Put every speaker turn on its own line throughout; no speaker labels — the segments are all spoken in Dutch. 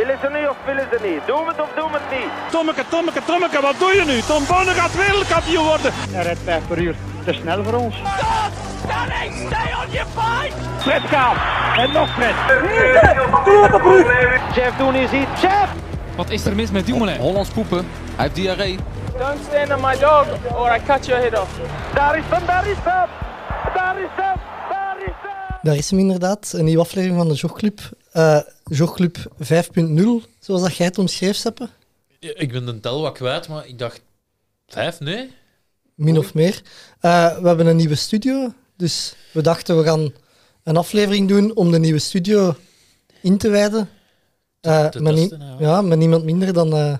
ze niet of willen ze niet. Doe het of doe het niet.
Tommeke, Tommeke, Tommeke, wat doe je nu? Tom Bonne gaat wereldkampioen worden.
Hij rijdt 5 per uur. Te snel voor ons.
Stop! Stanning, stay on your fight!
Fred Kaap. En nog Fred.
Jeff Doen is hier. Jeff!
Wat is er mis met Dumoulin?
Hollands poepen. Hij heeft diarree.
Don't stand on my dog or I cut your head off.
Daar is hem, daar is hem! Daar is hem! Daar is hem!
Daar is hem inderdaad, een nieuwe aflevering van de Jogclub. Eh Jogclub 5.0, zoals dat jij het omschreef, Seppe.
Ja, Ik ben de tel wat kwijt, maar ik dacht... Vijf? Nee?
Min of meer. Eh, we hebben een nieuwe studio, dus we dachten we gaan een aflevering doen om de nieuwe studio in te wijden. Eh,
te
maar nie-
testen, ja.
ja, met niemand minder dan eh,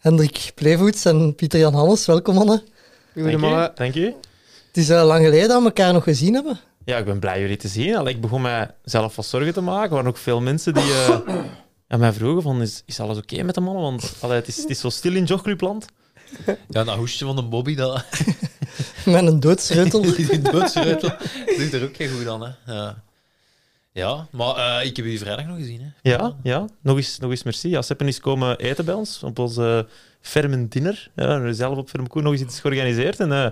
Hendrik Pleevoets en Pieter-Jan Hannes. Welkom, mannen.
Goedemorgen. Dank u.
Het is eh, lang geleden dat we elkaar nog gezien hebben.
Ja, ik ben blij jullie te zien. Allee, ik begon mij zelf wat zorgen te maken. Er waren ook veel mensen die eh, aan mij vroegen van, is, is alles oké met de mannen? Want allee, het, is, het is zo stil in jogclubland.
Ja, dat hoestje van de Bobby, dat
Met een doodsreutel.
die doodschreutel, doet er ook geen goed aan, hè. Ja, ja maar eh, ik heb u vrijdag nog gezien, hè.
Ja, ja. Nog eens, nog eens merci. Ja, Seppen is komen eten bij ons op onze Fermen Dinner. Ja, we zelf op Fermenkoe nog eens iets georganiseerd. En eh,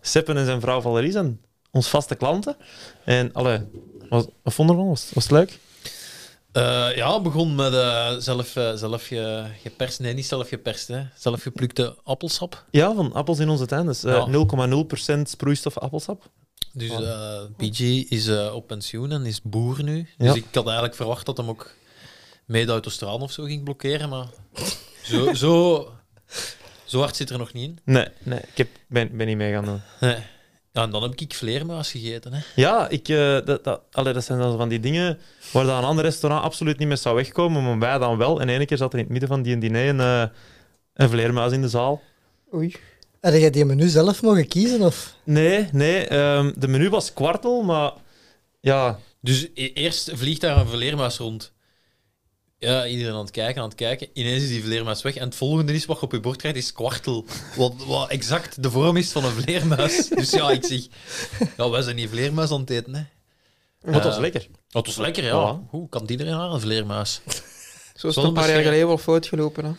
Seppen en zijn vrouw Valerie zijn ons vaste klanten. En allee, wat, wat vonden we ervan? Was, was het leuk?
Eh, ja, begon met eh, zelf, eh, zelf ge- geperst. Nee, niet zelf geperst, hè. Zelf geplukte appelsap.
Ja, van appels in onze tuin. Dus eh,
Ja.
0,0% sproeistof appelsap.
Dus eh PG is eh, op pensioen en is boer nu.
Ja.
Dus ik had eigenlijk verwacht dat hem ook mee de autostrade of zo ging blokkeren, maar zo, zo, zo hard zit er nog niet in.
Nee, nee ik heb, ben, ben niet mee gaan doen.
Nee. Eh, Ja, en dan heb ik vleermuis gegeten, hè.
Ja, ik, eh, dat, dat, allee, dat zijn dan zo van die dingen waar dan een ander restaurant absoluut niet mee zou wegkomen, maar wij dan wel. En ene keer zat er in het midden van die diner een, eh, een vleermuis in de zaal.
Oei. Had jij die menu zelf mogen kiezen? Of?
Nee, nee, ehm, de menu was kwartel, maar ja,
Dus e- eerst vliegt daar een vleermuis rond. Ja, iedereen aan het kijken, aan het kijken. Ineens is die vleermuis weg. En het volgende is wat je op je bord krijgt, is kwartel. Wat, wat exact de vorm is van een vleermuis. Dus ja, ik zeg... Ja, wij zijn die vleermuis aan het eten, hè.
maar het
Eh,
was lekker.
Dat is lekker, ja.
Voilà.
Hoe kan iedereen haar een vleermuis?
Zo is het
Zonder
een paar jaar
bescherm-
geleden wel fout gelopen. Hè.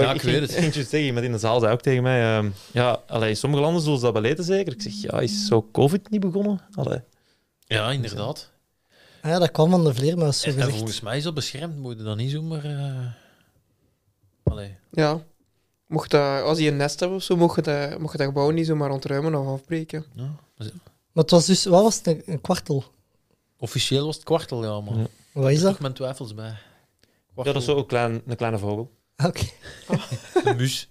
Ja, ik weet
ging-
het.
Ik ging juist tegen iemand in de zaal zei ook tegen mij, ehm, ja, allee, in sommige landen zullen ze dat beleten zeker. Ik zeg, ja, is zo COVID niet begonnen? Allee.
Ja, inderdaad.
Ah ja, dat kwam van de vleermuis, zo
En, en
gezegd.
volgens mij is dat beschermd. Moet je dat niet zomaar... eh Allee.
Ja. Mocht dat, als je een nest hebt of zo, mocht je dat, mocht je dat gebouw niet zomaar ontruimen of afbreken.
Ja.
Maar het was dus, wat was het, een- een kwartel?
Officieel was het kwartel, ja, man.
Ja.
Wat is dat?
Toch mijn twijfels bij.
Ja, dat is zo een, klein, een kleine vogel.
Ah, Oké.
Een mus.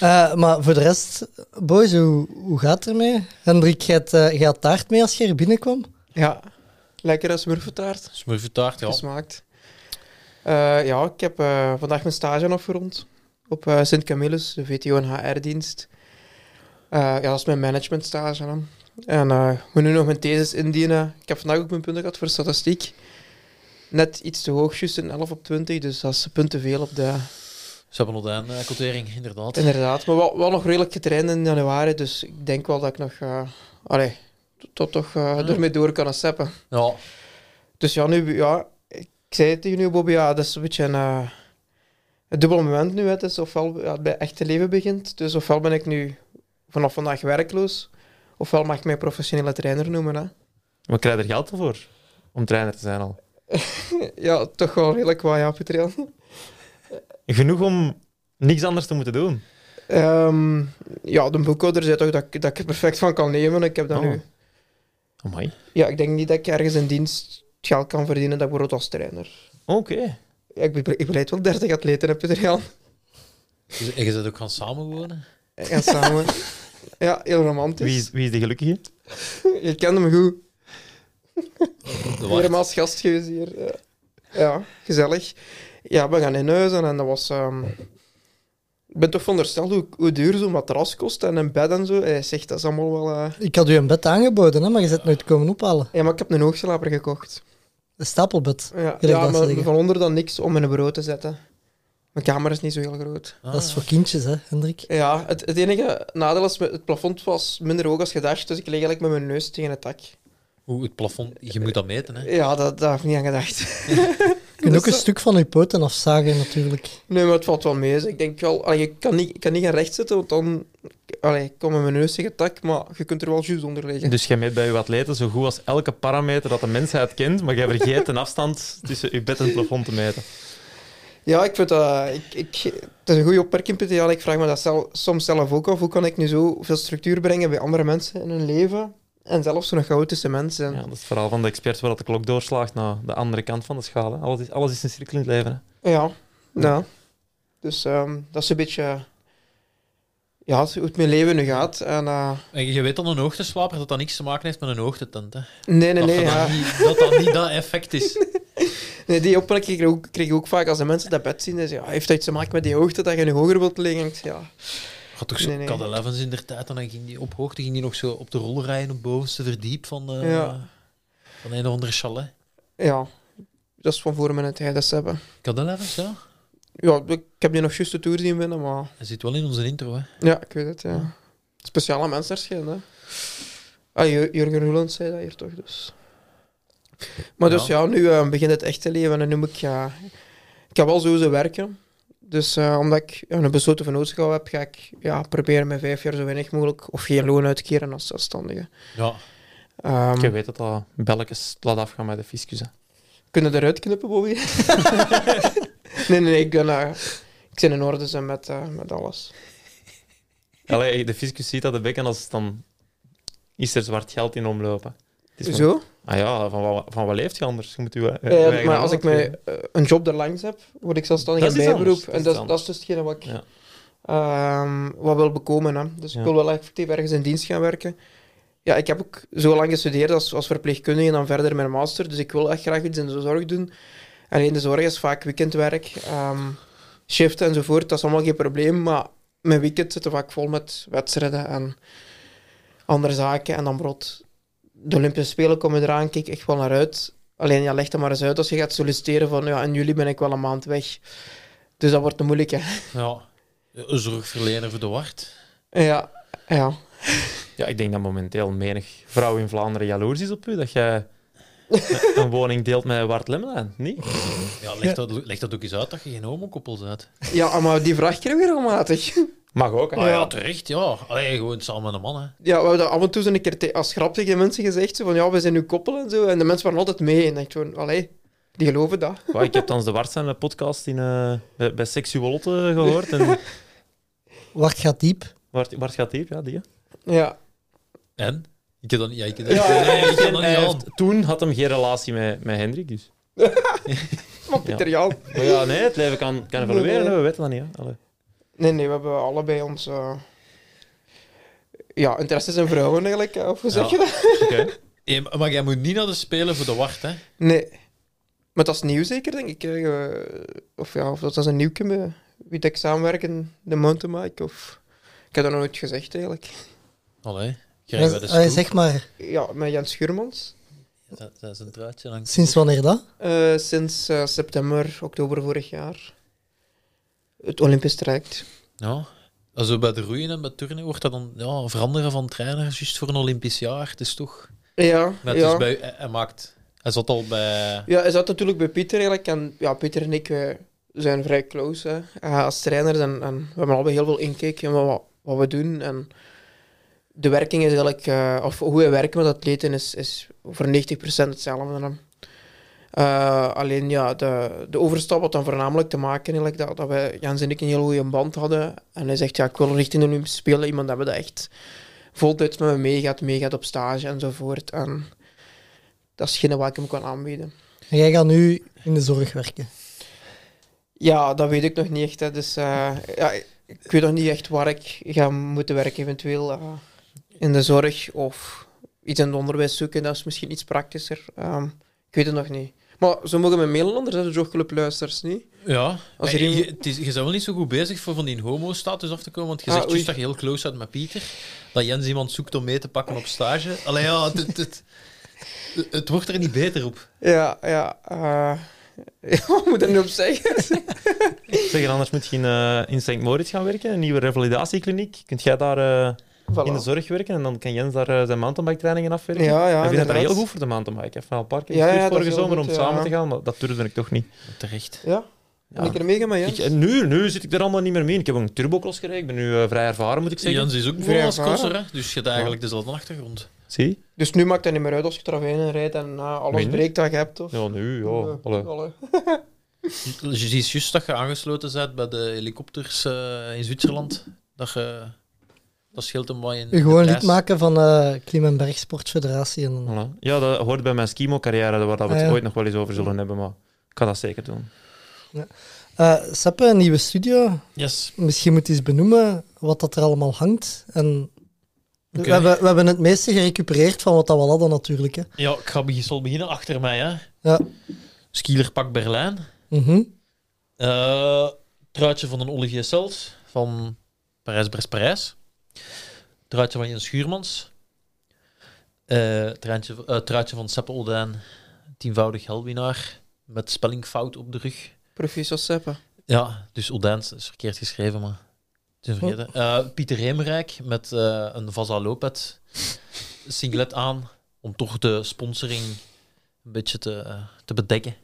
Eh, maar voor de rest, boys, hoe, hoe gaat het ermee? Hendrik, jij had, eh, jij had taart mee als je er binnenkwam?
Ja. Lekker als smurfentaart.
Smurfentaart, ja.
Gesmaakt. Eh, ja, ik heb eh, vandaag mijn stage afgerond op eh, Sint Camillus, de VTO en HR-dienst. ja, dat is mijn managementstage. hè. En eh, ik moet nu nog mijn thesis indienen. Ik heb vandaag ook mijn punten gehad voor statistiek. Net iets te hoog, juist een 11 op 20, dus dat is een punt te veel op de
Ze hebben nog een eh, quotering, inderdaad.
Inderdaad, maar wel, wel nog redelijk getraind in januari, dus ik denk wel dat ik nog eh, allee, tot- tot toch eh, ermee door kan steppen.
Ja,
Dus ja, nu, ja, ik zei het tegen u, Bobby, ja, dat is een beetje een, eh, een dubbel moment nu. hè. Het is ofwel ja, het bij echte leven begint, dus ofwel ben ik nu vanaf vandaag werkloos, ofwel mag ik mij professionele trainer noemen. Hè.
Maar krijg je er geld voor? Om trainer te zijn al.
Ja, toch wel redelijk wat, ja, Pieter Jan.
Genoeg om niks anders te moeten doen.
Ehm, ja, de boekhouder zei toch dat, ik- dat ik er perfect van kan nemen. Ik heb dat
Oh.
nu
Amai.
Ja, ik denk niet dat ik ergens in dienst het geld kan verdienen dat ik word als trainer.
Oké.
Ja, ik, be- ik begeleid wel 30 atleten, heb je er Jan?
Dus- en je bent ook gaan samenwonen.
En samen. Ja, heel romantisch.
Wie is, wie is de gelukkige?
Je kende me goed.
De waard.
Helemaal als gast geweest hier. Ja. Ja, gezellig. Ja, we gaan in huis en dat was... ehm, Ik ben toch verondersteld hoe, hoe duur zo'n matras kost en een bed en zo. Hij zegt, dat is allemaal wel... eh,
Ik had u een bed aangeboden, hè, maar je bent nooit komen ophalen.
Ja, maar ik heb een hoogslaper gekocht.
Een stapelbed.
Ja,
dat
ja
ze
maar
zeggen.
van onder dan niks om in een bureau te zetten. Mijn kamer is niet zo heel groot.
Ah,
Dat is voor kindjes, hè, Hendrik?
Ja, het, het enige nadeel is, me- het plafond was minder hoog als gedacht, dus ik lig eigenlijk met mijn neus tegen het dak.
Hoe het plafond, je moet dat meten, hè.
Ja, dat, daar heb ik niet aan gedacht.
Je kunt
Dus
ook een
dat-
stuk van je poten afzagen, natuurlijk.
Nee, maar het valt wel mee. zeg. Ik denk wel, allee, ik kan niet, ik kan niet gaan recht zitten, want dan allee, ik kom met mijn neus tegen het dak, maar je kunt er wel juist onder liggen.
Dus jij meet bij je atleten zo goed als elke parameter dat de mensheid kent, maar jij vergeet een afstand tussen je bed en het plafond te meten.
Ja, ik vind dat... Ik, ik, het is een goede opmerking, Pieter Jan. Ik vraag me dat zelf, soms zelf ook af. Hoe kan ik nu zo veel structuur brengen bij andere mensen in hun leven? En zelfs zo'n chaotische mensen.
Ja,
Ja.
dat is het verhaal van de expert waar dat de klok doorslaagt naar de andere kant van de schaal. hè. Alles is, alles is een cirkel in het leven. Hè.
Ja. Dus ehm, dat is een beetje... Ja, hoe het mijn leven nu gaat. En, eh,
En je weet dan een hoogteslaper dat dat niks te maken heeft met een hoogtetent. Hè?
nee, nee,
Dat,
nee.
dat,
ja.
niet, dat dat niet dat effect is.
Nee, die opmerking kreeg ik ook, kreeg ik ook vaak als de mensen dat bed zien. Dus ja, heeft dat iets te maken met die hoogte dat je nu hoger wilt liggen? Ik zeg, Ja.
Had toch zo'n
Nee, nee.
Cad 11's in der tijd en dan ging die op hoogte ging die nog zo op de rol rijden op het bovenste verdiep van, eh
Ja.
van een of andere chalet.
ja, dat is van voor mijn tijd dat ze hebben.
Cad 11's, ja.
Ja, ik heb die nog juist de Tour zien winnen, maar...
Hij zit wel in onze intro, hè.
Ja, ik weet het, ja. Speciale mensen hè. Ah, Jur- Jurgen Roeland zei dat hier toch, dus... Maar dus ja, nu eh, begint het echt te leven en nu moet ik... ja, ik heb wel sowieso werken. Dus eh, omdat ik ja, een besloten vennootschap heb, ga ik ja, proberen mijn vijf jaar zo weinig mogelijk of geen loon uit te keren als zelfstandige.
Ja.
Ehm,
Je weet dat dat belletjes laat afgaan met de fiscus. Hè.
Kunnen eruit knippen, Bobby? nee, nee, nee, ik ben, eh, ik ben in orde zijn met, eh, met alles.
Allee, de fiscus ziet dat de bekken als het dan is er zwart geld in omlopen. Het is van-
Zo?
Ah ja, van, wa- van wat leeft je anders? Je moet je, eh,
Eh,
je eigen
maar als ik
geld
mij,
geven.
eh, een job erlangs heb, word ik zelfstandig
Dat
in
is iets
bijberoep.
anders, dat
En
is
dat,
iets
dat is dus hetgene wat ik
Ja.
ehm, wat wil bekomen. Hè. Dus
Ja.
ik wil wel effectief ergens in dienst gaan werken. Ja, ik heb ook zo lang gestudeerd als, als verpleegkundige en dan verder mijn master. Dus ik wil echt graag iets in de zorg doen. Alleen de zorg is vaak weekendwerk, ehm shiften enzovoort. Dat is allemaal geen probleem. Maar mijn weekend zitten vaak vol met wedstrijden en andere zaken. En dan brood. De Olympische Spelen komen eraan, kijk ik echt wel naar uit. Alleen ja, leg dat maar eens uit als je gaat solliciteren van ja, in juli ben ik wel een maand weg. Dus dat wordt een moeilijke.
ja. Een zorgverlener verdoord.
Ja, ja.
Ja, ik denk dat momenteel menig vrouw in Vlaanderen jaloers is op u. Dat jij een- een woning deelt met Wart Lemmelijn. Niet?
Ja, leg, dat, leg dat ook eens uit dat je geen homokoppel bent.
Ja, maar die vraag krijgen we regelmatig.
Mag ook. hè.
Ah ja, terecht, ja. Allee, gewoon samen met een man, hè.
Ja, we hebben dat af en toe zo een keer te- als grap tegen de mensen gezegd. Zo van, ja, we zijn nu koppel en zo. En de mensen waren altijd mee. En ik dacht gewoon, allee, die geloven dat.
Wauw, ik heb dan de Wart zijn podcast in, eh, bij, bij Seksuolotte gehoord. En
Wart gaat diep.
Wart, Wart gaat hier, ja, die. hè.
Ja.
En? Ik heb dan, ja, ik heb dan, nee, ik heb dan
Hij
niet aan.
heeft- toen had hem geen relatie met, met Hendrik. Dus.
Maar Pieter Jan...
Maar ja, nee, het leven kan, kan evolueren, hè, we weten dat niet. Hè. Allee.
Nee, nee, we hebben allebei onze... eh, Ja, interesses in vrouwen eigenlijk. eh, Of hoe
Ja.
zeg je dat?
Oké.
Eh, maar jij moet niet naar de Spelen voor de wacht, hè.
Nee. Maar dat is nieuw zeker, denk ik. eh, Of ja, of dat is een nieuwke met wie dat ik samenwerk in de mountainbike. Of... Ik heb dat nog nooit gezegd, eigenlijk.
Allee, krijgen we de
Eh, eh,
scoop.
Zeg maar,
Ja, met Jens Schuurmans.
Dat, dat is een truitje dan.
sinds wanneer dat?
Eh, sinds eh, september, oktober vorig jaar. Het Olympisch traject.
Ja. Als we bij de roeien en bij turnen wordt dat dan ja, veranderen van trainers juist voor een Olympisch jaar. Het is toch...
Ja,
Maar het
ja.
is bij, hij, hij maakt... Hij zat al bij...
ja, hij zat natuurlijk bij Pieter eigenlijk. En ja, Pieter en ik eh, zijn vrij close hè, eh, als trainers. En, en we hebben allebei heel veel inkijk in wat, wat we doen. En de werking is eigenlijk, eh, of hoe wij werken met atleten, is, is voor 90% hetzelfde. hè. Eh, alleen ja, de, de overstap had dan voornamelijk te maken eigenlijk, dat, dat wij Jens en ik een heel goede band hadden. En hij zegt, ja, ik wil richting de Olympische Spelen iemand hebben dat echt voltijds met me meegaat, meegaat op stage enzovoort. En dat is geen wat ik hem kan aanbieden.
En jij gaat nu in de zorg werken.
Ja, dat weet ik nog niet echt. Hè. Dus eh, ja, ik weet nog niet echt waar ik ga moeten werken, eventueel eh, in de zorg of iets in het onderwijs zoeken. Dat is misschien iets praktischer. Ehm, ik weet het nog niet. Maar ze mogen me mailen anders, hè, de jogclub luisteraars niet.
Ja.
Als
Maar
er
je,
iemand-
het is, je bent wel niet zo goed bezig voor van die homo-status af te komen, want je
Ah,
zegt
oei.
juist dat je heel close bent met Pieter. Dat Jens iemand zoekt om mee te pakken op stage. Allee, ja, het, het, het, het wordt er niet beter op.
Ja, ja. eh, wat moet ik er nu op zeggen?
Zeg, en anders moet je in, eh, in St. Moritz gaan werken, een nieuwe revalidatiekliniek. Kunt jij daar eh,
Voilà.
in de zorg werken en dan kan Jens daar eh, zijn mountainbike trainingen afwerken.
Ja,
ik
ja,
vind dat daar
inderdaad.
heel goed voor de mountainbike. Ik heb me al een paar keer
Ja,
gestuurd
ja, dat is
vorige
heel
zomer
goed,
om
ja.
samen te gaan, maar dat durfde ik toch niet.
Terecht.
Ja,
Ja.
en ik er mee gaan met Jens.
Ik, en nu, nu zit ik er allemaal niet meer mee in. Ik heb ook een turbocross gereden. Ik ben nu eh, vrij ervaren, moet ik zeggen.
Jans is ook
Vrij
begonnen als
ervaren.
crosser, hè? dus je hebt eigenlijk dezelfde achtergrond.
Zie?
Dus nu maakt het niet meer uit als je Travenen rijdt en na alles
Minder.
breekt dat je hebt. Of...
Ja, nu, ja.
Eh,
Allee.
allee.
Je ziet juist dat je aangesloten bent bij de helikopters eh, in Zwitserland. Dat, je, dat scheelt hem wat in
U gewoon
de
lid
prijs.
maken van eh Klim- en Bergsportfederatie. En dan...
Voilà. Ja, dat hoort bij mijn skimo-carrière, waar dat we het
Ah, ja.
ooit nog wel eens over zullen hebben, maar ik kan dat zeker doen.
Eh, Seppe, een nieuwe studio.
Yes.
Misschien moet je eens benoemen wat dat er allemaal hangt. En
Oké.
we, hebben, we hebben het meeste gerecupereerd van wat dat we al hadden natuurlijk. Hè.
Ja, ik ga begin, zal beginnen achter mij. Hè.
Ja.
Skielerpak Berlijn.
Mhm.
Eh, truitje van een Olivier Sels van Parijs Brest Parijs. Truitje van Jens Schuurmans. Eh, truitje, eh, truitje van Seppe Oldijn, tienvoudig helwinnaar met spellingfout op de rug.
Proficiat Seppe.
Ja, dus Oldijn is verkeerd geschreven, maar het is vergeten. Eh, Pieter Heemrijk met eh, een Vasa Lopet singlet aan om toch de sponsoring een beetje te, eh, te bedekken.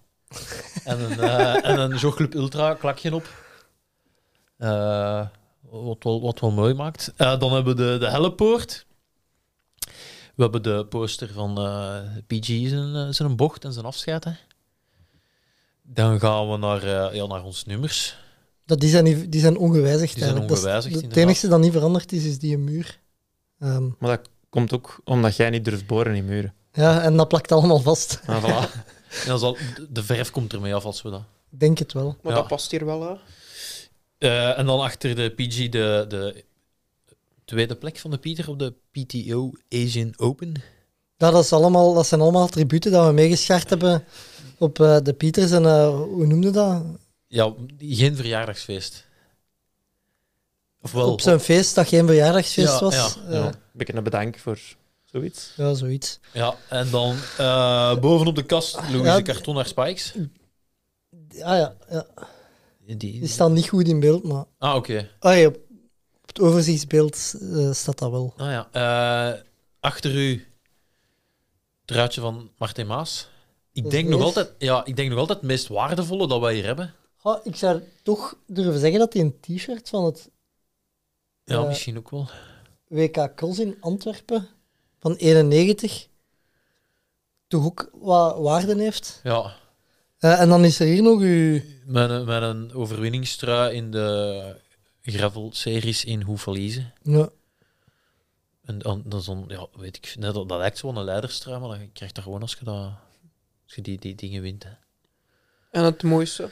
en een, eh en een Jogclub Ultra klakje op. Eh, wat, wel, wat wel mooi maakt. Eh, dan hebben we de, de Hellepoort. We hebben de poster van eh, PG zijn, eh, zijn bocht en zijn afscheid. hè. Dan gaan we naar, eh, ja, naar onze nummers.
Dat, die, zijn niet, die zijn ongewijzigd.
Die zijn
eigenlijk. Dat is-
ongewijzigd,
Het
inderdaad.
enige dat niet veranderd is, is die muur. Ehm,
Maar dat komt ook omdat jij niet durft boren in muren.
ja, en dat plakt allemaal vast.
Ah, voilà.
En dan zal, de- de verf komt ermee af als we dat.
Ik denk het wel.
Maar
Ja.
dat past hier wel hè.
Eh, en dan achter de PG de, de tweede plek van de Pieter op de PTO Asian Open.
Ja, dat, is allemaal, dat zijn allemaal attributen dat we meegeschaard hebben op eh, de Pieters. En eh, hoe noemde dat?
Ja, geen verjaardagsfeest. Of wel?
op zijn feest dat geen verjaardagsfeest
Ja,
was.
ja,
Eh,
Ja. Een beetje een bedank voor zoiets.
ja, zoiets.
Ja, en dan eh, bovenop de kast Louise
Ja, d-
Carton naar Spikes.
Ah, ja, ja.
Die,
Die staan niet goed in beeld, maar
Ah, oké.
ah, ja, op het overzichtsbeeld eh, staat dat wel.
Ah, ja. eh, achter u het ruitje van Martin Maas. Ik
Dat
denk,
is
nog
leeg.
altijd, ja, ik denk nog altijd het meest waardevolle dat wij hier hebben.
Ah, ik zou toch durven zeggen dat die een t-shirt van het
Ja,
Eh,
misschien ook wel.
WK Cross in Antwerpen van 91 toch ook wat waarde heeft.
Ja,
Eh, en dan is er hier nog uw...
met een, met een overwinningstrui in de gravel-series in Hoe Verliezen.
Ja,
En dan, dat, is dan, ja, weet ik, net, dat, dat lijkt zo aan een leiderstrui, maar dan krijg je dat gewoon als je, dat, als je die, die dingen wint. Hè.
En het mooiste,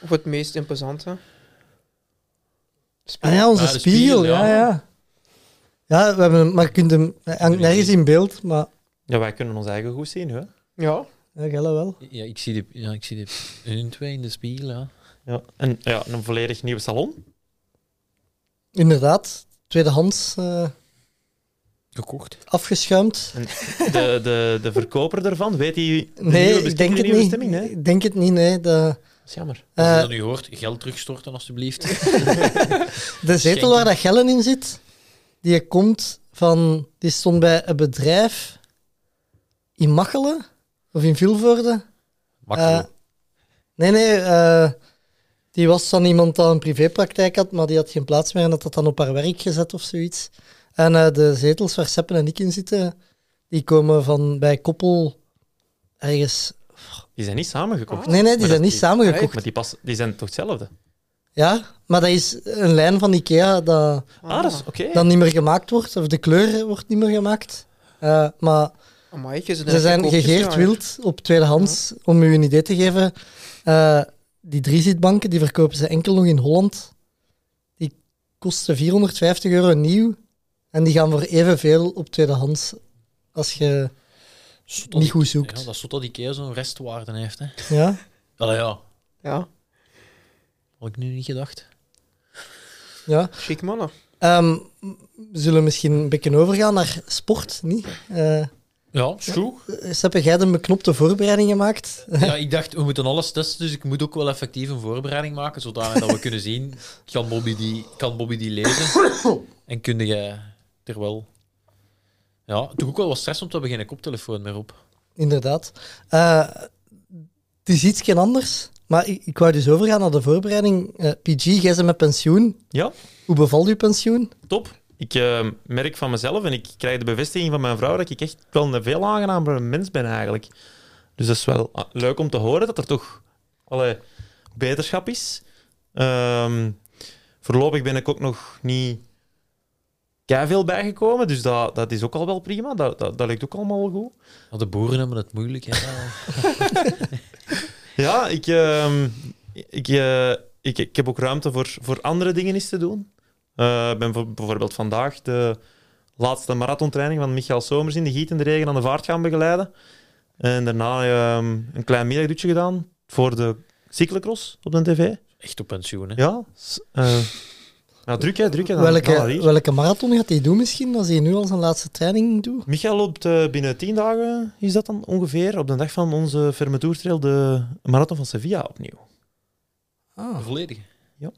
of het meest imposante.
Ah ja, onze
Ah, de
spiegel,
spiegel,
ja.
ja.
ja. Ja, we hebben hem, maar je kunt hem, hij hangt nergens in beeld, maar
Ja, wij kunnen ons eigen goed zien, hè?
Ja,
ja, Gelle wel.
Ja, ik zie de, ja, ik zie de, hun twee in de spiegel. Ja.
Ja. En ja, een volledig nieuwe salon.
Inderdaad, tweedehands eh,
Gekocht.
afgeschuimd.
De, de, de verkoper daarvan, weet hij de
Nee,
nieuwe
ik denk
bestemming, de
het
nieuwe
niet.
bestemming, hè?
Ik denk het niet, nee. De,
Dat is jammer.
Als je
eh,
dat nu hoort, geld terugstorten alstublieft.
de zetel waar dat Gellen in zit, die komt van... Die stond bij een bedrijf in Machelen, of in Vilvoorde.
Makkelijk.
Eh, nee, nee. eh, die was dan iemand die een privépraktijk had, maar die had geen plaats meer en had dat dan op haar werk gezet of zoiets. En eh, de zetels waar Seppen en ik in zitten, die komen van bij koppel ergens...
Die zijn niet samengekocht.
Ah. Nee, nee,
Maar
die
dat
zijn niet
is Ah,
samengekocht.
Maar die, pas, die zijn toch hetzelfde?
Ja, maar dat is een lijn van Ikea dat
Ah, dat is oké.
dat niet meer gemaakt wordt, of de kleur wordt niet meer gemaakt. Eh, maar
Ah, Amai, je zit
Ze zijn
koopjes,
gegeerd
ja.
wild op tweedehands, om u een idee te geven. eh, die driezitbanken die verkopen ze enkel nog in Holland. Die kosten 450 euro nieuw. En die gaan voor evenveel op tweedehands als je...
Zot
niet
dat
goed
ik-
zoekt.
Ja, dat is tot dat Ikea zo'n restwaarde heeft. Hè.
Ja,
Allee, ja,
Ja,
had ik nu niet gedacht.
ja.
chic mannen.
Ehm, we zullen misschien een beetje overgaan naar sport, niet? Eh
Ja, is goed.
Seppe, jij hebt een beknopte voorbereiding gemaakt.
Ja, ik dacht, we moeten alles testen, dus ik moet ook wel effectief een voorbereiding maken, zodat we kunnen zien, kan Bobby die, kan Bobby die lezen? En kun jij terwijl... Ja, toch ook wel wat stress om te hebben geen koptelefoon meer op.
inderdaad. Eh, het is iets geen anders, maar ik, ik wou dus overgaan naar de voorbereiding. Eh, PG, jij bent met pensioen.
Ja,
Hoe bevalt uw pensioen?
top. Ik eh, merk van mezelf en ik krijg de bevestiging van mijn vrouw dat ik echt wel een veel aangenamer mens ben eigenlijk. Dus dat is wel ah, leuk om te horen dat er toch allee, beterschap is. Ehm, voorlopig ben ik ook nog niet veel bijgekomen, dus dat, dat is ook al wel prima. Dat, dat, dat lijkt ook allemaal goed.
Maar de boeren hebben het moeilijk. Ja.
Ja, ik, ehm, ik, eh, ik, ik heb ook ruimte voor, voor andere dingen eens te doen. Eh, Ik ben voor- bijvoorbeeld vandaag de laatste marathontraining van Michael Somers in de giet en de regen aan de vaart gaan begeleiden. En daarna ehm, een klein middagdutje gedaan voor de cyclocross op de tv.
Echt op pensioen, hè.
Ja, s- eh, ja druk hè, druk hè. Dan kan dat
Welke,
hier.
welke marathon gaat hij doen misschien, als hij nu al zijn laatste training doet?
Michael loopt eh, binnen tien dagen, is dat dan ongeveer, op de dag van onze Fermetourtrail de marathon van Sevilla opnieuw.
De volledige?
Ja.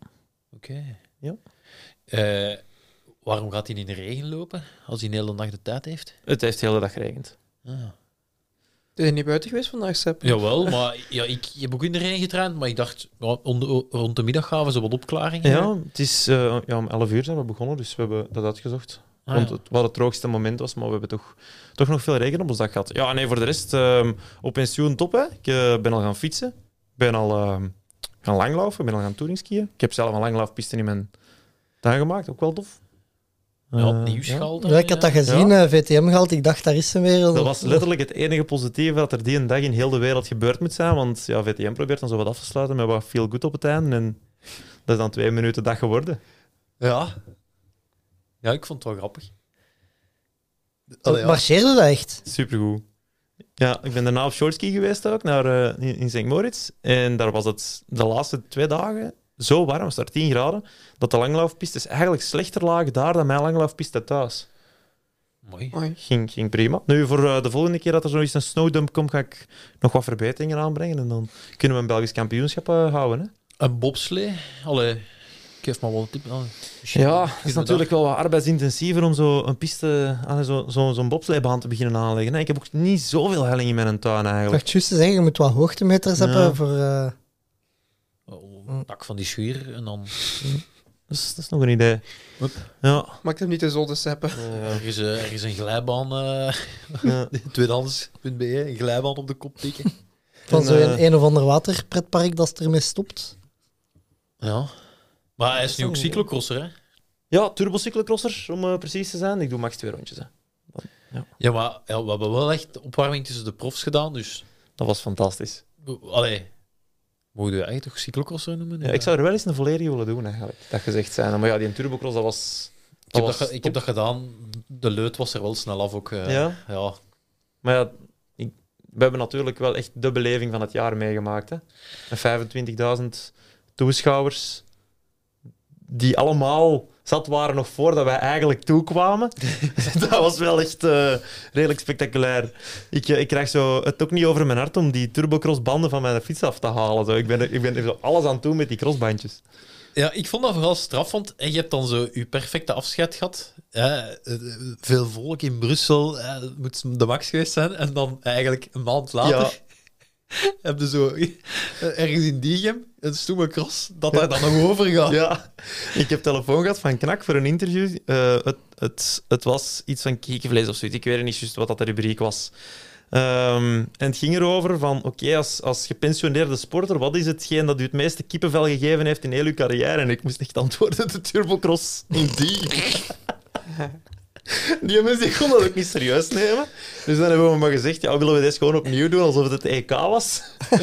Oké.
Ja.
Eh, waarom gaat hij in de regen lopen als hij een hele nacht de tijd heeft?
Het heeft de hele dag geregend.
Ah.
Is je niet buiten geweest vandaag, Sepp?
Jawel, maar ja, ik heb ook in de regen getraind, maar ik dacht, ja, om de- rond de middag gaven ze wat opklaringen.
Ja, het is, eh, ja, om 11 uur zijn we begonnen, dus we hebben dat uitgezocht.
Ah,
Want
ja.
het, wat het droogste moment was, maar we hebben toch, toch nog veel regen op ons dag gehad. Ja, nee, voor de rest, ehm, op pensioen top, hè. Ik eh, ben al gaan fietsen, ben al ehm, gaan langlaufen, ben al gaan touringskiën. Ik heb zelf een langlaufpiste in mijn tuin gemaakt, ook wel tof.
Ja,
Eh,
opnieuw
ja.
schaal dan,
Ja, ik had dat gezien, eh, VTM gehaald. Ik dacht, daar is ze weer.
Dat was letterlijk het enige positieve dat er die een dag in heel de wereld gebeurd moet zijn. Want ja, VTM probeert dan zo wat af te sluiten met wat veel goed op het einde. En dat is dan twee minuten dag geworden.
Ja. Ja, ik vond het wel grappig. Allee,
Dat
ja.
Marcheerde dat echt?
Supergoed. Ja, ik ben daarna op shortski geweest ook, naar, eh, in- in St. Moritz. En daar was het de laatste twee dagen zo warm, het was daar 10 graden, dat de langlaufpistes eigenlijk slechter lagen daar dan mijn langlaufpiste thuis.
Mooi.
Oei.
Ging, ging prima. Nu, voor eh, de volgende keer dat er zoiets een snowdump komt, ga ik nog wat verbeteringen aanbrengen. En dan kunnen we een Belgisch kampioenschap eh, houden. Hè?
Een bobslee? Allee, ik geef maar wel een tip. aan.
Ja, het is natuurlijk wel wat arbeidsintensiever om zo een piste, aan zo'n zo, zo'n bobsleebaan te beginnen aanleggen. hè. Ik heb ook niet zoveel helling in mijn tuin
Ik
eigenlijk.
dacht juist te zeggen, je moet wat hoogtemeters
Ja.
hebben voor... eh,
Oh, een tak van die schuur en dan...
Dus dat is nog een idee.
Hup.
Ja.
Maak hem niet de zolder, Seppen.
Er is, eh, er is een glijbaan, eh
Ja.
tweedehands.be, een glijbaan op de kop tikken.
van
En,
zo'n
eh,
een of ander waterpretpark dat ermee stopt.
Ja. Maar hij is nu ook
wel-
cyclocrosser, hè?
Ja, turbocyclocrosser, om eh, precies te zijn. Ik doe max twee rondjes. Hè.
Ja, maar ja, we hebben wel echt opwarming tussen de profs gedaan, dus...
Dat was fantastisch.
Allee, mogen we eigenlijk toch cyclocrosser noemen?
Ja, ik zou er wel eens een volledige willen doen, eigenlijk. Dat gezegd zijn. Maar ja, die turbocross, dat was...
Ik heb, dat,
was
ge- ik heb dat gedaan. De leut was er wel snel af ook. eh,
Ja?
ja.
Maar ja, ik- we hebben natuurlijk wel echt de beleving van het jaar meegemaakt. Hè. Met 25.000 toeschouwers, die allemaal zat waren nog voordat wij eigenlijk toekwamen. dat was wel echt eh, redelijk spectaculair. Ik, eh, ik krijg zo het ook niet over mijn hart om die turbocrossbanden van mijn fiets af te halen. Zo. Ik, ben, er- ik ben er zo alles aan toe met die crossbandjes.
Ja, ik vond dat vooral straf, want eh, je hebt dan zo je perfecte afscheid gehad. hè. Eh, eh, veel volk in Brussel, eh, het moet de max geweest zijn. En dan eigenlijk een maand later heb je zo eh, ergens in Diegem een stoeme cross dat daar dan nog over gaat.
Ja, ik heb telefoon gehad van Knak voor een interview. Eh, het, het, het was iets van kiekenvlees of zoiets. Ik weet niet juist wat dat de rubriek was. Ehm, en het ging erover van, oké, als, als gepensioneerde sporter, wat is hetgeen dat u het meeste kippenvel gegeven heeft in heel uw carrière? En ik moest echt antwoorden, de turbocross. In die. Die mensen die konden dat ook niet serieus nemen. Dus dan hebben we maar gezegd, ja, willen we dit gewoon opnieuw doen, alsof het het EK was?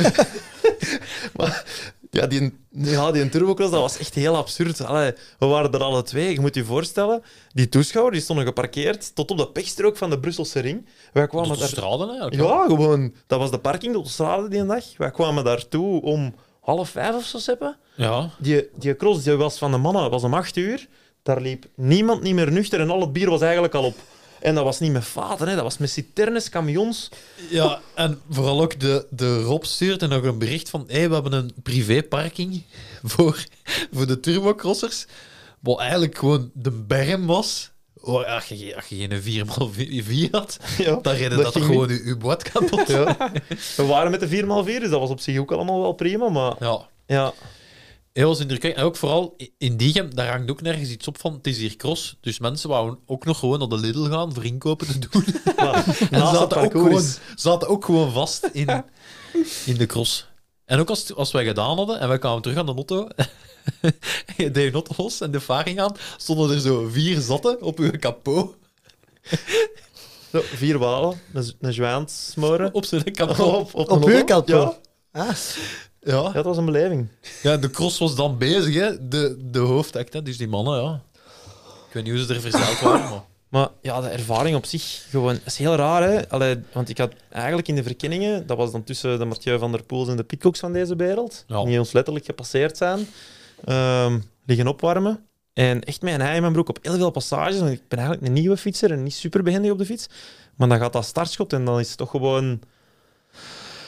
maar ja, die, ja, die turbocross, dat was echt heel absurd. Allee, we waren er alle twee. Je moet je voorstellen, die toeschouwers die stonden geparkeerd tot op de pechstrook van de Brusselse ring. Wij kwamen
Tot de
daar...
straden eigenlijk. hè.
Ja, gewoon. Dat was de parking de straat die dag. Wij kwamen daartoe om half vijf of zo, Seppe.
Ja.
Die, die cross die was van de mannen, was om acht uur. Daar liep niemand niet meer nuchter en al het bier was eigenlijk al op. En dat was niet met vaten, hè. dat was met citernes, camions.
Ja, en vooral ook de, de Rob stuurde nog een bericht van hey, we hebben een privéparking voor, voor de turbocrossers. Wat eigenlijk gewoon de berm was hoor, als, je, als je geen 4x4 had,
Ja,
dan redde
dat
dat,
ging
gewoon je, je boord kapot. Ja.
We waren met de 4x4, dus dat was op zich ook allemaal wel prima. Maar ja,
Heel indrukwekkend. En ook vooral in Diegem, daar hangt ook nergens iets op van. Het is hier cross, dus mensen wouden ook nog gewoon naar de Lidl gaan voor inkopen te doen.
maar
En
naast dat
zaten ook,
parcours
gewoon,
is-
zaten ook gewoon vast in, in de cross. En ook als, als wij gedaan hadden en wij kwamen terug aan de auto, je deed je auto los en de varing aan, stonden er zo vier zatten op uw kapot.
zo, vier walen, een, z- een zwijn smoren.
Op zijn kapot.
Op, op,
Op
een
uw
auto.
kant,
Ja.
hoor. Ah,
ja,
Ja.
dat was een beleving.
ja, de cross was dan bezig, hè. De, de hoofdact, hè. Dus die mannen, ja. Ik weet niet hoe ze er verzeild waren, maar...
Maar ja, de ervaring op zich gewoon, dat is heel raar. Hè? Allee, want ik had eigenlijk in de verkenningen, dat was dan tussen de Mathieu van der Poels en de Peacocks van deze wereld,
Ja.
die ons letterlijk gepasseerd zijn, ehm, liggen opwarmen. En echt met een ei in mijn broek op heel veel passages. Want ik ben eigenlijk een nieuwe fietser en niet super behendig op de fiets. Maar dan gaat dat startschot en dan is het toch gewoon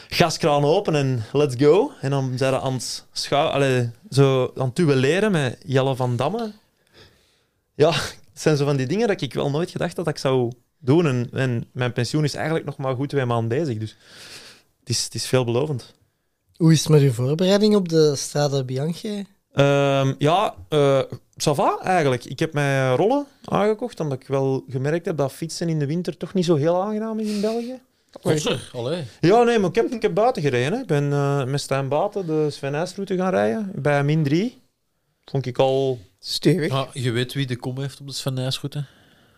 gaskraan open en let's go. En dan zijn we aan het schouw, allee, zo aan het duelleren met Jelle van Damme. Ja, het zijn zo van die dingen dat ik wel nooit gedacht had dat ik zou doen. En, en mijn pensioen is eigenlijk nog maar goed twee maanden bezig. Dus het is, het is veelbelovend.
hoe is het met uw voorbereiding op de Strada Bianchi?
Ehm, ja, eh ça va eigenlijk. Ik heb mijn rollen aangekocht, omdat ik wel gemerkt heb dat fietsen in de winter toch niet zo heel aangenaam is in België.
Crosser, allee.
Ja, nee, maar ik heb, ik heb buiten gereden. hè. Ik ben eh, met Stijn Baten de Sven Eijsroute gaan rijden. Bij min 3. Vond ik al...
Stevig.
Ja, je weet wie de kom heeft op de Sven Nijsgoed, hè.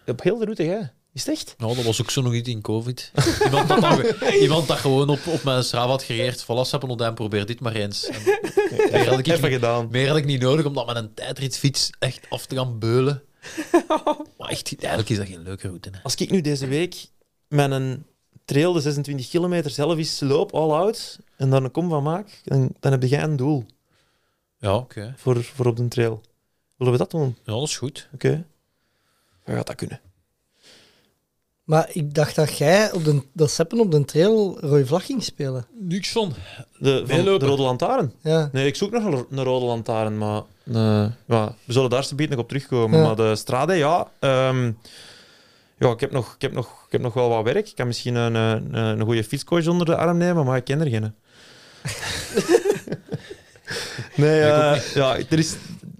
Op heel de route, hè. Is het echt?
Nou, dat was ook zo nog iets in COVID. Iemand dat, dan- iemand dat gewoon op, op mijn Strava had gereageerd. Voilà, Sappenodijn, probeer dit maar eens. En meer, had ik
Even
niet,
gedaan.
meer had ik niet nodig om dat met een tijdritfiets echt af te gaan beulen. Maar echt, eigenlijk is dat geen leuke route. Hè.
Als ik nu deze week met een trail de 26 kilometer zelf eens loop, all out, en daar een kom van maak, dan, dan heb jij een doel
Ja, oké.
voor, voor op de trail. Willen we dat doen?
Ja, dat is goed.
Oké. Dan gaat dat kunnen.
Maar ik dacht dat jij op de, dat Seppen op de trail rode vlag ging spelen.
Niks van.
De, van, de
Meelopen.
Rode Lantaarn?
Ja.
Nee, ik zoek nog een, een Rode Lantaarn, maar, eh, maar we zullen daar zometeen nog op terugkomen.
Ja.
Maar de Strade, ja... ehm, ja, ik heb, nog, ik, heb nog, ik heb nog wel wat werk. Ik kan misschien een, een, een goede fietscoach onder de arm nemen, maar ik ken er geen. nee, eh, ja, er is...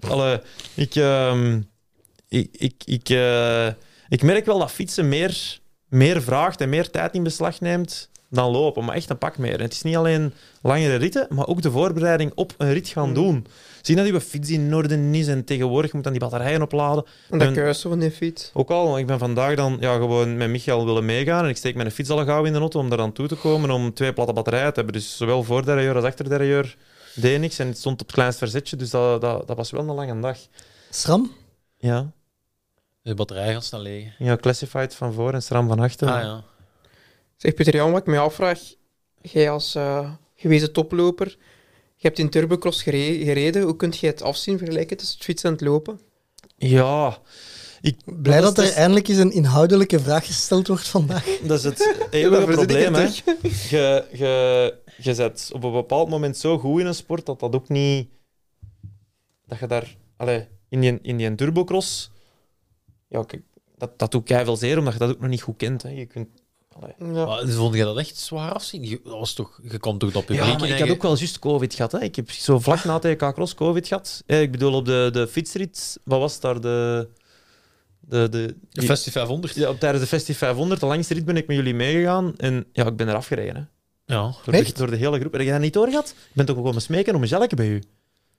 Alle, ik, ehm, ik, ik, ik, eh, ik merk wel dat fietsen meer, meer vraagt en meer tijd in beslag neemt dan lopen, maar echt een pak meer. En het is niet alleen langere ritten, maar ook de voorbereiding op een rit gaan doen. Zien dat je fiets in orde is en tegenwoordig moet dan die batterijen opladen.
En dat
En-
kuisen van die fiets.
ook al, want ik ben vandaag dan ja, gewoon met Michael willen meegaan. En ik steek mijn fiets al gauw in de auto om daar aan toe te komen. Om twee platte batterijen te hebben. Dus zowel voor derailleur als achter derailleur deed niks. En het stond op het kleinst verzetje. Dus dat, dat, dat was wel een lange dag.
Sram?
Ja,
De batterij gaat snel liggen.
ja classified van voor en SRAM van achter.
Ah ja.
Zeg Pieter Jan, wat ik mij afvraag. Jij als eh, gewezen toploper, je hebt in turbocross gere- gereden. Hoe kunt je het afzien vergelijken tussen het fietsen en het lopen?
ja,
Blij dat,
dat is-
er eindelijk eens een inhoudelijke vraag gesteld wordt vandaag.
dat is het eeuwige
Daarvoor zit ik
probleem.
er
hè. Je, je, je bent op een bepaald moment zo goed in een sport dat dat ook niet. Dat je daar. Allee, in, die, in die turbocross. Ja, kijk, dat, dat doet keiveel zeer, omdat je dat ook nog niet goed kent. Hè. Je kunt,
Ja.
Maar vond je dat echt zwaar afzien? Je, dat was toch, je kwam toch dat publiek
ja,
in
maar ik
en
had
je-
ook wel juist COVID gehad. Hè. Ik heb zo vlak na TK Cross COVID gehad. Eh, Ik bedoel, op de, de fietsrit, wat was daar de. De, de,
De Festi 500.
ja, tijdens de Festi 500, de langste rit, ben ik met jullie meegegaan. En ja, ik ben eraf gereden. Hè.
Ja.
Door, de,
Echt?
door de hele groep. Heb je dat niet doorgehad? Ik ben toch ook komen smeken om een jelke bij u?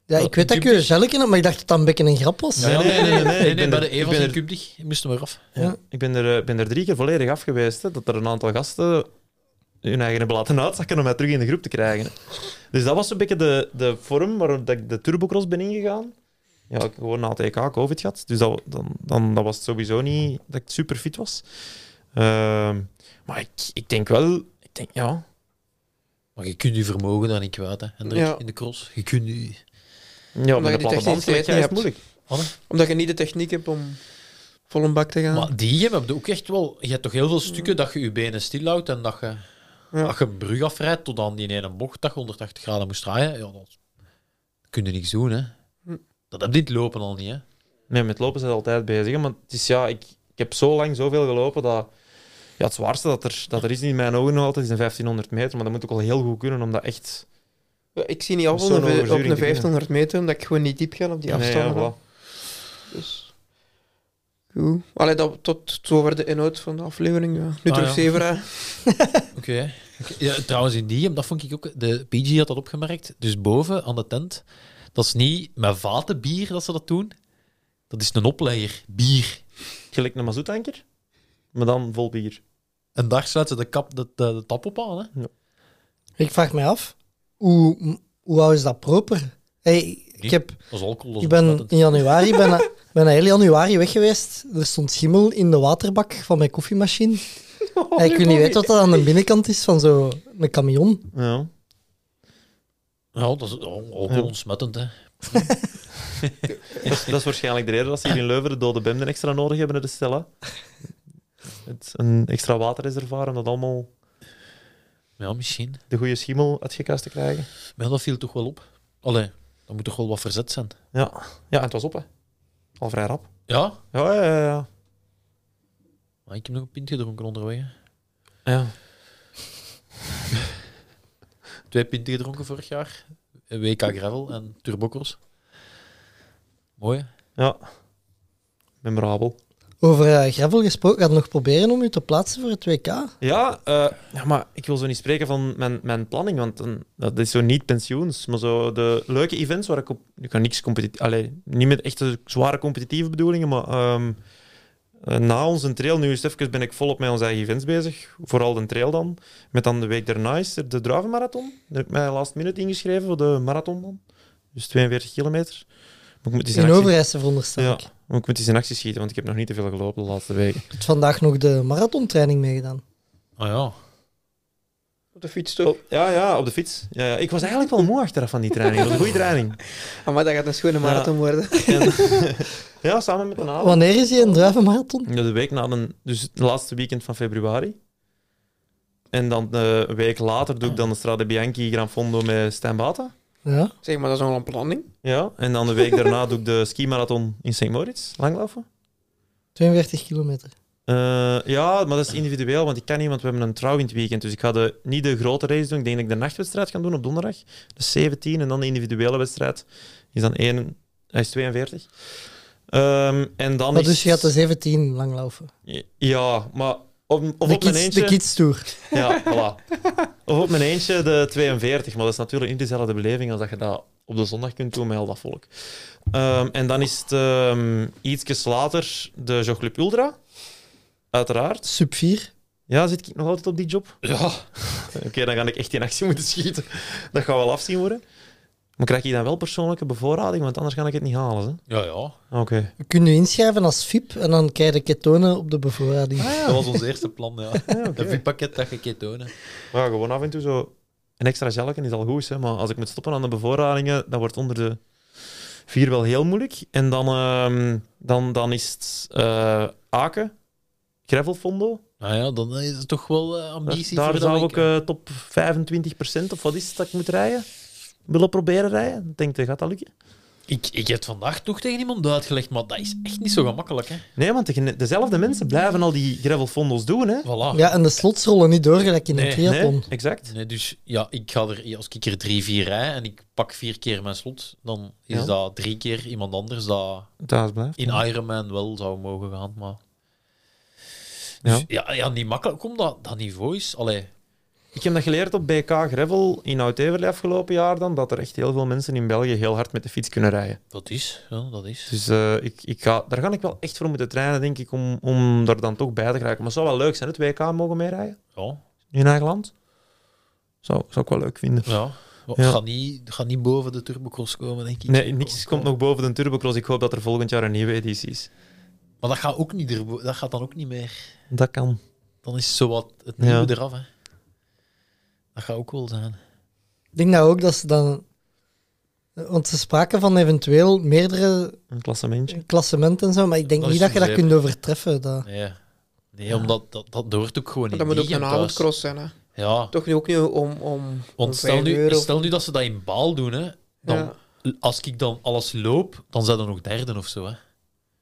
Ja, ik weet dat ik u een gel in had, maar ik dacht dat dat een beetje een grap was.
Ja, ja, nee, nee, nee. nee,
nee, ik ben
bij
er-
de
ik
Evans
ben
in
er-
Kubdig moesten we eraf.
Ja. Ik ben er, eh, ben er drie keer volledig af geweest. Hè, dat er een aantal gasten hun eigen hebben laten uitzakken om mij terug in de groep te krijgen. Dus dat was een beetje de, de vorm waarop dat ik de turbocross ben ingegaan. Ja, ik heb gewoon na het EK COVID gehad. Dus dat, dan, dan, dat was het sowieso niet dat ik super fit was. Ehm, maar ik, ik denk wel... Ik denk, ja...
Maar je kunt je vermogen dan niet kwijt, hè, Hendrik,
Ja.
in de cross. Je kunt je...
Ja,
Omdat
met
je
een
die
platte band
technische
is het
hebt.
moeilijk.
Omdat je niet de techniek hebt om vol een bak te gaan.
Maar die hebben ook echt wel... Je hebt toch heel veel stukken dat je je benen stilhoudt en dat je,
Ja.
dat je een brug afrijdt tot aan die ene bocht dat je 180 graden moest draaien. Ja, dat kun je niks doen, hè.
Hm.
Dat heb je in het lopen al niet, hè.
Nee, met lopen zijn ze altijd bezig. hè, Maar het is ja, ik, ik heb zo lang zoveel gelopen dat ja, het zwaarste dat er, dat er is in mijn ogen nog altijd is een 1500 meter. Maar dat moet ook al heel goed kunnen om dat echt...
Ja, Eh, Ik zie niet af
Om
op
zo'n
een ve- op
overzuring
een
te kunnen.
1500 meter, omdat ik gewoon niet diep ga op die
Nee,
afstanden.
ja, voilà.
Dus. Goed. Allee, dat, tot zover de inhoud van de aflevering. Ja. Nu
Ah,
terug
ja.
Zevera.
Oké. Oké. Ja, trouwens, in die, dat vond ik ook... De PG had dat opgemerkt. Dus boven aan de tent, dat is niet met vaten bier dat ze dat doen. Dat is een oplegger. Bier.
Gelijk een mazoetanker, maar dan vol bier.
En daar sluiten ze de, kap, de, de, de tap op aan, hè.
Ik vraag mij af, hoe, hoe hou je dat proper? Hey, ik,
Niet.
heb,
Dat is alcohol. dat is
ik ben
ontsmettend.
in januari, ben, na- ben heel januari weg geweest. Er stond schimmel in de waterbak van mijn koffiemachine. Hey, ik wil niet weten wat dat aan de binnenkant is van zo'n camion.
Ja.
Ja, dat is al- alcohol
Ja.
ontsmettend, hè.
Dat, is, dat is waarschijnlijk de reden dat ze hier in Leuven de dode benden extra nodig hebben in de Stella. Het, een extra waterreservoir om dat allemaal
Ja, misschien.
de goede schimmel uit je kast te krijgen.
Maar dat viel toch wel op. Allee, dat moet toch wel wat verzet zijn.
Ja, ja en het was op, hè. Al vrij rap.
Ja?
Ja, ja, ja. ja.
Maar ik heb nog een pint gedronken onderweg, hè.
ja.
Twee pinten gedronken vorig jaar. Een WK Gravel en Turbocross. Mooi, hè.
ja. Memorabel.
Over eh, gravel gesproken, gaat nog proberen om je te plaatsen voor het WK?
Ja, eh, ja, maar ik wil zo niet spreken van mijn, mijn planning, want dan- dat is zo niet pensioens, maar zo de leuke events waar ik op... Ik ga niks competitief... Allee, niet met echte zware competitieve bedoelingen, maar ehm, eh, na onze trail, nu is het even, ben ik volop met onze eigen events bezig. Vooral de trail dan. Met dan de week daarna is er de Druivenmarathon. Daar heb ik mij last minute ingeschreven voor de marathon dan. Dus 42 kilometer. Maar ik moet die zijn
In
actie-
Overijssel veronderstel
Ja,
ik.
maar ik moet die zijn actie schieten, want ik heb nog niet te veel gelopen de laatste weken.
Ik heb vandaag nog de marathontraining meegedaan.
Ah ja.
Op de fiets toch?
Ja, ja, op de fiets. Ja, ja. Ik was eigenlijk wel moe achteraf van die training. Het was een goede training.
Ah, maar dat gaat een schone marathon worden.
Ja, samen met een avond.
Wanneer is die een druivenmarathon?
Ja, de week na een, dus het laatste weekend van februari. En dan eh, een week later doe ik dan de Strade Bianchi Gran Fondo met Stijn Bata.
Ja.
Zeg maar, dat is al een planning.
Ja, en dan de week daarna doe ik de ski marathon in St. Moritz, langlopen.
42 kilometer.
Eh, ja, maar dat is individueel, want ik kan niet, want we hebben een trouw in het weekend. Dus ik ga de, niet de grote race doen. Ik denk dat ik de nachtwedstrijd ga doen op donderdag. Dus 17 en dan de individuele wedstrijd. Is dan 1, hij is 42. Ehm, en dan
Maar
is...
dus je gaat de 17 lang lopen.
Ja, maar... Of, of
de,
op mijn
kids, de
eentje...
kids tour.
Ja, voilà. Of op mijn eentje de 42. Maar dat is natuurlijk niet dezelfde beleving als dat je dat op de zondag kunt doen met al dat volk. Ehm, en dan is het ehm ietsjes later de Jogclub Ultra. Uiteraard.
Sub 4.
Ja, zit ik nog altijd op die job? Ja. Oké, dan ga ik echt in actie moeten schieten. Dat gaat wel afzien worden. Maar krijg je dan wel persoonlijke bevoorrading? Want anders kan ik het niet halen. hè?
Ja, ja.
Ah, Oké.
Je kunt je inschrijven als FIP en dan krijg je ketonen op de bevoorrading.
Ah.
Dat was ons eerste plan, ja.
oké.
Een VIP-pakket dat je keer tonen.
Maar ja, gewoon af en toe zo... Een extra gelken is al goed, hè? maar als ik moet stoppen aan de bevoorradingen, dat wordt onder de vier wel heel moeilijk. En dan, ehm, dan, dan is het eh, Aken, Gravelfondo.
Nou ja, dan is het toch wel eh, ambitie
Daar
voor dat
zou
week,
ik
hè.
eh, top 25% of wat is het dat ik moet rijden? Willen proberen rijden? Ik denk, eh, gaat dat lukken?
ik... Ik heb het vandaag toch tegen iemand uitgelegd, maar dat is echt niet zo gemakkelijk, hè.
Nee, want de gene- dezelfde mensen blijven al die gravelfondels doen, hè?
Voilà.
Ja, en de slots rollen niet door, gelijk in een
Nee,
triathlon.
Nee, exact.
Nee, dus ja, ik ga er, als ik er drie, vier rij en ik pak vier keer mijn slot, dan is
Ja.
dat drie keer iemand anders dat
Thuis blijft.
in Ironman wel zou mogen gaan. Maar...
Ja.
Dus, ja, ja, niet makkelijk. Kom, dat, dat niveau is... Allee,
Ik heb dat geleerd op BK Gravel in Oud-Everly afgelopen jaar dan, dat er echt heel veel mensen in België heel hard met de fiets kunnen rijden.
dat is. Ja, dat is.
Dus eh, ik, ik ga, daar ga ik wel echt voor moeten trainen, denk ik, om, om er dan toch bij te geraken. Maar het zou wel leuk zijn, het WK mogen meerijden
Ja,
in eigen land. Zou, zou ik wel leuk vinden.
ja. Maar
Ja.
Ga, niet, ga niet boven de turbocross komen, denk ik.
Nee, niks komt nog boven de Turbocross. Ik hoop dat er volgend jaar een nieuwe editie is.
Maar dat gaat, ook niet erbo- dat gaat dan ook niet meer.
Dat kan.
Dan is zo wat het nieuwe
Ja.
eraf, hè. Dat gaat ook wel zijn.
Ik denk nou ook dat ze dan... Want ze spraken van eventueel meerdere
Een klassementje.
klassementen en zo, maar ik denk
Dat
niet
is
dat je dat
een zeep.
kunt overtreffen. Dat.
Nee, nee omdat dat, dat hoort ook gewoon niet.
Dat moet ook een
avondkross.
avondcross zijn. Hè.
Ja,
Toch nu ook nu om, om, om
want stel
5
nu,
euro.
stel nu dat ze dat in baal doen, hè. Dan,
Ja.
Als ik dan alles loop, dan zijn er nog derde of zo, hè.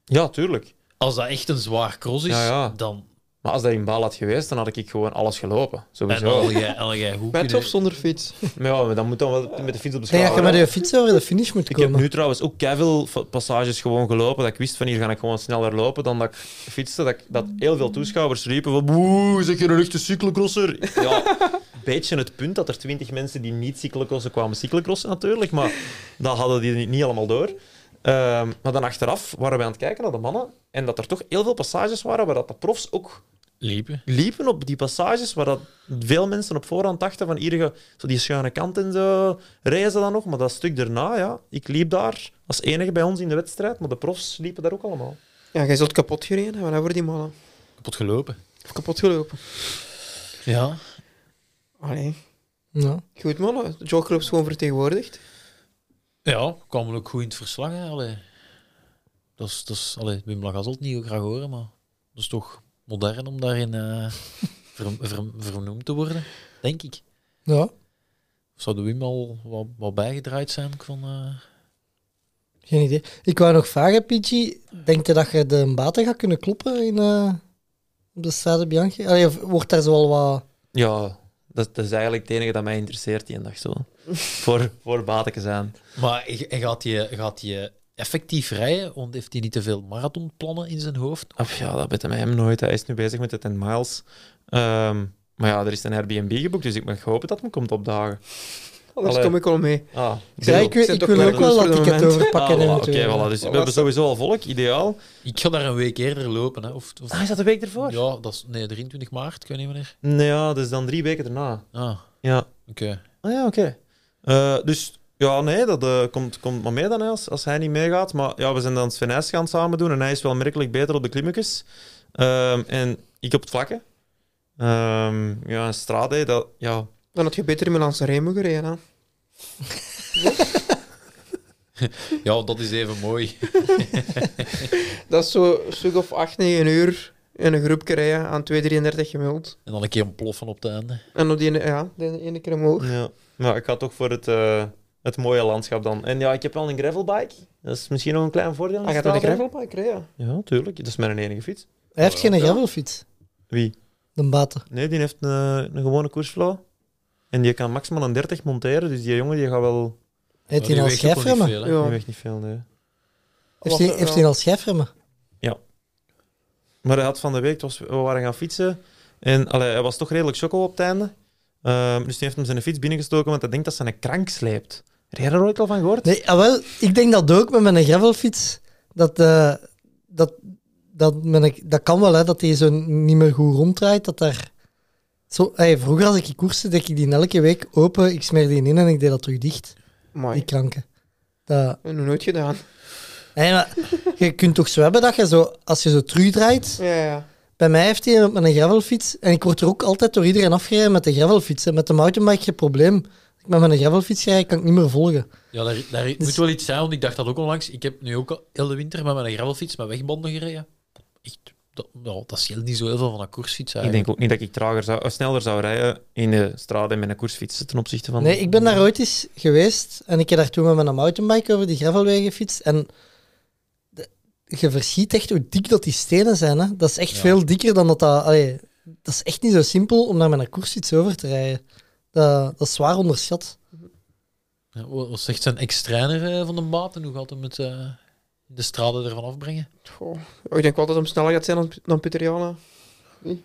Ja, tuurlijk.
Als dat echt een zwaar cross is,
Ja, ja.
dan...
Maar als dat in Baal had geweest, dan had ik gewoon alles gelopen.
En
Sowieso.
al jij, al jij goed
Met
kunnen-
of zonder fiets?
Maar ja, maar dan moet dan wel met de fiets op de
Nee, dat je
schouder.
met je fiets over de finish moet
Ik heb
komen.
nu trouwens ook keiveel fa- passages gewoon gelopen. Dat ik wist van hier ga ik gewoon sneller lopen dan dat ik fietste. Dat, ik, dat heel veel toeschouwers riepen van boe, zeg je een echte cyclocrosser? Ja, een beetje het punt dat er twintig mensen die niet cyclocrossen kwamen cyclocrossen natuurlijk. Maar dat hadden die niet, niet allemaal door. Ehm, maar dan achteraf waren wij aan het kijken naar de mannen. En dat er toch heel veel passages waren waar dat de profs ook
liepen.
liepen op die passages waar dat veel mensen op voorhand dachten van hier, ge- zo die schuine kant en zo, reizen dan nog. Maar dat stuk daarna, ja, ik liep daar als enige bij ons in de wedstrijd, maar de profs liepen daar ook allemaal.
Ja, jij zult kapot gereden hebben hè, voor die mannen.
Kapot gelopen.
Of kapot gelopen.
Ja.
Allee.
Ja.
Goed mannen, de Jogclub is gewoon vertegenwoordigd.
Ja, kwam ook goed in het verslag. Hè. Allee. Dat is, dat is, allee, Wim Lagas zal het niet heel graag horen, maar dat is toch modern om daarin eh, ver- ver- vernoemd te worden, denk ik.
ja.
Of zou de Wim al wat, wat bijgedraaid zijn van... eh,
Geen idee. Ik wou nog vragen, Pidgey. Denk je dat je de baten gaat kunnen kloppen in, eh, op de Strade Bianchi? Allee, of wordt daar zoal wat...
Ja, dat, dat is eigenlijk het enige dat mij interesseert die dag zo. voor, voor Bateke zijn.
Maar hij- hij gaat je, gaat je effectief rijden, want heeft hij niet te veel marathonplannen in zijn hoofd?
Of ja, dat weet hij hem nooit. Hij is nu bezig met de 10 miles. Ehm, maar ja, er is een Airbnb geboekt, dus ik mag hopen dat men komt opdagen.
Anders
Allee.
kom ik al mee.
Ah,
Ja, ik, weet-
zijn
ik
toch
wil
wel
ook wel
koers voor
dat
de
ticket
momenten.
overpakken.
Ah, voilà, Oké,
eventueel.
voilà, dus we hebben sowieso al volk, ideaal.
Ik ga daar een week eerder lopen. Hè. Of, of,
Ah, is dat de week ervoor?
ja, dat is nee, 23 maart, ik weet niet wanneer.
Nee, ja, dus dan drie weken daarna.
Ah,
Ja.
oké.
Ah ja, oké. Eh, dus ja, nee, dat eh, komt, komt maar mee dan hè, als, als hij niet meegaat. Maar ja, we zijn dan Sven Nys gaan samen doen en hij is wel merkelijk beter op de klimmetjes. Ehm, en ik op het vlakke. Ehm, ja, en Strade, dat, ja.
Dan had je beter in Milaanse Remo gereden. Hè?
Ja, dat is even mooi.
Dat is zo een stuk of 8, 9 uur in een groepje rijden aan 2,33 gemiddeld.
En dan een keer ontploffen op het einde.
En op die ene, ja, die ene keer omhoog.
ja. Maar ik ga toch voor het, eh, het mooie landschap dan. En ja, ik heb wel een gravelbike. Dat is misschien nog een klein voordeel. in
Hij Ah, gaat met een
Strade.
gravelbike rijden.
Ja, tuurlijk. Dat is mijn enige fiets.
Hij heeft geen gravelfiets,
Wie?
de baten.
Nee, die heeft eh, een, een gewone koersflow. En die kan maximaal een 30 monteren, dus die jongen die gaat wel...
Heeft
Maar
hij
die
al
weegt ook wel niet
schijfremmen?
veel, hè.
Ja.
Die weegt niet veel, nee.
Heeft hij-
Wat,
Heeft
ja.
hij al schijfremmen?
Maar hij had van de week, het was, we waren gaan fietsen, en allee, hij was toch redelijk choco op het einde. Ehm, dus die heeft hem zijn fiets binnengestoken, want hij denkt dat ze een krank sleept. Heb jij daar ooit al van gehoord?
Nee, ah, wel, ik denk dat ook met mijn gravelfiets. Dat, eh, dat, dat, mijn, dat kan wel, hè, dat die zo niet meer goed ronddraait. Dat daar, zo, hey, vroeger als ik koerste, deed ik die elke week open. Ik smeer die in en ik deed dat terug dicht.
Mooi.
Die
Ik
kranken. Dat,
heb nog nooit gedaan.
hey, maar, je kunt toch zo hebben dat je zo, als je zo terugdraait.
Ja, ja.
Bij mij heeft hij met mijn gravelfiets. En ik word er ook altijd door iedereen afgereden met de gravelfiets. En met de mountainbike heb je probleem. Als ik met mijn gravelfiets rijd, kan ik niet meer volgen.
Ja, daar, daar moet wel iets zijn, want ik dacht dat ook onlangs. Ik heb nu ook al heel de winter met mijn gravelfiets met wegbanden gereden. Echt, dat, ja, dat scheelt niet zo heel veel van een koersfiets
Ik
eigenlijk.
denk ook niet dat ik trager zou, of sneller zou rijden in de straat en met een koersfiets ten opzichte van...
Nee, ik ben daar ooit eens geweest en ik heb daar toen met mijn mountainbike over die gravelwegen gefietst. En de- je verschiet echt hoe dik dat die stenen zijn. Hè? Dat is echt veel dikker dan dat dat... allee, dat is echt niet zo simpel om daar met een koersfiets over te rijden. Dat, dat is zwaar onderschat.
Ja, wat wat zegt zijn ex-trainer eh, van de maat en hoe gaat hem het eh, de straten ervan afbrengen?
Goh. Oh, Ik denk wel dat het hem sneller gaat zijn dan, dan Pieter Jana. Nee.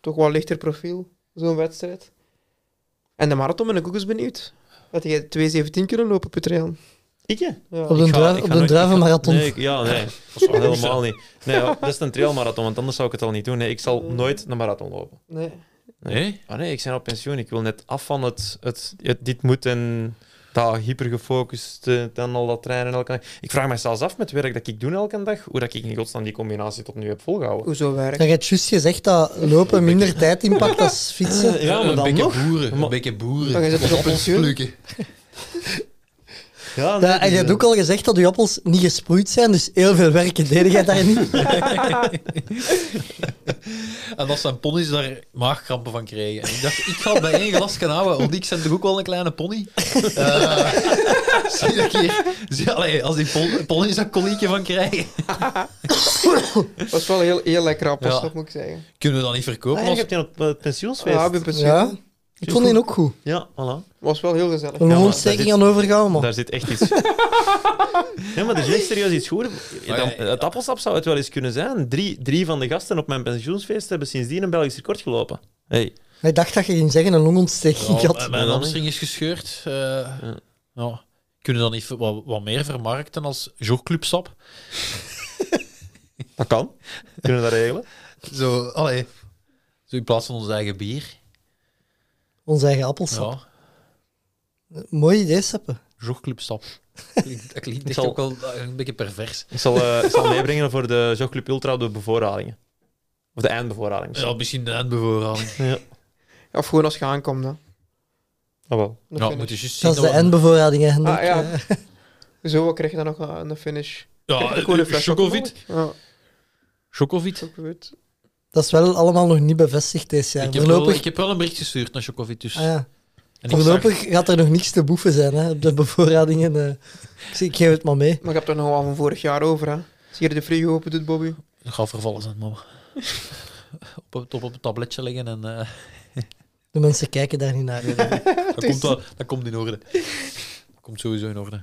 Toch wel lichter profiel, zo'n wedstrijd. En de marathon ben ik ook eens benieuwd. Had jij 2.17 kunnen lopen, Pieter Jan?
Ik, hè?
Ja.
Op de,
Ik ga-
druif-
ik
op
ga
de
nooit-
druivenmarathon.
Nee, ik- ja, nee. helemaal niet. Nee, ja, dat is een trailmarathon, want anders zou ik het al niet doen. Nee, ik zal nooit een marathon lopen.
Nee.
Nee?
Ah nee, ik ben op pensioen. Ik wil net af van het, het, het dit moet en dat hypergefocust eh, dan al dat trainen elke dag. Ik vraag me zelfs af met het werk dat ik doe elke dag, hoe dat ik in godsnaam die combinatie tot nu heb volgehouden.
Hoezo werkt?
Dan heb je juist gezegd dat lopen minder tijd impact als fietsen.
Ja, maar
een
dan
beetje
nog.
boeren. Een
Maar-
beetje boeren.
Dan is het
Wat
toch op
appels
pensioen?
plukken.
Ja, nee,
Ja, en je hebt ook al gezegd dat je appels niet gesproeid zijn, dus heel veel werken deed jij daar niet.
En dat zijn ponies daar maagkrampen van kregen. En ik dacht, ik ga het bij één glas gaan houden, want ik ben toch ook wel een kleine pony? Eh, Zie dat ik hier. Zie, allee, als die Pol Pollen een koliekje van krijgen.
was wel heel, heel lekker appels,
Ja.
dat moet ik zeggen.
Kunnen we dat niet verkopen?
je
als-
hebt die op eh, het pensioensfeest.
Ja, ik ben precies.
Ja, ik vond die ook goed.
Ja, voilà.
was wel heel gezellig.
Een
maar
ontsteking
daar
aan overgaan, man.
Daar zit echt iets. Nee, maar er zit echt serieus iets goed.
Maar
Dan-
ja, ja.
het appelsap zou het wel eens kunnen zijn. Drie, drie van de gasten op mijn pensioensfeest hebben sindsdien een Belgisch record gelopen. Hey.
Ik dacht dat je ging zeggen een longontsteking
Ja, eh,
had.
mijn-
Nee,
mijn
dan
hamstring is gescheurd. eh, ja. Kunnen we dat niet wat, wat meer vermarkten als jogclubsap?
Dat kan. Kunnen we dat regelen?
Zo, allee. Zo in plaats van ons eigen bier.
Ons eigen appelsap.
Ja,
Mooi idee, Seppe.
jogclubsap. Klinkt- Dat klinkt echt
zal-
ook wel eh, een beetje pervers.
Ik zal, eh, ik zal meebrengen voor de Jogclub Ultra de bevoorradingen. Of de eindbevoorrading. misschien.
Ja, misschien de eindbevoorrading.
Ja.
Of gewoon als je aankomt, dan.
Ah, wel.
Dan
Ja,
finish.
moet je juist zien.
Dat is de
we-
eindbevoorrading, hè, Hendrik. Eh,
Ah, ja. Zo krijg je dan nog eh, een een finish.
Ja,
Krijg je gewoon een
eh,
fles
Chocovid.
alcohol? Ja,
Chocovid.
Chocovid.
Dat is wel allemaal nog niet bevestigd dit jaar.
Ik heb, wel,
Voorlopig,
ik heb wel een bericht gestuurd naar Chocovid. Dus.
ah, ja.
En ik
Voorlopig gaat er nog niks te boeven zijn hè, op de bevoorradingen. eh. Ik, zeg, ik geef het maar mee.
Maar ik heb er nog wel van vorig jaar over, hè. Als je hier de frigo open doet, Bobby.
zag- ga vervallen zijn, mama. op, het- op een tabletje leggen en eh,
De mensen kijken daar niet naar.
dat, komt wel, dat komt in orde. Dat komt sowieso in orde.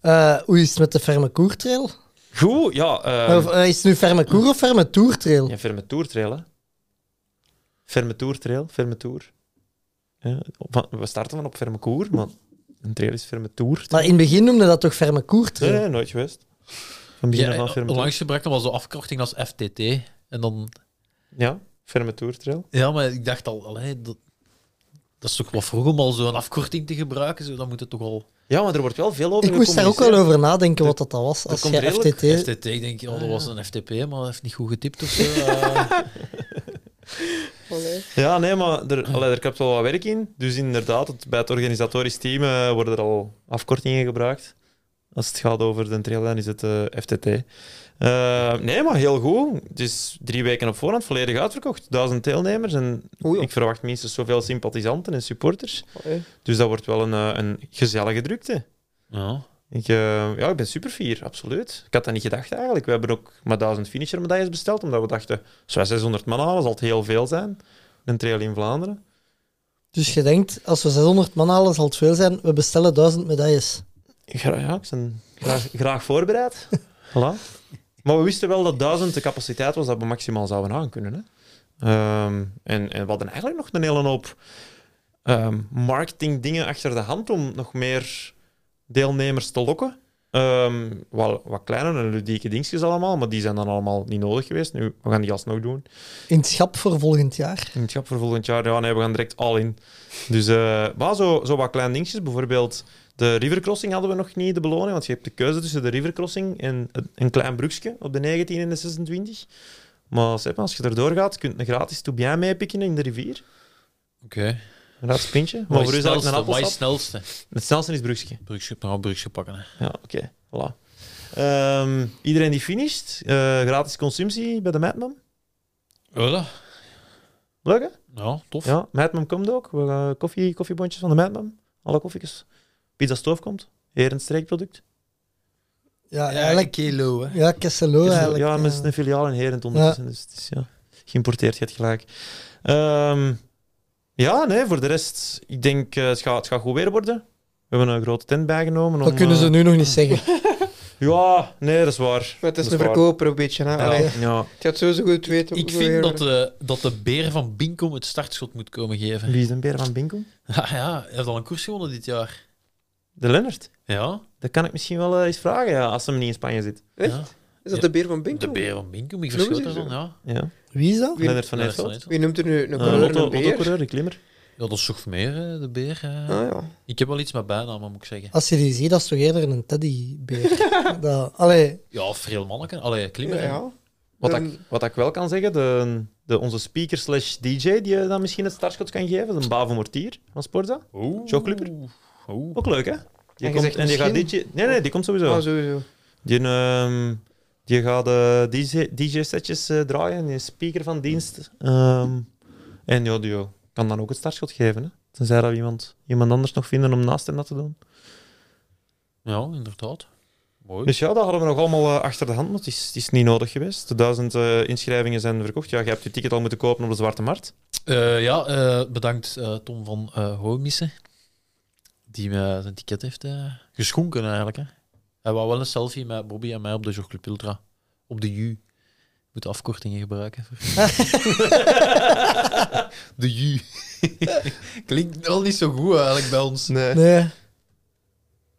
Eh, hoe is het met de Ferme Koertrail?
Goed, ja. eh,
Of, eh, is het nu Ferme Koer of Ferme Toertrail?
Ja, ferme toertrail, hè. Ferme toertrail, ferme toer. Ja, van- we starten van op ferme koer, maar een trail is ferme toer.
Maar in het begin noemde dat toch Ferme
Nee,
Koertrail?
nee, nooit geweest. Van begin
Ja,
af aan
eh,
ferme toer.
onlangs gebruikte was de afkorting als FTT. En dan...
Ja, ferme toertrail.
Ja, maar ik dacht al, allee, dat, dat is toch wel vroeg om al zo'n afkorting te gebruiken. Zo, dan moet het toch al...
Ja, maar er wordt wel veel over
Ik moest daar ook wel
gecommuniceerd.
over nadenken wat dat dan was. Als
komt
je
redelijk-
FTT...
FTT, ik denk, oh,
Ah,
dat was een FTP, maar dat heeft niet goed getipt of zo. Eh,
Ja, nee, maar er, allee, er kapt wel wat werk in. Dus inderdaad, het, bij het organisatorisch team eh, worden er al afkortingen gebruikt. Als het gaat over de trail, dan is het eh, FTT. Eh, nee, maar heel goed. Het is drie weken op voorhand volledig uitverkocht. Duizend deelnemers. En
Oei,
ik verwacht minstens zoveel sympathisanten en supporters.
Allee.
Dus dat wordt wel een, eh, een gezellige drukte.
ja.
Ik, eh, ja, ik ben super fier, absoluut. Ik had dat niet gedacht eigenlijk. We hebben ook maar 1000 finisher medailles besteld, omdat we dachten, zo'n 600 man halen zal het heel veel zijn. Een trail in Vlaanderen.
Dus je denkt, als we 600 man halen, zal het veel zijn. We bestellen 1000 medailles.
Gra- ja, ik ben graag, graag voorbereid. Voilà. Maar we wisten wel dat 1000 de capaciteit was dat we maximaal zouden aankunnen. Hè? Ehm, en, en we hadden eigenlijk nog een hele hoop ehm, marketingdingen achter de hand om nog meer deelnemers te lokken. Ehm, wel, wat kleinere en ludieke dingetjes allemaal, maar die zijn dan allemaal niet nodig geweest. Nu, we gaan die alsnog doen.
In het schap voor volgend jaar.
In het schap voor volgend jaar, ja, nee, we gaan direct al in. Dus eh maar zo, zo wat kleine dingetjes. Bijvoorbeeld de rivercrossing hadden we nog niet, de beloning. Want je hebt de keuze tussen de rivercrossing en een- een klein broekje op de 19 en de 26. Maar Sepp, als je erdoor gaat, kun je een gratis toubien meepikken in de rivier.
Oké.
Een gratis pintje. Maar
Wat
voor u
is
is dat een
snelste? Wat is
appelsap.
snelste?
Het snelste is broekje.
Brugje, nou, brugje pakken. Hè.
Ja, oké. Voilà. Ehm, iedereen die finisht, eh, gratis consumptie bij de Madman.
Voilà.
Leuk, hè?
Ja, tof.
Ja, Madman komt ook. We gaan koffie, koffiebondjes van de Madman. Alle koffiekes. Pizza Stoof komt. Herentstreekproduct.
Ja,
Ja,
eigenlijk.
kilo, hè.
Ja, Kesselo
Ja,
eigenlijk.
ja, maar het is
eh.
een filiaal in Herent ondertussen. Dus het is ja, geïmporteerd, je hebt gelijk. Ehm, ja, nee, voor de rest. Ik denk, eh, het, gaat, het gaat goed weer worden. We hebben een grote tent bijgenomen.
Dat
om,
kunnen ze
eh,
nu nog niet zeggen.
Ja, nee, dat is waar.
Maar het is
Dat
een
waar.
verkoper een beetje, hè. Allee,
Ja. ja.
het gaat sowieso goed weten.
Ik
hoe weer- eh.
vind dat de, dat de beer van Binkom het startschot moet komen geven.
Wie is de beer van Binkel?
Ja, ja, hij heeft al een koers gewonnen dit jaar.
De Lennart.
Ja,
Dat kan ik misschien wel eh, eens vragen, ja, als hem niet in Spanje zit.
Echt?
ja.
Is dat de beer van Binkel?
de beer van Binkom. Ik
Noemen
verschoot
ze
daarvan,
zo?
ja.
Ja.
Wie is dat?
Wie-
Lennart van
Ja, dat is wel
Eersveld.
net zo.
Wie noemt er nu? Een
Eh,
Uh,
coureur,
Lotto,
een
Lotto
beer?
coureur, een klimmer.
Ja, dat is toch meer, hè, de beer. eh.
Ah, ja.
Ik heb wel iets met bijnamen, moet ik zeggen.
Als je die ziet, dat is toch eerder een teddybeer. dat, allee,
Ja, veel manneken. Allee,
Ja,
klimmen. hè.
ja.
Wat,
Dan-
ik, wat ik wel kan zeggen, de, de, onze speaker slash DJ die je dan misschien het startschot kan geven, dat is een Bavo Mortier van Sporza.
Oeh.
Jogclubber.
Oeh.
Ook leuk, hè? Die
En je
komt,
zegt
en die gaat
misschien?
DJ... Nee, nee, die komt sowieso.
Ah, sowieso.
Die, ehm, die gaat eh, DJ, DJ-setjes eh, draaien, die is speaker van dienst. Ehm, en ja, die kan dan ook het startschot geven, hè? Tenzij dat we iemand, iemand anders nog vinden om naast hem dat te doen.
Ja, inderdaad. Mooi.
Dus ja, dat hadden we nog allemaal eh, achter de hand, maar het is, het is niet nodig geweest. De duizend eh, inschrijvingen zijn verkocht. Ja, je hebt je ticket al moeten kopen op de Zwarte Markt.
Eh, ja, eh, bedankt eh, Tom van eh Hoomissen. Die me zijn ticket heeft eh, geschonken eigenlijk. Hè. Hij wou wel een selfie met Bobby en mij op de Jog Club Ultra. Op de U. Moet afkortingen gebruiken. voor- de U. Klinkt wel niet zo goed eigenlijk bij ons.
Nee.
Nee.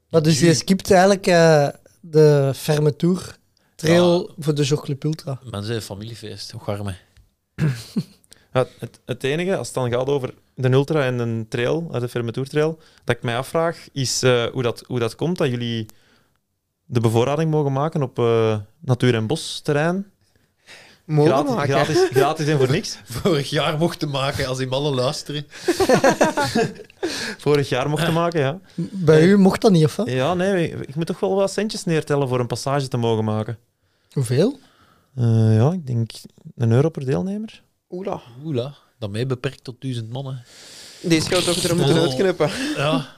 Maar dus je skipt eigenlijk eh, de ferme tour trail voor de Jogclub Ultra.
Mensen, familiefeest. Hoe warm, hè.
Ja, het, het enige, als het dan gaat over de ultra en de trail, eh, de Fermetour trail, dat ik mij afvraag, is eh, hoe, dat, hoe dat komt dat jullie de bevoorrading mogen maken op eh, natuur- en bosterrein.
Mogen
Gratis,
maken.
gratis, gratis en voor niks.
Vorig jaar mochten maken als die mannen luisteren.
Vorig jaar mochten maken, ja.
Bij u mocht dat niet, of wat?
Ja, nee, ik moet toch wel wat centjes neertellen voor een passage te mogen maken.
Hoeveel?
Eh, ja, ik denk een euro per deelnemer.
Oela.
Oela. Dan mij beperkt tot duizend mannen.
Deze gaat toch er moeten
Oh.
uitknippen.
Ja.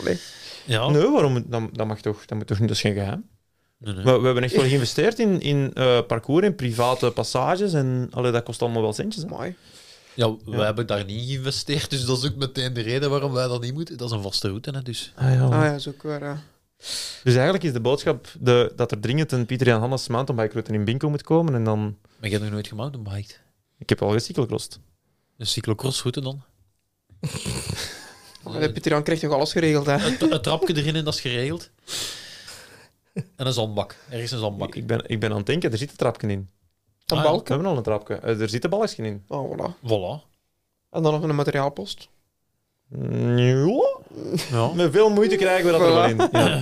Allee.
Ja.
Nee, waarom? moet- Dat, dat mag toch? Dat moet toch niet? Dat is geen geheim.
Nee, nee.
We, we hebben echt wel geïnvesteerd in, in eh, parcours, in private passages. En allee, dat kost allemaal wel centjes. Hè?
Mooi.
Ja, wij hebben daar niet geïnvesteerd, dus dat is ook meteen de reden waarom wij dat niet moeten. Dat is een vaste route, hè, dus.
Ah, ja.
Ah ja, dat is ook waar. ja.
Dus eigenlijk is de boodschap de, dat er dringend een Pieter Jan Hannes mountainbikeroute in Binko moet komen. En dan...
Maar jij hebt nog nooit gemountainbiked.
Ik heb al gecyclocrossed.
Een cyclocrossroute dan? Oh.
Maar de Pieter Jan krijgt toch alles geregeld, hè?
Een, een trapje erin en dat is geregeld. En een zandbak. Er is een zandbak.
Ik ben, ik ben aan het denken, er zit een trapje in.
Een
Ah,
We
balken.
hebben al een trapje. Eh, Er zit een balkje in.
Oh, voilà.
Voilà.
En dan nog een materiaalpost.
Mm, ja.
Ja.
Met veel moeite krijgen we dat er wel in. Ja.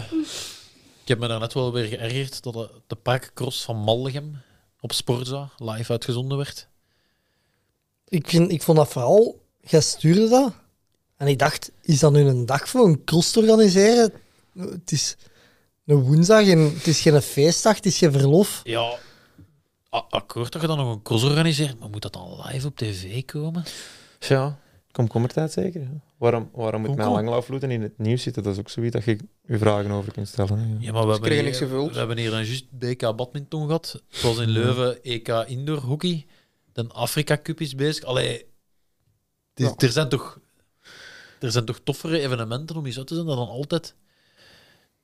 Ik heb me daarnet wel weer geërgerd dat de, de parkcross van Maldegem op Sporza live uitgezonden werd.
Ik, vind, ik vond dat vooral, jij stuurde dat. En ik dacht, is dat nu een dag voor een cross te organiseren? Het is een woensdag en het is geen feestdag, het is geen verlof.
Ja, a- akkoord dat je dan nog een cross organiseert, maar moet dat dan live op tv komen?
ja. Komkommertijd zeker. hè? Waarom, waarom moet mijn
Komkom.
langlaufroute in het nieuws zitten? Dat is ook zoiets dat je je vragen over kunt stellen. hè.
Ja, maar we, hebben
kregen
hier,
niks gevuld.
we hebben hier dan juist BK badminton gehad. Het was in Leuven EK indoor hockey. De Afrika Cup is bezig. Allee, het is-
Ja.
er, zijn toch, er zijn toch toffere evenementen om eens uit te zijn dan altijd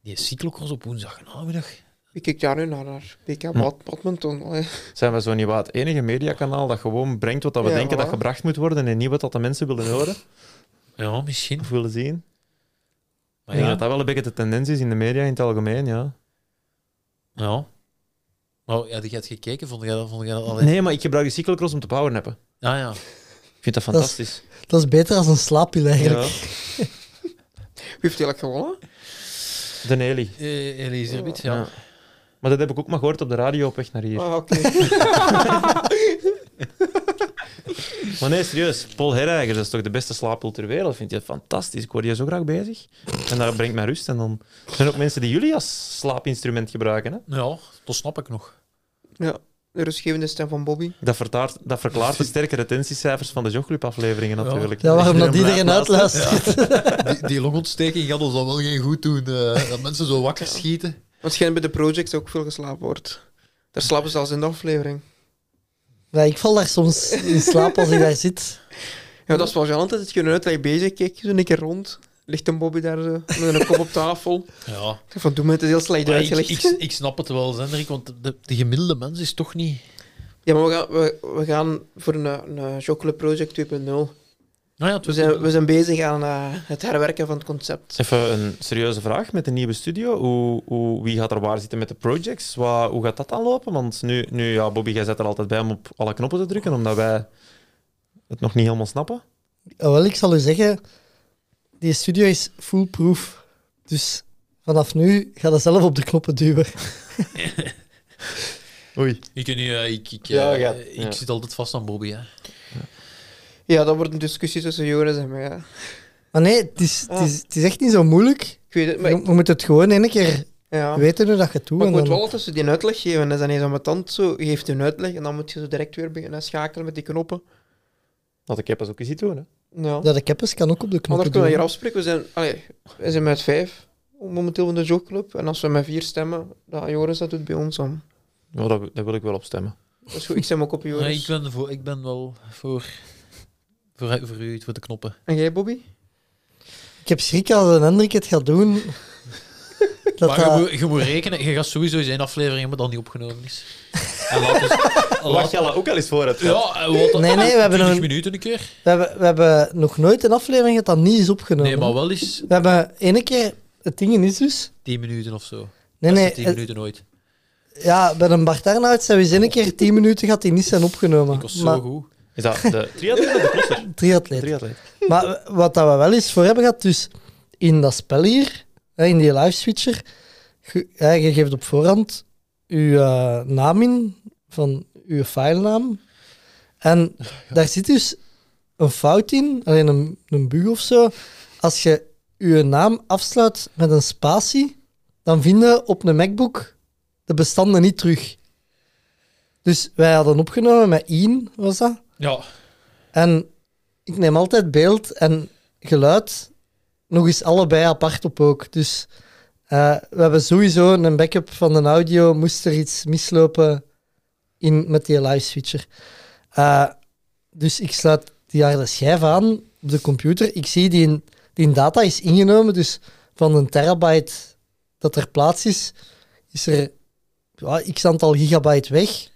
die cyclocross op woensdag namiddag.
Ik kijk daar nu naar, naar BK Bad, Badminton. Allee.
Zijn we zo niet wat het enige mediakanaal dat gewoon brengt wat dat we
Ja,
denken dat
voilà.
gebracht moet worden en niet wat dat de mensen willen horen
Ja, misschien.
of willen zien?
Maar
Ik
ja,
denk dat dat wel een beetje de tendens is in de media in het algemeen, ja.
ja. Maar ja, die gaat gekeken, vond jij dat? Vond jij dat allee?
Nee, maar ik gebruik de cyclocross om te powernappen.
Ah ja.
Ik vind dat
Dat is-
fantastisch.
Dat is beter als een slaappil eigenlijk.
Wie heeft eigenlijk gewonnen?
De Nelly.
Eh, Elise Erbiet, ja.
Ja. Maar dat heb ik ook maar gehoord op de radio op weg naar hier.
Ah, oké.
Maar nee, serieus. Paul Herreiger, dat is toch de beste slaappul ter wereld? Vind je dat fantastisch? Ik word hier zo graag bezig. En dat brengt mij rust. En dan er zijn ook mensen die jullie als slaapinstrument gebruiken. Hè?
Ja, dat snap ik nog.
Ja, de rustgevende stem van Bobby.
Dat, vertaart, dat verklaart de sterke retentiecijfers van de Jogclub-afleveringen natuurlijk.
Ja, waarom
Iedereen
dat iedereen
blijft
uitluistert.
Die, die longontsteking gaat ons dan wel geen goed doen. eh, dat mensen zo wakker schieten.
Want schijnt bij de projects ook veel geslapen wordt. Daar slapen ze zelfs in de aflevering.
Ja, ik val daar soms in slaap als ik daar zit.
Ja, dat is wel gênant. Dat je een uitleg bezig kijkt, zo een keer rond. Ligt een Bobby daar zo, met een kop op tafel.
Ja,
Ik zeg Van, doe me het is heel slecht
maar ik,
uitgelegd.
ik, ik snap het wel, Zendrik, want de, de gemiddelde mens is toch niet...
Ja, maar we gaan, we, we gaan voor een, een Chocolate Project 2.0.
Nou ja, het
We
was-
zijn, we zijn bezig aan eh, het herwerken van het concept.
Even een serieuze vraag met de nieuwe studio. Hoe, hoe, wie gaat er waar zitten met de projects? Wat, hoe gaat dat dan lopen? Want nu, nu ja, Bobby, jij zet er altijd bij om op alle knoppen te drukken, omdat wij het nog niet helemaal snappen.
Ah, wel, ik zal u zeggen, die studio is foolproof. Dus vanaf nu ga dat zelf op de knoppen duwen.
Oei.
Ik, weet niet, eh, ik, ik, eh,
Ja, gaat-
ik
ja.
zit altijd vast aan Bobby. Hè.
Ja, dat wordt een discussie tussen Joris en mij. hè.
Maar nee, het is, het is, het is echt niet zo moeilijk.
Ik weet het, maar
We,
ik,
we moeten het gewoon één keer
ja.
weten hoe dat je het doet.
maar ik
en
moet
dan-
wel altijd zo die uitleg geven. Dat is dan eens aan mijn tand zo. Je geeft een uitleg en dan moet je zo direct weer beginnen schakelen met die knoppen.
Dat ik heb pas ook eens iets doen. Hè.
Ja.
Ja, de keppers kan ook op de
Anders
knoppen
kunnen we hier
duwen.
afspreken. We zijn, allee, we zijn met vijf. momenteel in de jogclub. En als we met vier stemmen, dat Joris dat doet bij ons dan.
Ja, daar, daar wil ik wel op stemmen.
Dat is goed, ik stem ook op Joris.
Nee, ik, ben voor, ik ben wel voor, voor, voor u, voor de knoppen.
En jij, Bobby?
Ik heb schrik als een Hendrik het gaat doen. dat eh,
maar je
dat-
moet, je moet rekenen, je gaat sowieso zijn aflevering hebben dat niet opgenomen is. En laat dus, laat,
Jelle ook al eens voor hebt gehad.
ja, en wat,
Nee, nee, we hebben
20
een-
minuten een keer.
we, hebben, we hebben nog nooit een aflevering dat dat niet is opgenomen.
Nee, maar wel eens
We hebben ene keer... Het ding is dus...
10 minuten of zo.
Nee, eh,
Beste
nee.
10
het-
minuten ooit.
ja, bij een Bart Arnouds hebben we eens een keer 10 minuten gehad die niet zijn opgenomen.
Ik was zo
maar,
goed.
Is dat de triatleet of de crosser?
triatleet.
Triatleet.
Maar wat dat we wel eens voor hebben gehad, dus in dat spel hier, hè, in die live switcher, ge- ja, je geeft op voorhand uw eh, naam in, van uw filenaam. En daar zit dus een fout in, alleen een, een bug of zo. Als je uw naam afsluit met een spatie, dan vinden op een MacBook de bestanden niet terug. Dus wij hadden opgenomen met Ian, was dat?
Ja,
En ik neem altijd beeld en geluid nog eens allebei apart op ook. Dus eh, we hebben sowieso een backup van de audio, moest er iets mislopen in, met die live switcher. Eh, dus ik sluit die harde schijf aan op de computer. Ik zie die, die data is ingenomen, dus van een terabyte dat er plaats is, is er ja, x aantal gigabyte weg.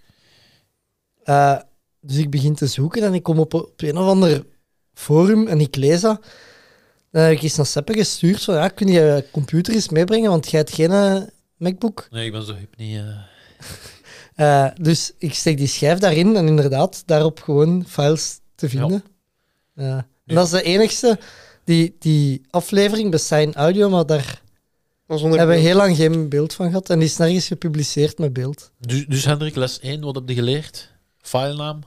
Eh, dus ik begin te zoeken en ik kom op, op een of ander forum en ik lees dat. Dan heb ik eens naar Seppe gestuurd van, ja, kun je je computer eens meebrengen, want jij hebt geen eh, MacBook.
nee, ik ben zo hip niet. eh.
Eh, dus ik steek die schijf daarin en inderdaad, daarop gewoon files te vinden. Ja. En dat is de enigste, die, die aflevering bij Sign Audio, maar daar
Dat is onder
hebben we heel lang geen beeld van gehad en die is nergens gepubliceerd met beeld.
Dus, dus Hendrik, les 1, wat heb je geleerd? Filenaam.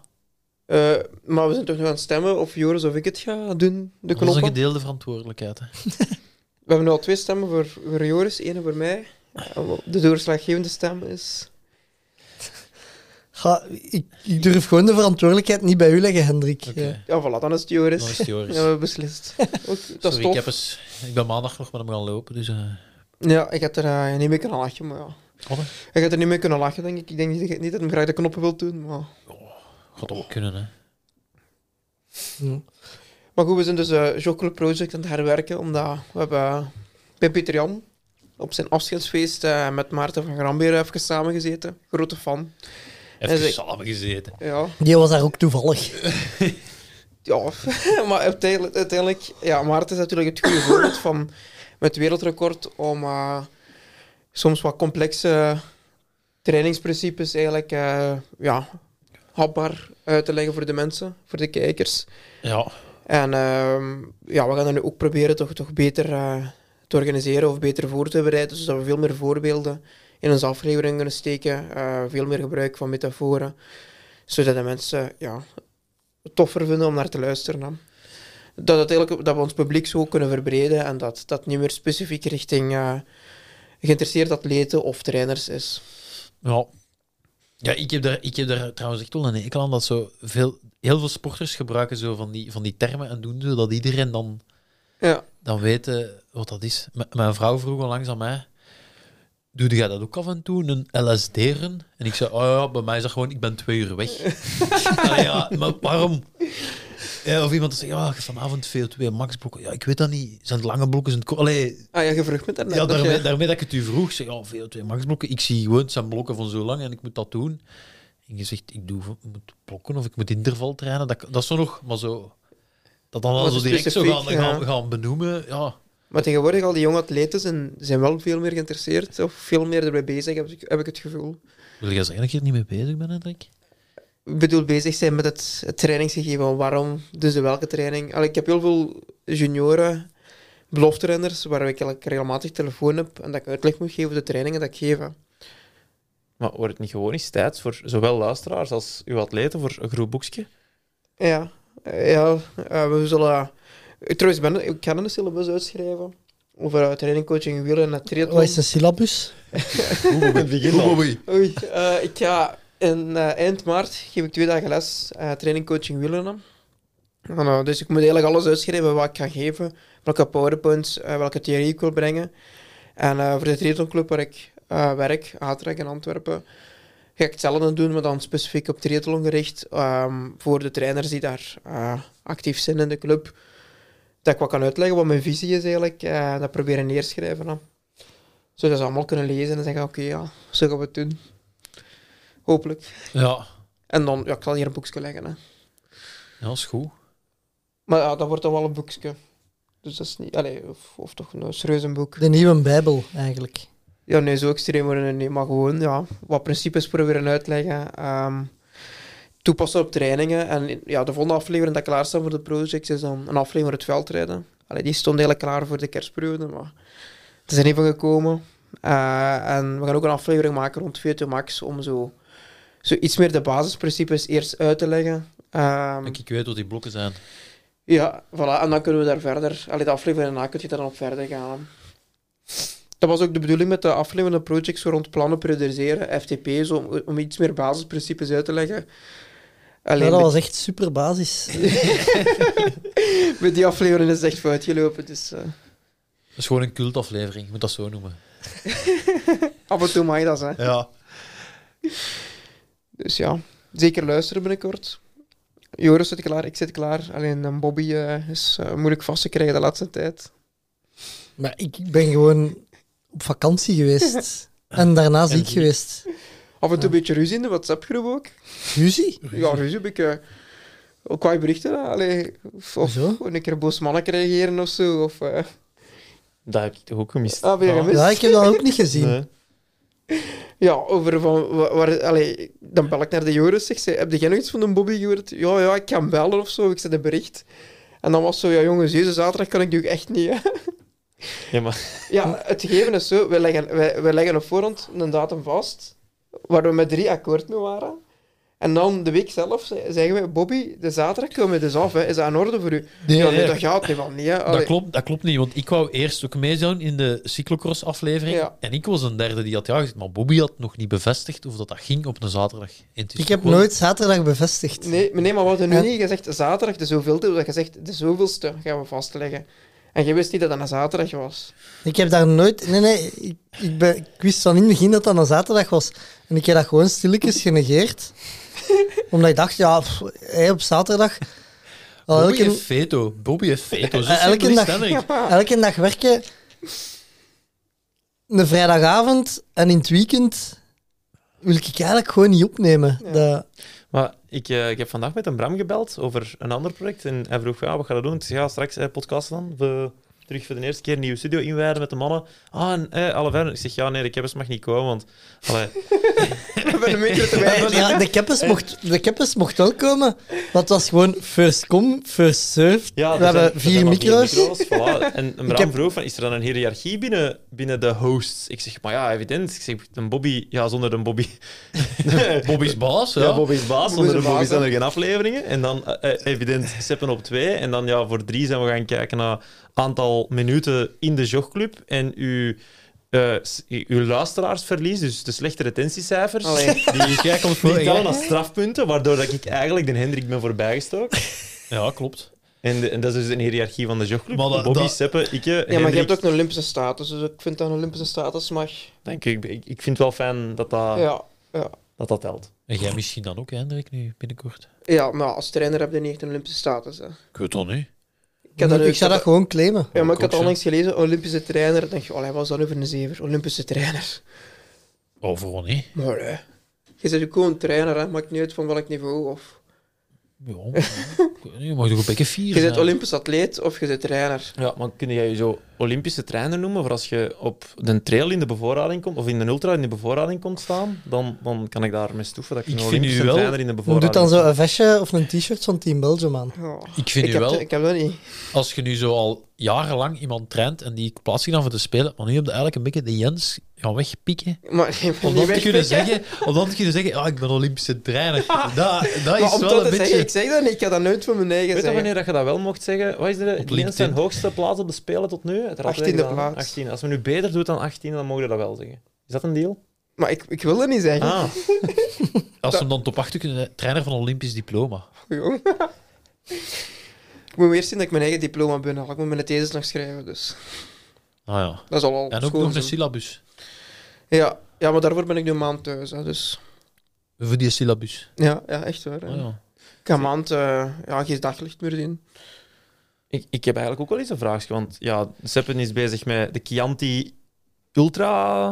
Eh, maar we zijn toch nu aan het stemmen of Joris of ik het ga doen, de
Dat is een
knoppen.
gedeelde verantwoordelijkheid. Hè.
We hebben nu al twee stemmen voor, voor Joris, één voor mij. Eh, De doorslaggevende stem is...
Ga, ik, ik durf gewoon de verantwoordelijkheid niet bij u leggen, Hendrik.
Oké.
Ja.
Ja, voilà, dan is het Joris.
Dan is het Joris.
Ja, we hebben beslist. Ook, dat
Sorry,
is
ik, heb
tof.
eens, ik ben maandag nog met hem gaan lopen, dus... eh,
Ja, ik heb er eh, niet mee kunnen lachen, maar ja.
Wat?
Ik had er niet mee kunnen lachen, denk ik. Ik denk niet, niet dat hij graag de knoppen wil doen, maar...
Gaat ook kunnen, hè.
Maar goed, we zijn dus eh Jockle Project aan het herwerken, omdat we hebben eh, bij Pieter Jan op zijn afscheidsfeest eh, met Maarten van Grambeer even samengezeten. Grote fan.
Even
zeg-
samen gezeten.
Ja,
Die was daar ook toevallig.
ja. maar uiteindelijk, uiteindelijk... Ja, Maarten is natuurlijk het goede voorbeeld van... Met het wereldrecord om eh, soms wat complexe trainingsprincipes eigenlijk... eh, ja, hapbaar uit te leggen voor de mensen, voor de kijkers.
Ja,
En ehm, ja, we gaan dat nu ook proberen toch, toch beter eh, te organiseren of beter voor te bereiden, zodat we veel meer voorbeelden in onze aflevering kunnen steken, eh, veel meer gebruik van metaforen, zodat de mensen ja, het toffer vinden om naar te luisteren. hè. Dat, uiteindelijk, dat we ons publiek zo kunnen verbreden en dat dat niet meer specifiek richting eh, geïnteresseerd atleten of trainers is.
ja. Ja, ik heb, daar, ik heb daar trouwens echt wel een hekel aan dat zo veel, heel veel sporters gebruiken zo van die, van die termen en doen zo dat iedereen dan,
Ja,
dan weet eh, wat dat is. M- mijn vrouw vroeg onlangs aan mij, doe jij dat ook af en toe, een LSD'eren? En ik zei, oh ja, bij mij is dat gewoon, ik ben twee uur weg. Ah ja, maar waarom? Ja, of iemand zegt, ja, vanavond VO2 max blokken. Ja, ik weet dat niet. Zijn het lange blokken, zijn het... ko- Allee,
ah, ja je vroeg me daarnet.
Ja,
dat
daarmee,
je-
daarmee dat ik het u vroeg, zeg, ja, VO2 max blokken. Ik zie gewoon, het zijn blokken van zo lang en ik moet dat doen. En je zegt, ik doe, ik moet blokken of ik moet interval trainen. Dat, dat is zo nog, maar zo... Dat dan al
Wat
zo direct zo gaan,
specifiek, ja.
gaan, gaan benoemen, ja.
Maar tegenwoordig, al die jonge atleten zijn, zijn wel veel meer geïnteresseerd of veel meer erbij bezig, heb ik, heb ik het gevoel.
Wil jij zeggen dat je er niet mee bezig bent, Hendrik?
Ik bedoel, bezig zijn met het, het trainingsgegeven. Waarom? Dus de welke training? Allee, ik heb heel veel junioren, belofterenners, waar ik eigenlijk regelmatig telefoon heb en dat ik uitleg moet geven op de trainingen dat ik geef. hè.
Maar wordt het niet gewoon eens tijd voor zowel luisteraars als uw atleten voor een groep boekje?
Ja, eh, ja eh, we zullen... Ik Trouwens, ben, ik kan een syllabus uitschrijven over eh, training, coaching, wielen en het triathlon.
Wat is een syllabus?
Het begin al.
Oei, eh, ik ga in, eh, eind maart geef ik twee dagen les eh, training coaching wielrennen. En, eh, dus ik moet eigenlijk alles uitschrijven wat ik ga geven, welke powerpoints, eh, welke theorie ik wil brengen. En eh, voor de triathlonclub waar ik eh, werk, Atrek in Antwerpen, ga ik hetzelfde doen, maar dan specifiek op triathlon gericht. ehm, voor de trainers die daar eh, actief zijn in de club. Dat ik wat kan uitleggen wat mijn visie is eigenlijk. eh, dat proberen neerschrijven dan. Zodat ze allemaal kunnen lezen en zeggen, oké, ja, zo gaan we het doen. Hopelijk.
Ja,
En dan, ja, ik zal hier een boekje leggen. Hè.
ja is goed.
Maar ja, dat wordt dan wel een boekje. Dus dat is niet... Allee, of, of toch een serieus een boek.
De nieuwe Bijbel, eigenlijk.
Ja, nee, zo extreem worden we niet. Maar gewoon, ja, wat principes proberen uitleggen. ehm, toepassen op trainingen. En ja, de volgende aflevering dat klaar staat voor de projects is dan een aflevering voor het veldrijden. Allee, die stond eigenlijk klaar voor de kerstperiode, maar het is er niet van gekomen. Eh, en we gaan ook een aflevering maken rond VT Max om zo, zo iets meer de basisprincipes eerst uit te leggen. Ehm,
Ik, ik weet wat die blokken zijn.
ja, voilà. En dan kunnen we daar verder... Allee, de aflevering daarna kun je daar dan op verder gaan. Dat was ook de bedoeling met de aflevering projects zo rond plannen prioriseren, FTP, zo, om, om iets meer basisprincipes uit te leggen.
Ja,
Alleen
dat
met,
was echt super basis.
met die aflevering is het echt fout gelopen, dus eh,
Dat is gewoon een cultaflevering, ik moet dat zo noemen.
af en toe mag je dat, hè.
Ja.
Dus ja, zeker luisteren binnenkort. Joris zit klaar, ik zit klaar. Alleen eh, Bobby eh, is eh, moeilijk vast te krijgen de laatste tijd.
Maar ik ben gewoon op vakantie geweest. En daarna ziek geweest.
Af en toe een beetje ruzie in de WhatsApp-groep ook.
Ruzie?
Ja, ruzie heb ik eh, ook qua berichten. hè. Allee, of, of
Hoezo?
een keer boos mannen reageren of zo. Of, eh
Dat heb ik toch ook gemist.
ah, ben je gemist?
Ja, ik heb dat ook niet gezien.
Nee.
Ja, over van... wa- Waar, allee, dan bel ik naar de Joris, zeg ze. Heb je nog iets van de Bobby gehoord? Ja, ja, ik kan bellen of zo. Ik zet een bericht. En dan was zo, ja jongens, deze zaterdag kan ik natuurlijk echt niet. Hè.
Ja, maar
Ja, het gegeven is zo, we leggen, wij, wij leggen op voorhand een datum vast, waar we met drie akkoord mee waren. En dan de week zelf ze- zeggen we, Bobby, de zaterdag komen we dus af, hè. is dat in orde voor u?
Nee,
ja, nee,
nee.
dat gaat niet van, niet. Hè.
Dat
Allee.
klopt, dat klopt niet, want ik wou eerst ook meedoen in de cyclocross-aflevering.
Ja.
En ik was een derde die had ja gezegd, maar Bobby had nog niet bevestigd of dat, dat ging op een zaterdag. En het is
Ik heb
gewoon-
nooit zaterdag bevestigd.
Nee, maar nee, maar we hadden nu
Ja.
niet gezegd zaterdag de zoveelste, we hadden gezegd de zoveelste gaan we vastleggen. En je wist niet dat dat een zaterdag was.
Ik heb daar nooit... Nee, nee. Ik, ik, ben, ik wist van in het begin dat dat een zaterdag was. En ik heb dat gewoon stilletjes genegeerd. omdat ik dacht, ja, pff, hey, op zaterdag... Al
Bobby
elke,
heeft veto. Bobby heeft veto. Zo
Eh, elke,
simpel is
dag,
het, Hendrik.
elke dag werken. Een vrijdagavond en in het weekend wil ik eigenlijk gewoon niet opnemen. Dat,
maar ik, eh, ik heb vandaag met een Bram gebeld over een ander project. En hij vroeg, ja, wat ga je doen? Ik zeg, ja, straks eh, podcast dan. We, terug voor de eerste keer een nieuwe studio inwijden met de mannen. Ah, en eh, alle verder. Ik zeg, ja, nee, de keppers mag niet komen, want... Allee,
We hebben een meter te weinig.
ja, de keppers mocht, de keppers mocht wel komen, maar het was gewoon first come, first served.
Ja, dus
We
er zijn-
hebben
er
vier
zijn maar
micro's.
voilà. En een Bram
heb-
vroeg van, is er dan een hiërarchie binnen, binnen de hosts? Ik zeg, maar ja, evident. Ik zeg, een Bobby... Ja, zonder een Bobby...
Bobby's baas, ja.
Ja, Bobby is baas. Zonder
is
de
baas,
Bobby zijn
hè.
er geen afleveringen. En dan eh, eh, evident Seppen op twee. En dan ja, voor drie zijn we gaan kijken naar aantal minuten in de jogclub. En uw, eh, s- uw luisteraarsverlies, dus de slechte retentiecijfers,
Allee.
die,
Jij komt voor,
die
ja.
tellen als strafpunten, waardoor dat ik eigenlijk de Hendrik ben voorbijgestoken.
Ja, klopt.
En, de- en dat is dus een hiërarchie van de jogclub.
Maar dat-
Bobby,
dat-
Seppen, ik,
Ja, maar je hebt ook een Olympische status, dus ik vind dat een Olympische status mag.
Denk, ik, ik ik vind het wel fijn dat
Ah.
dat,
Ja, ja.
dat, dat telt.
En jij misschien dan ook, hè, Hendrik, nu binnenkort.
ja, maar als trainer heb je niet echt een Olympische status. Hè.
Ik weet dat niet.
Ik heb dat nu-
ik zou dat gewoon claimen.
Ja, maar ik
Ook
had
zo.
onlangs gelezen, Olympische trainer. Dan denk je, allee, wat is dat nu voor een zever? Olympische trainer.
Oh, vooral niet.
Maar hè. Je bent ook gewoon trainer, hè. maakt niet uit van welk niveau. Of...
Ja, ik weet niet, je mag toch een beetje vier
Je bent
zijn?
Olympisch atleet of je bent trainer.
Ja, maar kun jij je zo Olympische trainer noemen voor als je op de trail in de bevoorrading komt, of in de ultra in de bevoorrading komt staan, dan, dan kan ik daarmee stoeven dat ik,
Ik
een
vind
Olympische
u wel-
trainer in de
Dan
bevoorrading
doet dan zo een vestje of een t-shirt van Team Belgium aan.
Oh.
Ik vind
ik,
nu
heb
wel,
dat, ik heb dat niet.
als je nu zo al jarenlang iemand traint en die plaats je dan voor te spelen, maar nu heb je eigenlijk een beetje de Jens gaan wegpikken.
Maar ik ben
Om dan,
niet
te kunnen
wegpikken.
zeggen, om dan te kunnen zeggen, ah, ik ben Olympische trainer. Dat, dat
Maar
Ah, is
om dat
wel een
te zeggen, ik
beetje...
zeg dat niet. Ik ga dat nooit voor mijn eigen
Weet je
zeggen.
wanneer dat je dat wel mocht zeggen? Wat is de, die
LinkedIn.
eens zijn hoogste plaats op de Spelen tot nu? Het had
18e
iedereen gedaan,
plaats.
18. Als we nu beter doen dan 18, dan mogen we dat wel zeggen. Is dat een deal?
Maar ik, ik wil dat niet zeggen.
Ah,
Als ze hem dan top 8 kunnen, trainer van Olympisch diploma.
Jong. ik moet eerst zien dat ik mijn eigen diploma binnenhaal. Ik moet mijn thesis nog schrijven, dus...
Ah ja.
Dat is al al
En ook
schoon
nog een
zijn.
syllabus.
ja. ja, maar daarvoor ben ik nu een maand thuis. Hè, dus
Voor die syllabus.
ja, ja, echt waar. hè.
Ah ja.
Ik ga een maand eh, ja, geen daglicht meer zien.
Ik, ik heb eigenlijk ook wel eens een vraagje, want ja, Seppen is bezig met de Chianti Ultra.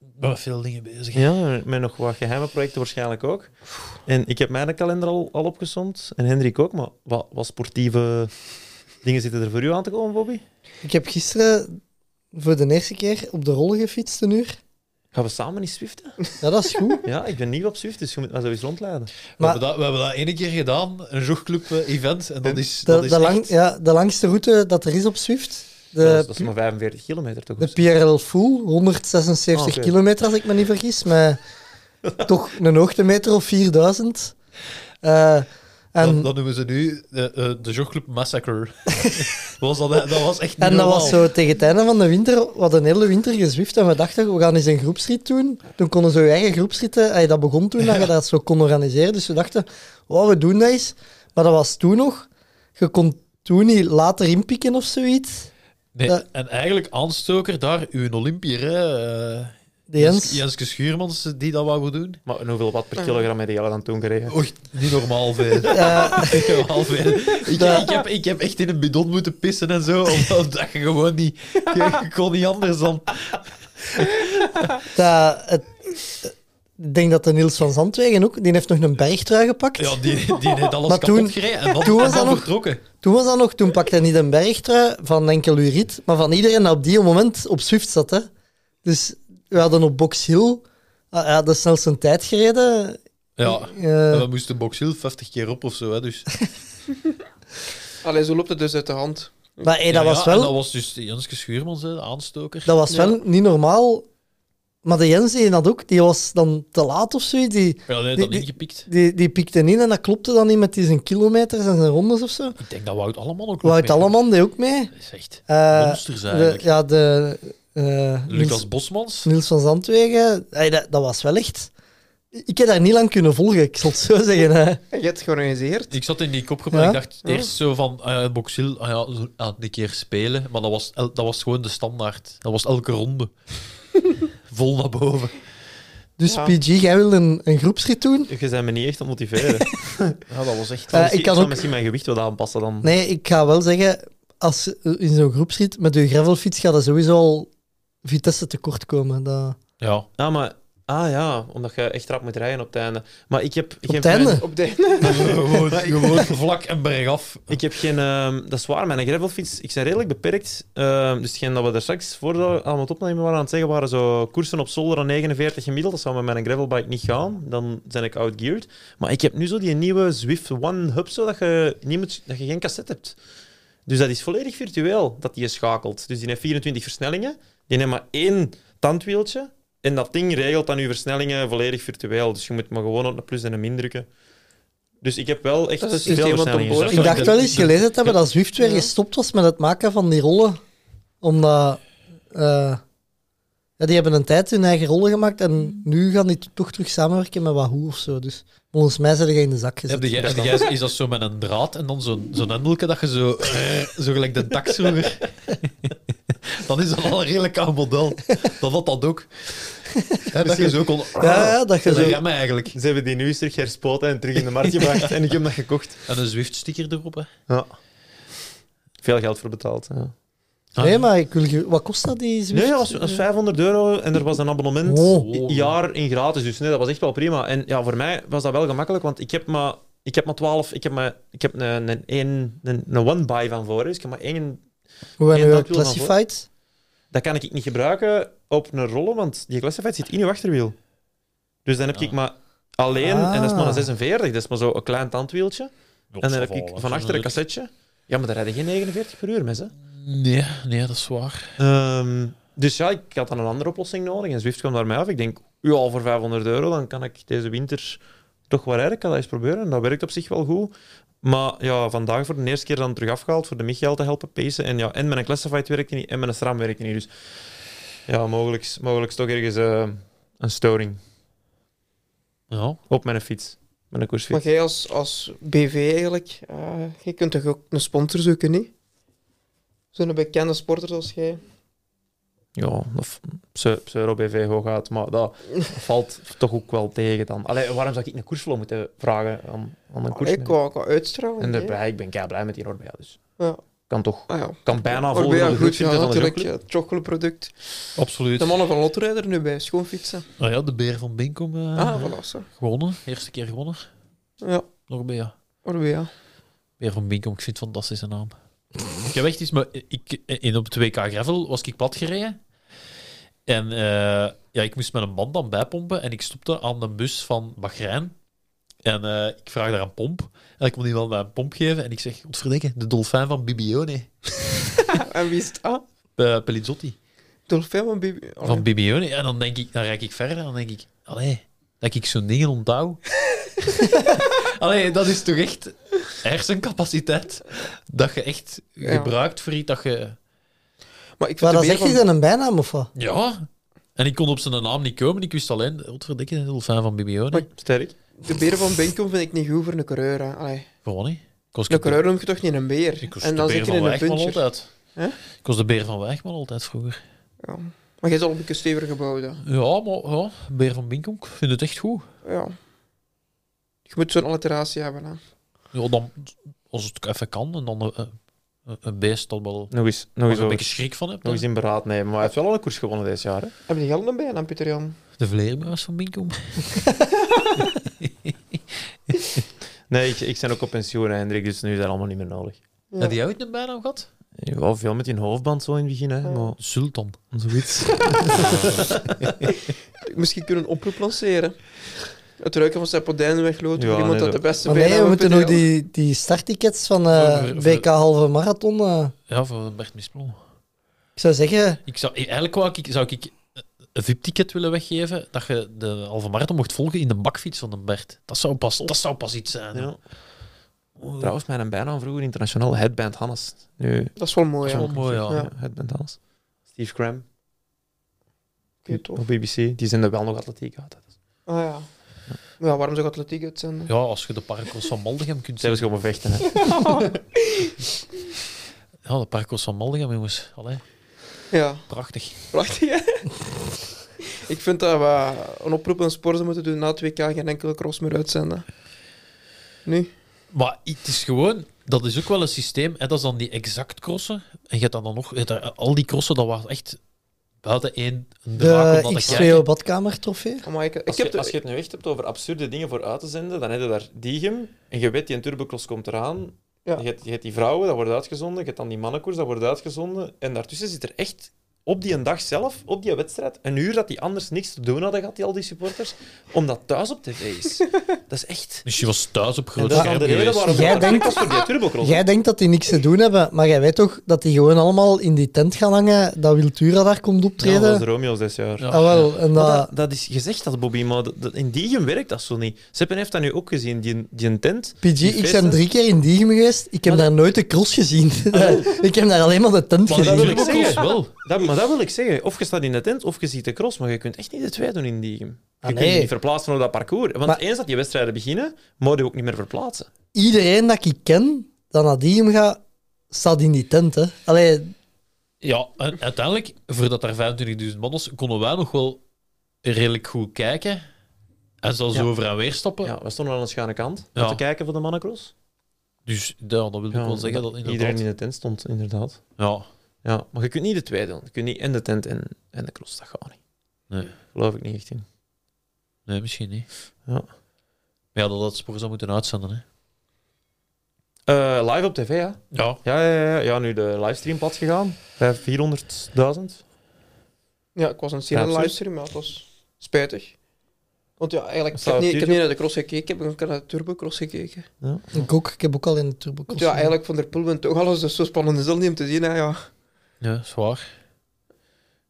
Ik ben met veel dingen bezig.
Ja, met nog wat geheime projecten waarschijnlijk ook. En ik heb mijn kalender al, al opgezond, en Hendrik ook, maar wat, wat sportieve dingen zitten er voor u aan te komen, Bobby?
Ik heb gisteren voor de eerste keer op de rollen gefietst een uur.
Gaan we samen niet swiften?
Ja, dat is goed.
Ja, ik ben nieuw op Swift, dus je moet mij zo eens rondleiden.
We,
Maar-
hebben dat, we hebben dat ene keer gedaan, een jogclub-event. En dat is,
De,
dat is
de, lang,
echt-
ja, de langste route dat er is op Swift.
dat, is,
De,
dat is maar 45 kilometer toch?
de PRL Full, 176
Ah, oké.
kilometer als ik me niet vergis. Maar toch een hoogtemeter of 4000. Eh, en
Dat, dat noemen ze nu de, eh, de jogclub Massacre. was dat, dat was echt niet
En dat
normaal.
was zo tegen het einde van de winter, we hadden een hele winter gezwift en we dachten, we gaan eens een groepsrit doen. Toen konden ze hun eigen groepsritten, ay, dat begon toen dat je dat zo kon organiseren. Dus we dachten, wow, we doen dat eens. Maar dat was toen nog, je kon toen niet later inpikken of zoiets.
Nee,
Ja.
En eigenlijk aanstoker daar, uw Olympier, hè, eh,
De Jens,
Jens- Jenske Schuurmans, eh, die dat wou doen.
Maar en hoeveel watt per kilogram heb je dan toen gereden?
Oei, niet normaal veel.
eh,
Niet normaal veel. Ik,
Ja.
ik, heb, ik heb echt in een bidon moeten pissen en zo, omdat dat je gewoon niet... Je, je kon niet anders dan...
dat, het, ik denk dat de Niels van Zandwegen ook, die heeft nog een bergtrui gepakt.
Ja, die, die heeft alles
Maar toen-
kapot gereden en dan,
toen was
en dan
dat nog-
vertrokken.
Toen was dat nog, toen pakte hij niet een bergtrui van enkel uw rit, maar van iedereen dat op die moment op Swift zat. Hè. Dus we hadden op Box Hill ah, ja, de snelste tijd gereden.
Ja.
Eh,
En we moesten Box Hill 50 keer op of zo, hè, dus...
Allee, zo loopt het dus uit de hand.
maar hey, dat,
Ja,
was
ja, en
wel,
dat was dus Janske Schuurmans, hè, de aanstoker.
dat was wel niet normaal. Maar de Jens die had ook, die was dan te laat of zoiets. Die,
Ja, nee,
Die-
dat
die-
ingepikt.
die, die pikte in en dat klopte dan niet met die zijn kilometers en zijn rondes of zo.
Ik denk dat Wout allemaal ook nog
Wout
mee-
Alleman deed ook mee.
Dat is echt
Eh,
monsters
de,
eigenlijk.
ja, de... eh,
Lucas Bosmans.
Niels van Zandwegen, hey, dat, dat was wel echt... Ik heb daar niet lang kunnen volgen, ik zal het zo zeggen. Hè.
En je hebt het georganiseerd.
Ik zat in die kopgroep en
Ja?
ik dacht eerst zo van ah ja, Boxil, ah ja, zo- ah, een keer spelen. Maar dat was, el- dat was gewoon de standaard. Dat was elke ronde. Vol naar boven.
Dus
Ja.
PG, jij wil een, een groepsrit doen?
Je bent me niet echt aan het motiveren. Ik
Ja, dat was
Eh,
echt...
zal
ik
misschien-
kan
ik zal
ook-
misschien mijn gewicht wat aanpassen dan.
Nee, ik ga wel zeggen, als je in zo'n groepsrit met je gravelfiets gaat er sowieso al vitesse tekort komen. Dat...
Ja.
Ah, maar... Ah ja, omdat je echt rap moet rijden op het einde. Maar ik heb... Ik
Op
heb
het einde?
Op de...
gewoon, gewoon vlak en bergaf.
Ik heb geen... ehm, dat is waar, mijn gravelfiets... Ik ben redelijk beperkt. Ehm, dus hetgeen dat we daar straks voor de- aan het opnemen waren aan het zeggen, waren zo koersen op zolder aan 49 gemiddeld. Dat zou met mijn gravelbike niet gaan. Dan ben ik outgeared. Maar ik heb nu zo die nieuwe Zwift One Hub, zo dat je, niet moet, dat je geen cassette hebt. Dus dat is volledig virtueel, dat die je schakelt. Dus die heeft 24 versnellingen. Die heeft maar één tandwieltje. En dat ding regelt dan je versnellingen volledig virtueel. Dus je moet maar gewoon op een plus en een min drukken. Dus ik heb wel echt
Dat is
veel
systeem wat
versnellingen.
ontboren.
Ik dacht wel eens gelezen te hebben dat Zwift weer
Ja.
gestopt was met het maken van die rollen. Omdat... eh, ja, die hebben een tijd hun eigen rollen gemaakt en nu gaan die toch terug samenwerken met Wahoo of zo. Dus volgens mij zijn die in de zak gezet.
Heb jij- heb jij- is dat zo met een draad en dan zo'n zo'n hendelke dat je zo, eh, zo gelijk de tax vroeger. dan is dat al een redelijk oud model. Dat had dat ook. Hè, dat je zo kon.
Ja, ja, dat je
Zo
zo...
remmen eigenlijk.
Ze hebben die nu eens terug herspoten en terug in de markt gebracht. en ik heb dat gekocht.
En een Zwift-sticker erop. Hè.
Ja. Veel geld voor betaald. Ja.
Nee, maar ik wil... ge- Wat kost dat, die Zwift?
Nee, dat was, dat was 500 euro en er was een abonnement
Oh.
i- jaar in gratis. Dus nee, dat was echt wel prima. En ja, voor mij was dat wel gemakkelijk, want ik heb maar, ik heb maar 12, ik heb, maar, ik heb een, een, een, een, een one-buy van voor. Dus ik heb maar één.
Hoe
Geen
hebben we
dakwiel dan,
classified?
Dat kan ik niet gebruiken op een rollen, want die classified zit in uw achterwiel. Dus dan heb ik maar alleen, en dat is maar
Ah.
een 46, dat is maar zo een klein tandwieltje. En dan heb ik van achter een cassetje. Ja, maar daar rijden geen 49 per uur mee, hè?
Nee, nee, dat is waar.
Ehm, dus ja, ik had dan een andere oplossing nodig. En Zwift kwam daar mij af. Ik denk, ja, voor 500 euro, dan kan ik deze winter toch wel rijden. Ik kan dat eens proberen. En dat werkt op zich wel goed. Maar ja, vandaag voor de eerste keer dan terug afgehaald voor de Michael te helpen pacen. En ja, en mijn classified werkte niet en mijn SRAM werkte niet. Dus ja, mogelijk, mogelijk toch ergens eh, een storing
Ja.
op mijn fiets. Mijn koersfiets.
Maar jij als, als BV eigenlijk, eh, je kunt toch ook een sponsor zoeken, niet? Zo'n bekende sporter zoals jij.
ja, of pse- pseudo-BV hooguit, maar dat valt toch ook wel tegen dan. Allee, waarom zou ik een koersvloer moeten vragen aan, aan een koers?
Ah, Ik qua, qua uitstraling.
En
nee.
daarbij, ik ben kei blij met die Orbea, dus
Ja.
kan toch
Ah, ja.
kan bijna volgen
Orbea,
dat het
goed, ja,
vindt, dat is ook
natuurlijk.
leuk.
ja, Het chocoladeproduct.
Absoluut.
De mannen van Lotrijder nu bij schoonfietsen.
Nou ja, de beer van Binkom eh,
Ah, voilà. zo.
gewonnen. Eerste keer gewonnen.
Ja,
Nog meer.
Orbea.
Beer van Binkom, ik vind het fantastisch zijn naam. ik heb echt iets, maar ik, in op 2K Gravel was ik plat gereden. En eh, ja, ik moest met een band dan bijpompen en ik stopte aan de bus van Bahrein. En eh, ik vraag daar een pomp. En ik kon die wel bij een pomp geven. En ik zeg, verdikken, de dolfijn van Bibione.
En wie is het? Ah,
Eh Pelizzotti.
Dolfijn van Bibi. Allee.
Van Bibione. En dan denk ik, dan rijk ik verder en dan denk ik, allee, dat ik zo'n dingen onthoud. allee, dat is toch echt hersencapaciteit dat je echt gebruikt voor iets dat je...
Maar ik
Maar dan
vind de beer
zeg je
van...
dan een bijnaam of wat?
Ja. En ik kon op zijn naam niet komen. Ik wist alleen, godverdikke, een dolfijn van Bibione.
Sterk.
De beren van Benkom vind ik niet goed voor een coureur. hè. Allee,
Gewoon niet. Ik was
een coureur noem je toch niet een beer?
ik was
En
de
dan
beer
zit je
van
in een
Wijchman
puntje.
altijd.
Hè?
Ik was de beer van Wijchman altijd vroeger.
Maar jij is al een beetje stevig gebouwd. hè.
Ja, maar ja, beer van Binkom. Ik vind het echt goed.
Ja. Je moet zo'n alliteratie hebben. Hè.
Ja, dan, als het even kan, en dan eh, een, een beest dat wel...
Nog eens, nog
Waar je
eens,
een
over-
beetje schrik van hebt.
nog eens
hè.
in beraad nemen. Maar hij heeft wel al een koers gewonnen dit jaar. Hè?
Heb je geld dan bij dan, Pieter Jan?
De vleermuis van Binkom.
Nee, ik, ik ben ook op pensioen, hè, Hendrik, dus nu is dat allemaal niet meer nodig.
Heb jij ooit een bijnaam gehad?
Wel veel met die hoofdband zo in het begin, hè, maar
Sultan.
zoiets.
Misschien kunnen we een oproep lanceren. Het ruiken van Sapodijn
Ja,
wegloten. voor iemand
nee,
dat de beste
Maar nee,
benen
we
heeft,
moeten nog
Pieter Jan.
die, die starttickets van eh,
Voor- voor-
WK Halve Marathon. eh,
Ja, voor Bert Misplon.
ik zou zeggen,
Ik zou, eigenlijk wou ik, zou ik een VIP-ticket willen weggeven dat je de halve marathon mocht volgen in de bakfiets van de Bert. Dat zou pas, dat zou pas iets zijn. Oh,
ja. Trouwens, mijn bijnaam vroeger internationaal, Headband Hannes. Nu,
Dat is wel mooi,
Dat is
ja.
wel mooi, oh, ja.
ja, Headband Hannes. Steve Graham
Oké, tof.
op BBC, die zijn er wel nog atletiek uit.
Ah ja. Ja, waarom zou ik atletiek uitzenden?
Ja, als je de parkos van Maldegem kunt
Zij
zien.
was gewoon maar vechten. Hè.
Ja, de parkos van Maldegem, jongens. Allee,
Ja,
prachtig.
prachtig hè? Ik vind dat we een oproep aan sporten moeten doen na het WK geen enkele cross meer uitzenden. Nu?
Maar het is gewoon... Dat is ook wel een systeem. Hè, dat is dan die exact crossen. En je hebt dan, dan nog... je hebt daar- al die crossen, dat was echt buiten één een draak
de
om naar te kijken.
X2O badkamer trofee.
Amai, ik, ik
Als,
heb
je,
de-
als je het nu echt hebt over absurde dingen voor uit te zenden, dan heb je daar Diegem en je weet die een turbocross komt eraan.
Ja.
Je, hebt, je hebt die vrouwen, dat wordt uitgezonden. Je hebt dan die mannenkoers, dat wordt uitgezonden. En daartussen zit er echt op die een dag zelf, op die wedstrijd, een uur dat die anders niks te doen hadden gehad, die al die supporters, omdat thuis op tv is. dat is echt...
Dus je was thuis op
En
groot
dat is dan
scherm
de reden
geweest.
waarom
Jij
dat
denkt-
was voor die turbocross.
Jij denkt dat die niks te doen hebben, maar jij weet toch dat die gewoon allemaal in die tent gaan hangen, dat Wiltura daar komt
Ja, dat
optreden?
was Romeo's dit jaar.
Ja.
Ah wel, en
Maar
dat,
dat, dat is gezegd, dat Bobby, maar dat- dat- in Diegem werkt dat zo niet. Seppen heeft dat nu ook gezien, die, die tent.
PG,
die
ik ben
feesten.
drie keer in Diegem geweest, ik heb daar nooit de cross gezien. ik heb daar alleen maar de tent
Maar dat
gezien.
wil ik zeggen. wel.
Dat, maar dat wil ik zeggen. Of je staat in de tent of je ziet de cross, maar je kunt echt niet de twee doen in Diegem. Je
Ah,
kunt
nee.
je niet verplaatsen op dat parcours. Want
Maar-
eens dat die wedstrijden beginnen, moet je ook niet meer verplaatsen.
Iedereen dat ik ken, dat naar Diegem gaat, staat in die tent. Hè. Allee,
Ja, en uiteindelijk, voordat er 25.000 man was, konden wij nog wel redelijk goed kijken. En zelfs
Ja.
over en weer stappen.
Ja, we stonden aan de schuine kant
Ja.
om te kijken voor de mannencross.
Dus ja, dat wil ik wel zeggen. Dat inderdaad,
iedereen in de tent stond, inderdaad.
Ja,
Ja, maar je kunt niet de twee doen. Je kunt niet en de tent en, en de cross. Dat gaat niet.
Nee.
Geloof ik niet echt in.
nee, misschien niet.
Ja.
Maar ja, dat dat spoor zou moeten uitzenden. Hè.
Eh, live op tv, ja.
Ja.
Ja, ja, ja, ja, nu de livestream plat gegaan. Bij 400.000.
Ja, ik was aan het zien
Ja,
in
absoluut.
een livestream, maar het was spijtig. Want ja, eigenlijk, ik
staat
heb,
op
niet, ik heb
YouTube?
niet naar de cross gekeken, ik heb ook naar de turbocross gekeken.
ik, ook, ik heb ook al in de turbo
Want ja, eigenlijk Van der Poel wint toch alles, dus zo spannend is dat niet om te zien. Hè, ja.
ja, zwaar.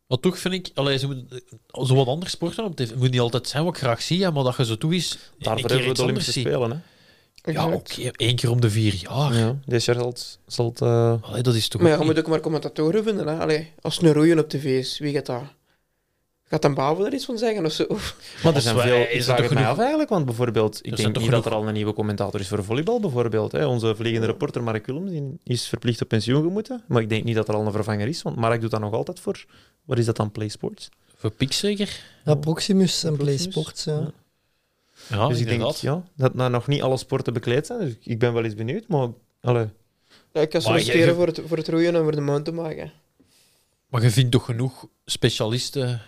Maar toch vind ik, allee, ze moeten eh, zo wat andere sporten op tv. Het moet niet altijd zijn wat ik graag zie, ja, maar dat je zo toe is. een
Daarvoor
keer
hebben we
iets
de Olympische
anders zien.
Spelen. Hè.
Ja,
Exact.
oké, één keer om de vier jaar.
Ja, dit jaar zal het- zal het... eh,
Allee, dat is toch.
Maar ja,
ook
je
niet-
moet ook maar commentatoren vinden. Hè. Allee, als het een roeien op tv is, wie gaat dat? Gaat een Bavel er iets van zeggen of zo?
Maar er
Als
zijn
wij-
veel.
eh, is
Ik
er
vraag
toch
het mij
genoeg-
af eigenlijk, want bijvoorbeeld, ik
zijn
denk niet
toch
dat er al een nieuwe commentator is voor volleybal bijvoorbeeld. Hè. Onze vliegende
Oh.
reporter Mark Willems die is verplicht op pensioen gemoeten, maar ik denk niet dat er al een vervanger is, want Mark doet dat nog altijd voor Wat is dat dan, PlaySports?
Voor Piek zeker?
Ja, Proximus en
Proximus,
PlaySports. Ja.
ja.
Ja,
dus ik denk ja, dat nou nog niet alle sporten bekleed zijn. Dus ik ben wel eens benieuwd, maar... Allee,
Ja, ik kan
Maar
soms
je-
keren
je-
voor het, voor het roeien en voor de mountainbiken.
Maar je vindt toch genoeg specialisten?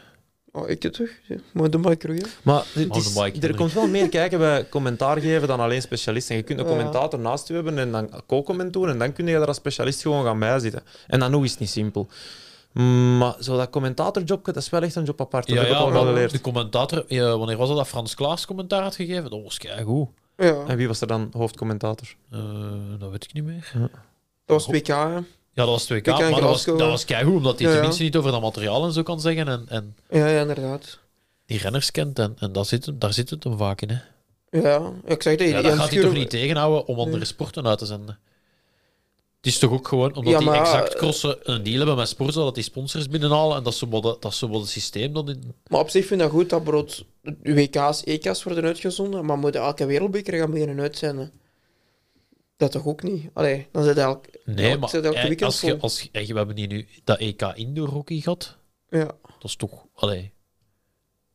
Oh, ik het toch? Ja, Mountainbike roeien.
Maar het is-
Mountainbiken,
er
nee.
komt wel meer kijken bij commentaar geven dan alleen specialisten. Je kunt een
Ja.
commentator naast je hebben en dan co-comment doen en dan kun je daar als specialist gewoon gaan bij zitten. En dan nog is het niet simpel. Mm, Maar zo dat commentatorjob, dat is wel echt een job apart. Dat heb ik al wel
want
geleerd.
de commentator, ja, wanneer was dat dat Frans Klaas commentaar had gegeven? Dat was keigoed.
Ja, dat
En wie was er dan hoofdcommentator?
Eh dat weet ik niet meer.
was het WK. hè.
Ja, dat was het WK,
Ik en
maar dat was,
Glasgow.
dat was keigoed, omdat hij
Ja, ja.
tenminste niet over dat materiaal en zo kan zeggen en, en
Ja, ja, inderdaad.
die renners kent. En, en daar, zit, hem- daar zit het hem vaak in. Hè.
Ja, ik zeg dat.
Ja, dat
Jan
gaat hij
Schuren-
toch niet tegenhouden om andere
Nee.
sporten uit te zenden? Het is toch ook gewoon omdat
Ja,
die
maar,
exact
eh,
crossen een deal hebben met sporten, dat die sponsors binnenhalen en dat is zo wat dat dat is zo wat het systeem dat in...
Maar op zich vind ik dat goed dat brood WK's, EK's worden uitgezonden, maar moeten elke wereldbeker gaan beginnen uitzenden? Dat toch ook niet? Allee, dan zit elk,
Nee,
elk,
maar
zit elke
eh,
weekend
als je,
vol.
als je, eh, we hebben hier nu dat EK indoor hockey gehad,
Ja.
dat is toch... Allee,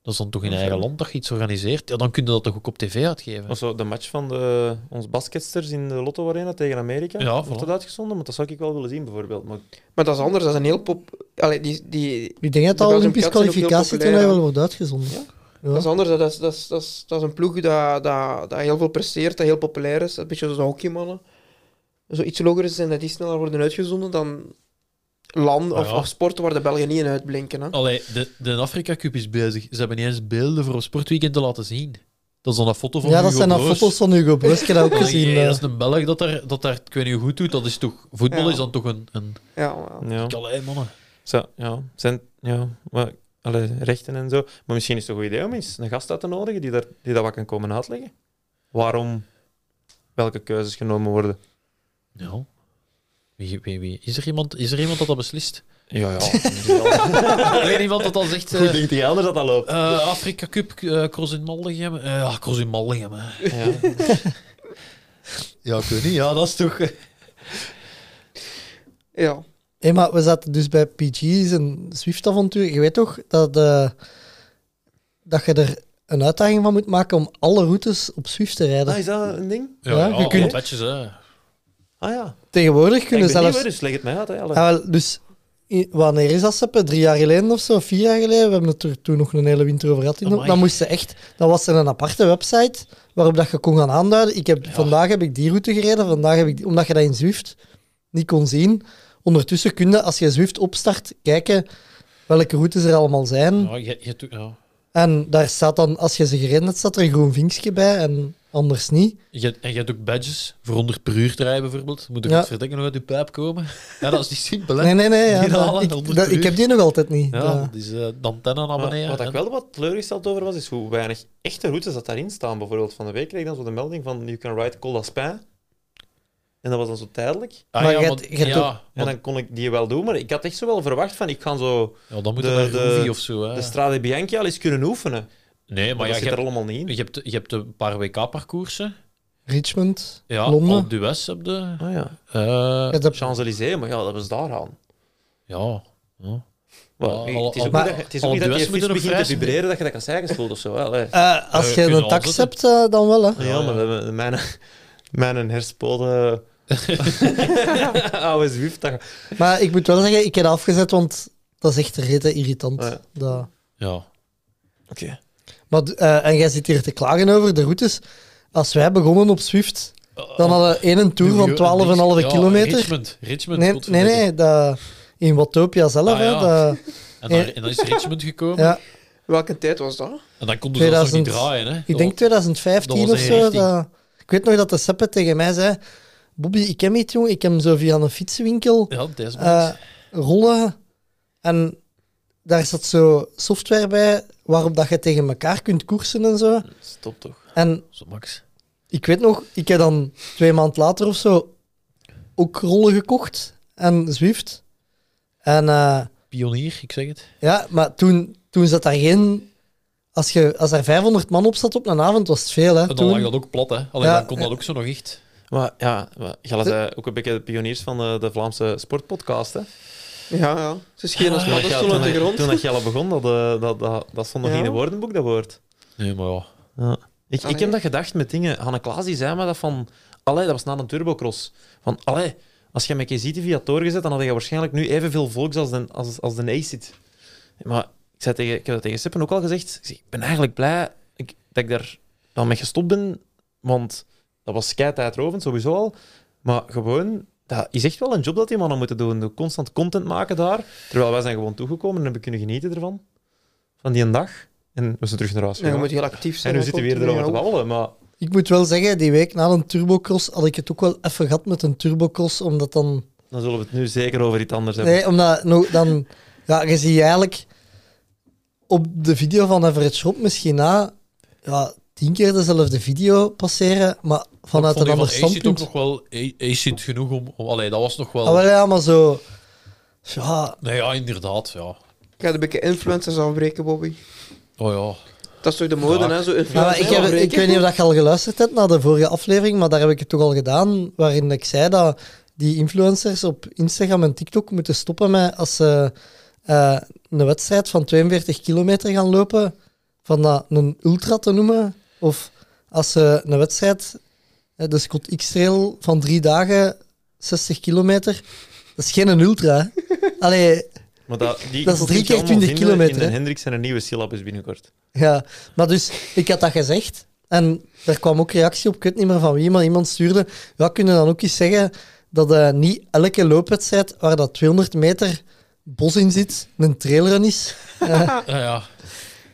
dat is dan toch in
Ja,
eigen
zo.
land dat je iets organiseert? Ja, dan kun je dat toch ook op tv uitgeven?
Of zo, de match van de, ons basketsters in de Lotto Arena tegen Amerika.
Ja,
wordt
voilà.
dat uitgezonden? Want dat zou ik wel willen zien, bijvoorbeeld. Maar
Maar dat is anders, dat is een heel pop... Allee, die, die,
Ik denk dat
De
de
Belgium
Olympisch
Cup zijn ook heel
kwalificatietoernooi
populair,
wel wordt uitgezonden. Ja?
Dat is anders. hè. Dat is, dat is, dat is, dat is een ploeg dat, dat, dat heel veel presteert, dat heel populair is. Een beetje zoals de hockeymannen. Zo iets loger is en dat die sneller worden uitgezonden dan land of,
Ah, ja.
of sporten waar de Belgen niet in uitblinken. Hè.
Oh.
Allee, de, de Afrika Cup is bezig. Ze hebben niet eens beelden voor een sportweekend te laten zien. Dat is dan een foto van
Ja, dat
Hugo
zijn dan
Broos.
foto's van Hugo Broos. Ik heb dat ook
Ja,
gezien.
jee,
eh.
dat is een Belg dat daar, dat daar, ik weet niet hoe goed doet. Dat is toch, voetbal
Ja.
is dan toch een... een
Ja, maar-
ja.
Allee, mannen.
Zo, ja, zijn, ja maar, allee, rechten en zo. Maar misschien is het een goed idee om eens een gast uit te nodigen die, daar, die dat wat kan komen uitleggen. Waarom welke keuzes genomen worden.
Ja. Wie, wie, wie? Is, er iemand, is er iemand dat dat beslist?
Ja, ja.
Ik weet iemand dat al zegt... eh,
Hoe denkt die anders dat dat loopt?
eh, Afrika Cup, eh, cross in Maldegem. Eh, ja, cross in Maldegem. hè.
Ja.
Ja, ik weet niet. Ja, dat is toch... eh,
ja.
Hé, maar we zaten dus bij PG's en Zwift-avontuur. Je weet toch dat, eh, dat je er een uitdaging van moet maken om alle routes op Zwift te rijden.
Ah, is dat een ding?
Ja,
Ja,
ja,
je
wat
kunt-
wedjes, hè.
Ah ja.
Tegenwoordig
Ik ben
kunnen
zelfs...
zelfs...
niet dus leg het mij uit. Hè, allee.
Ah, wel, dus i- wanneer is dat, Seppe? Drie jaar geleden of zo? Vier jaar geleden? We hebben het er toen nog een hele winter over gehad.
Amai.
Dan moesten echt... Dan was er een aparte website waarop dat je kon gaan aanduiden. Ik heb, Vandaag heb ik die route gereden, vandaag heb ik die, omdat je dat in Zwift niet kon zien. Ondertussen kun je, als je Zwift opstart, kijken welke routes er allemaal zijn.
Ja, je, je, doet- ja.
En daar staat dan, als je ze gerend hebt, staat er een groen vinkje bij en anders niet.
Je, en je hebt ook badges voor 100 per uur te rijden, bijvoorbeeld. Moet er
Ja.
ja. verdekken uit je pijp komen. Ja, dat is niet simpel, hè.
Nee, nee, nee. Ja,
Die
dat-
halen
ik,
100
dat-
per
ik heb
uur.
die nog altijd niet.
Ja,
Ja.
dat is eh de antenne aan
Maar
abonneren.
Ah, wat ik wel wat teleurgesteld over was, is hoe weinig echte routes dat daarin staan. Bijvoorbeeld van de week kreeg ik dan zo de melding van you can ride Col d'Aspin. En dat was dan zo tijdelijk.
Ah,
Maar
ja,
je
want-
hebt- je hebt
ja,
ook-
En dan kon ik die wel doen, maar ik had echt zo wel verwacht van ik ga zo
ja, dan moet
de-
je naar
de-
Groovy of zo. Hè.
de Strade Bianchi al eens kunnen oefenen.
nee,
Maar
maar ja,
dat
je,
zit er
hebt,
allemaal niet in.
je, hebt, je hebt een paar WK-parcoursen.
Richmond,
Ja,
Londen.
op de West heb je.
Ah ja.
eh,
Je hebt de-
Champs-Élysées, maar ja, dat was daar aan.
ja. ja.
Maar
Ah,
het is ook
maar-
niet dat, je- het is ook
al
niet dat
duels
je
moeten
fiets
nog
begint te
verrijzen.
vibreren dat je dat kan zeggen voelt of zo. hè. Allee.
Eh, als
Eh,
je
kunnen
een
we
tax hebt,
aanzetten?
eh, dan wel. Hè.
Ja, maar de- de- mijn, mijn herspoten... Oude zwift. dat-
Maar ik moet wel zeggen, ik heb dat afgezet, want dat is echt rete irritant.
Ja.
Dat.
ja.
Oké.
Maar, d- eh, en jij zit hier te klagen over de routes. Als wij begonnen op Swift, dan hadden we één een tour van 12,5
Oh. Ja,
kilometer.
Richmond. Richmond.
Nee, nee,
godverdikke.
nee. Dat, in Watopia zelf.
Ah,
hè,
ja.
dat-
En, dan, en dan is Richmond gekomen.
ja.
Welke tijd was dat?
En dan konden ze zelfs nog niet
2000
draaien. Hè.
Ik denk
dat.
2015 of
dat was
zo.
19.
Dat, ik weet nog dat de Seppe tegen mij zei: Bobby, ik ken iets, jong. Ik heb hem zo via een fietsenwinkel
Ja, deze
eh, rollen. En daar zat zo software bij waarop dat je tegen elkaar kunt koersen en zo.
Stop toch.
En
Zo, Max.
ik weet nog, ik heb dan twee maanden later of zo ook rollen gekocht en Zwift. En eh,
Pionier, ik zeg het.
ja, maar toen, toen zat daar geen. Als, je, als er 500 man op zat op een avond, was het veel. Hè,
En dan
toen.
lag dat ook plat, hè. Alleen
Ja,
dan kon dat ook zo nog echt.
Maar ja, maar, jullie zijn ook een beetje de pioniers van de, de Vlaamse sportpodcast, hè?
Ja, ja. Ze schenen als
dat
paddenstoelen op de grond.
Toen dat Jelle begon, dat, eh, dat, dat, dat stond nog
Ja.
in het woordenboek, dat woord.
Nee, maar ja.
Ja. Ik,
Ah,
ik
nee.
heb dat gedacht met dingen. Hanne Klaas die zei mij dat van... Allee, dat was na een turbocross. Van, allee, als je met Kesiti via Toren gezet, dan had je waarschijnlijk nu evenveel volks als de, als, als de Acid. Maar ik, zei tegen, ik heb dat tegen Seppen ook al gezegd. Ik, zeg, ik ben eigenlijk blij ik, dat ik daar dan mee gestopt ben. Want dat was kei tijdrovend, sowieso al. Maar gewoon, dat is echt wel een job dat die mannen moeten doen. Door Constant content maken daar. Terwijl wij zijn gewoon toegekomen en hebben kunnen genieten ervan. Van die een dag. En we zijn terug naar huis
Ja, je
gegaan.
moet heel actief
En
zijn.
nu
om
zitten we hier
continu
erover te
ook-
babbelen, maar...
Ik moet wel zeggen, die week na een turbocross had ik het ook wel even gehad met een turbocross, omdat dan...
Dan zullen we het nu zeker over iets anders hebben.
Nee, omdat nou, dan... Ja, je ziet eigenlijk op de video van Everett Schropp misschien na ja, tien keer dezelfde video passeren, maar vanuit
Ik vond
een ander
die van Acid ook
standpunt.
nog wel... A- Acid genoeg om... om allee, dat was nog wel...
Ah, wel, ja, maar zo... Ja,
Nee, ja, inderdaad, ja.
Ik ga een beetje influencers afbreken, Bobby.
Oh ja.
Dat is toch de mode,
Ja.
hè? Zo
Ja, maar
influencers
ik, heb, ik weet niet of dat je al geluisterd hebt naar de vorige aflevering, maar daar heb ik het toch al gedaan, waarin ik zei dat die influencers op Instagram en TikTok moeten stoppen met als ze eh, een wedstrijd van 42 kilometer gaan lopen, van dat een ultra te noemen, of als ze een wedstrijd, eh, de Scott X-trail van drie dagen, 60 kilometer, dat is geen een ultra. hè. Allee,
Maar dat, die
Dat is
die
drie
kun je
keer
allemaal
20
vinden
kilometer,
In
hè?
de Hendricks en een nieuwe syllabus binnenkort.
Ja, maar dus ik had dat gezegd en er kwam ook reactie op, ik weet niet meer van wie, maar iemand stuurde, ja, kunnen dan ook eens zeggen dat eh, niet elke loopwedstrijd waar dat 200 meter bos in zit, een trailrun is.
Ja, ja.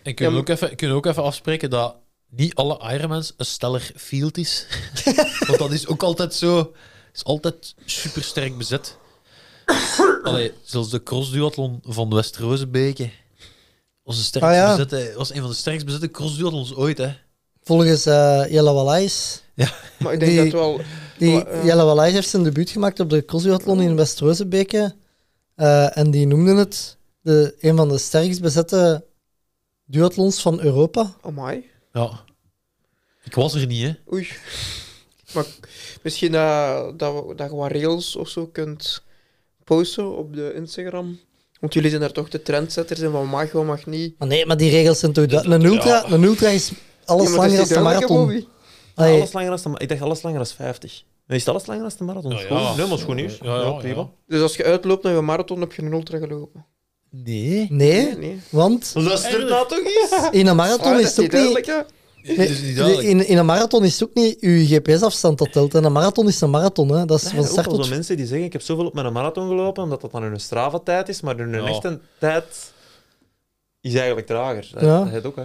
En kunnen, we ook even, kunnen we ook even afspreken dat niet alle Ironmans een steller field is. Want dat is ook altijd zo. is altijd super sterk bezet. Allee, zelfs de crossduathlon van West-Rozenbeke. Onze sterkst
Ah, ja.
bezette, was een van de sterkst bezette crossduathlons ooit, hè.
Volgens eh Jelle Wallais.
Maar ik denk
Die-
dat wel...
Die,
Maar, eh,
Jelle Wallais heeft zijn debuut gemaakt op de crossduathlon in West-Rozenbeke Eh, en die noemde het de, een van de sterkst bezette duathlons van Europa.
Amai.
Ja. Ik was er niet, hè.
Oei. Maar misschien eh, dat, we- dat je wat rails of zo kunt posten op de Instagram. Want jullie zijn daar toch de trendsetters in. Wat mag, wat mag niet.
Maar nee, maar die regels zijn toch... du- Een ultra, een ultra is alles
Ja, maar dat is
langer dan
niet
de
duidelijk, hè,
marathon.
Bobby?
Allee,
Alles langer als de, ma- ik dacht alles langer als 50. Dan is het alles langer als de marathon.
Ja,
Ja,
ja.
Nee, maar is goed nieuws.
Ja, ja, ja.
Dus als je uitloopt naar een marathon, heb je een ultra gelopen.
Nee.
nee,
nee.
want
Luister nou toch eens.
in een
Ah,
marathon
dat
is
is
het ook
niet duidelijk,
niet...
hè?
Het is Dus niet
Nee,
duidelijk.
in, in een marathon is het ook niet uw GPS-afstand dat telt. En een marathon is een marathon, hè. Dat is
Er
van
zijn
start
ook al
tot...
zo mensen die zeggen, ik heb zoveel op mijn marathon gelopen, omdat dat dan hun Strava-tijd is, maar hun
Ja.
echte tijd is eigenlijk trager. Dat,
Ja.
dat heet ook, hè.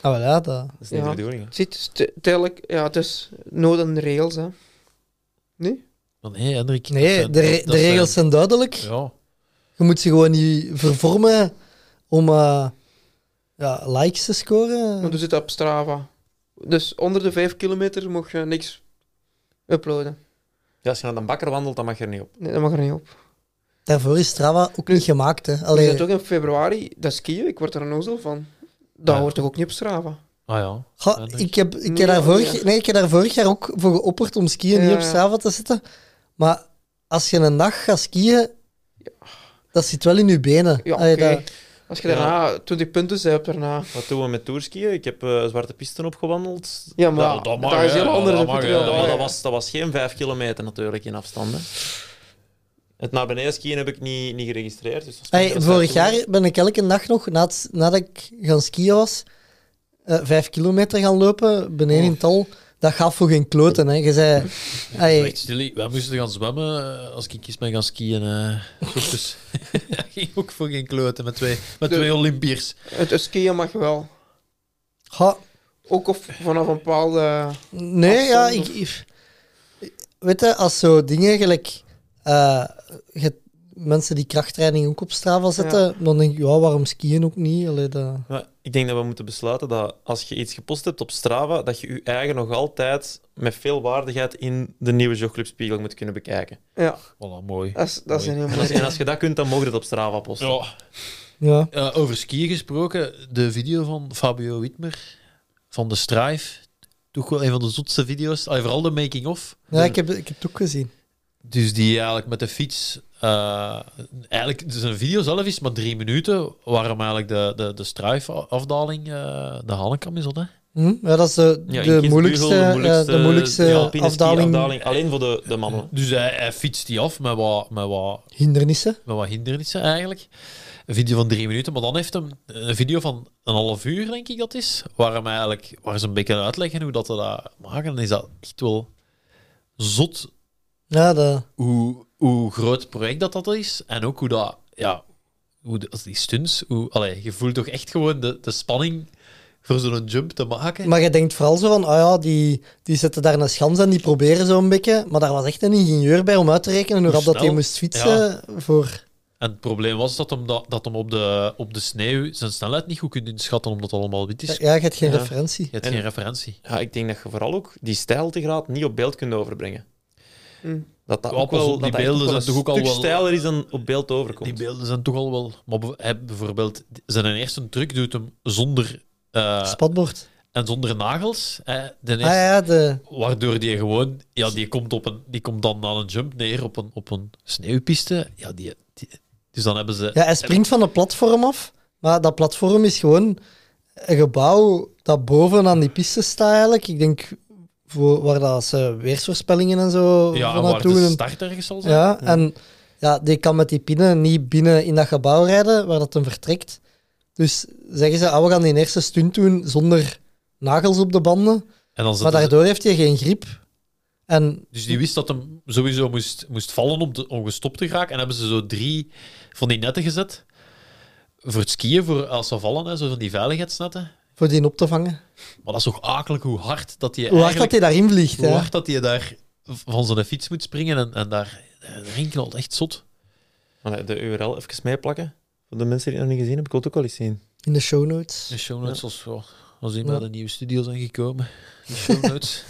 Ah, wel, ja, dat...
Dat is niet
Ja.
de bedoeling, hè.
Ziet, het is duidelijk, ja, het is nood aan rails, hè.
Maar Nee, Hendrik. dat
Nee,
zijn-
de, re-
dat
de regels
zijn-
zijn duidelijk.
Ja.
Je moet ze gewoon niet vervormen om eh, ja, likes te scoren.
Maar er zit dat op Strava. Dus onder de 5 kilometer mag je niks uploaden.
Ja, als je naar de bakker wandelt, dan mag je er niet op.
Nee, dat mag er niet op.
Daarvoor is Strava ook niet gemaakt, hè.
We
Allee,
zitten ook in februari, dat skiën, ik word er een ozel van. Dat
Ja.
hoort toch ook niet op Strava?
Ah ja.
Goh,
Ja, denk
ik, heb, ik,
Nee,
heb daar
nee.
vorig, nee, ik heb daar vorig jaar ook voor geopperd om skiën niet
Ja.
op Strava te zetten. Maar als je een dag gaat skiën, dat zit wel in je benen.
Ja, oké.
Allee, dat-
Als je daarna 20 punten hebt daarna.
Wat doen we met tourskiën? Ik heb eh, zwarte pisten opgewandeld.
Ja, maar
dat
dat,
mag,
is
hè.
heel
Dat
anders.
mag,
dat vind ik
hè.
wel.
Ja, maar
ja.
dat was, dat was geen vijf kilometer natuurlijk in afstanden. Het naar beneden skiën heb ik niet, niet geregistreerd. Dus dat is
Hey,
minder dan
vorig
vijf
jaar ben ik elke dag nog, na het- nadat ik gaan skiën was, eh, vijf kilometer gaan lopen,
Oh.
beneden in het al. Dat gaf voor geen kloten. Hè. Je zei, hey,
Echt, jullie, wij moesten gaan zwemmen eh, als ik kies ben gaan skiën. eh, Dus dat ging ook voor geen kloten met twee, met
De-
twee Olympiërs.
Het het skiën mag wel.
"Goh,
Ook of vanaf een bepaalde...
Nee, ja, ik,
Afstand
ik- Weet je, als zo dingen gelijk... eh, je- mensen die krachttraining ook op Strava zetten, dan denk ik, ja, waarom skiën ook niet? Allee, dat...
Maar ik denk dat we moeten besluiten dat als je iets gepost hebt op Strava, dat je je eigen nog altijd met veel waardigheid in de nieuwe Jogclub Spiegel moet kunnen bekijken.
Ja,
Voilà, mooi.
dat is, dat is een heel mooi.
En als je dat kunt, dan mogen we dat op Strava posten.
Ja.
Ja.
Eh, over skiën gesproken, de video van Fabio Witmer van de Strive. Toch wel een van de zotste video's. Ah, vooral de making-of.
ja, ik heb, ik heb het ook gezien.
Dus die eigenlijk met de fiets eh, eigenlijk, zijn video zelf is maar drie minuten, waarom eigenlijk de, de, de struifafdaling eh, de Hannekam is, dat, hè?
Hm? Ja, dat is de,
Ja, in
de,
Kitzbühel,
moeilijkste, eh, de moeilijkste,
de alpine
afdaling.
skiafdaling, Alleen voor de, de mannen.
Dus hij, hij fietst die af met wat, met, wat,
Hindernissen.
met wat hindernissen eigenlijk. Een video van drie minuten, maar dan heeft hem een video van een half uur, denk ik dat is, waar, hem eigenlijk, waar ze een beetje uitleggen hoe dat ze dat maken. Dan is dat echt wel zot
Ja, dat,
hoe, hoe groot project dat, dat is. En ook hoe dat, ja, hoe de- als die stunts, hoe, allee, je voelt toch echt gewoon de, de spanning voor zo'n jump te maken.
maar je denkt vooral zo van, ah ja, die, die zetten daar een schans en die proberen zo'n beetje. Maar daar was echt een ingenieur bij om uit te rekenen hoe
Hoe
rap dat hij
snel?
moest fietsen voor...
en het probleem was dat hem, dat, dat hem op, de, op de sneeuw zijn snelheid niet goed kunt inschatten, omdat het allemaal wit is.
Ja, je hebt geen
Ja.
referentie.
Je hebt
En-
geen referentie.
Ja, ik denk dat je vooral ook die stijltegraad niet op beeld kunt overbrengen.
Hm.
Dat dat
Ja,
ook
pas
wel,
op,
dat
die
dat echt
beelden
wel
zijn toch ook al
een stuk
wel-
stijler is dan op beeld overkomt.
Die beelden zijn toch al wel... Maar bijv- hij bijvoorbeeld, zijn eerste truc doet hem zonder... eh,
Spatbord.
en zonder nagels. hè. de
Ah
eerste,
ja, de,
Waardoor die gewoon... Ja, die komt, op een, die komt dan aan een jump neer op een, op een sneeuwpiste. Ja, die, die- dus dan hebben ze...
ja, hij springt van een platform af, maar dat platform is gewoon een gebouw dat boven aan die piste staat eigenlijk. Ik denk voor, waar dat ze weersvoorspellingen en zo
Ja, en
van
waar
naartoe
de
doen.
start ergens zal zijn.
Ja, en ja, die kan met die pinnen niet binnen in dat gebouw rijden waar dat hem vertrekt. Dus zeggen ze, ah, we gaan die eerste stunt doen zonder nagels op de banden.
En dan zetten
Maar
ze-
daardoor heeft hij geen griep. En
Dus die wist dat hem sowieso moest, moest vallen om, te, om gestopt te geraken. En hebben ze zo drie van die netten gezet. Voor het skiën, voor als ze vallen, hè, zo van die veiligheidsnetten.
voor die op te vangen.
Maar dat is toch akelig hoe hard dat hij
Hoe hard dat hij daarin vliegt.
hoe
hè.
hard dat hij daar van zijn fiets moet springen en, en daar eh, erin knalt. Echt zot.
Maar De URL even meeplakken. Voor de mensen die het nog niet gezien hebben, ik wil het ook wel eens zien.
In de show notes.
De show notes, als, we- als die
Ja.
bij de nieuwe studio zijn gekomen. De show notes.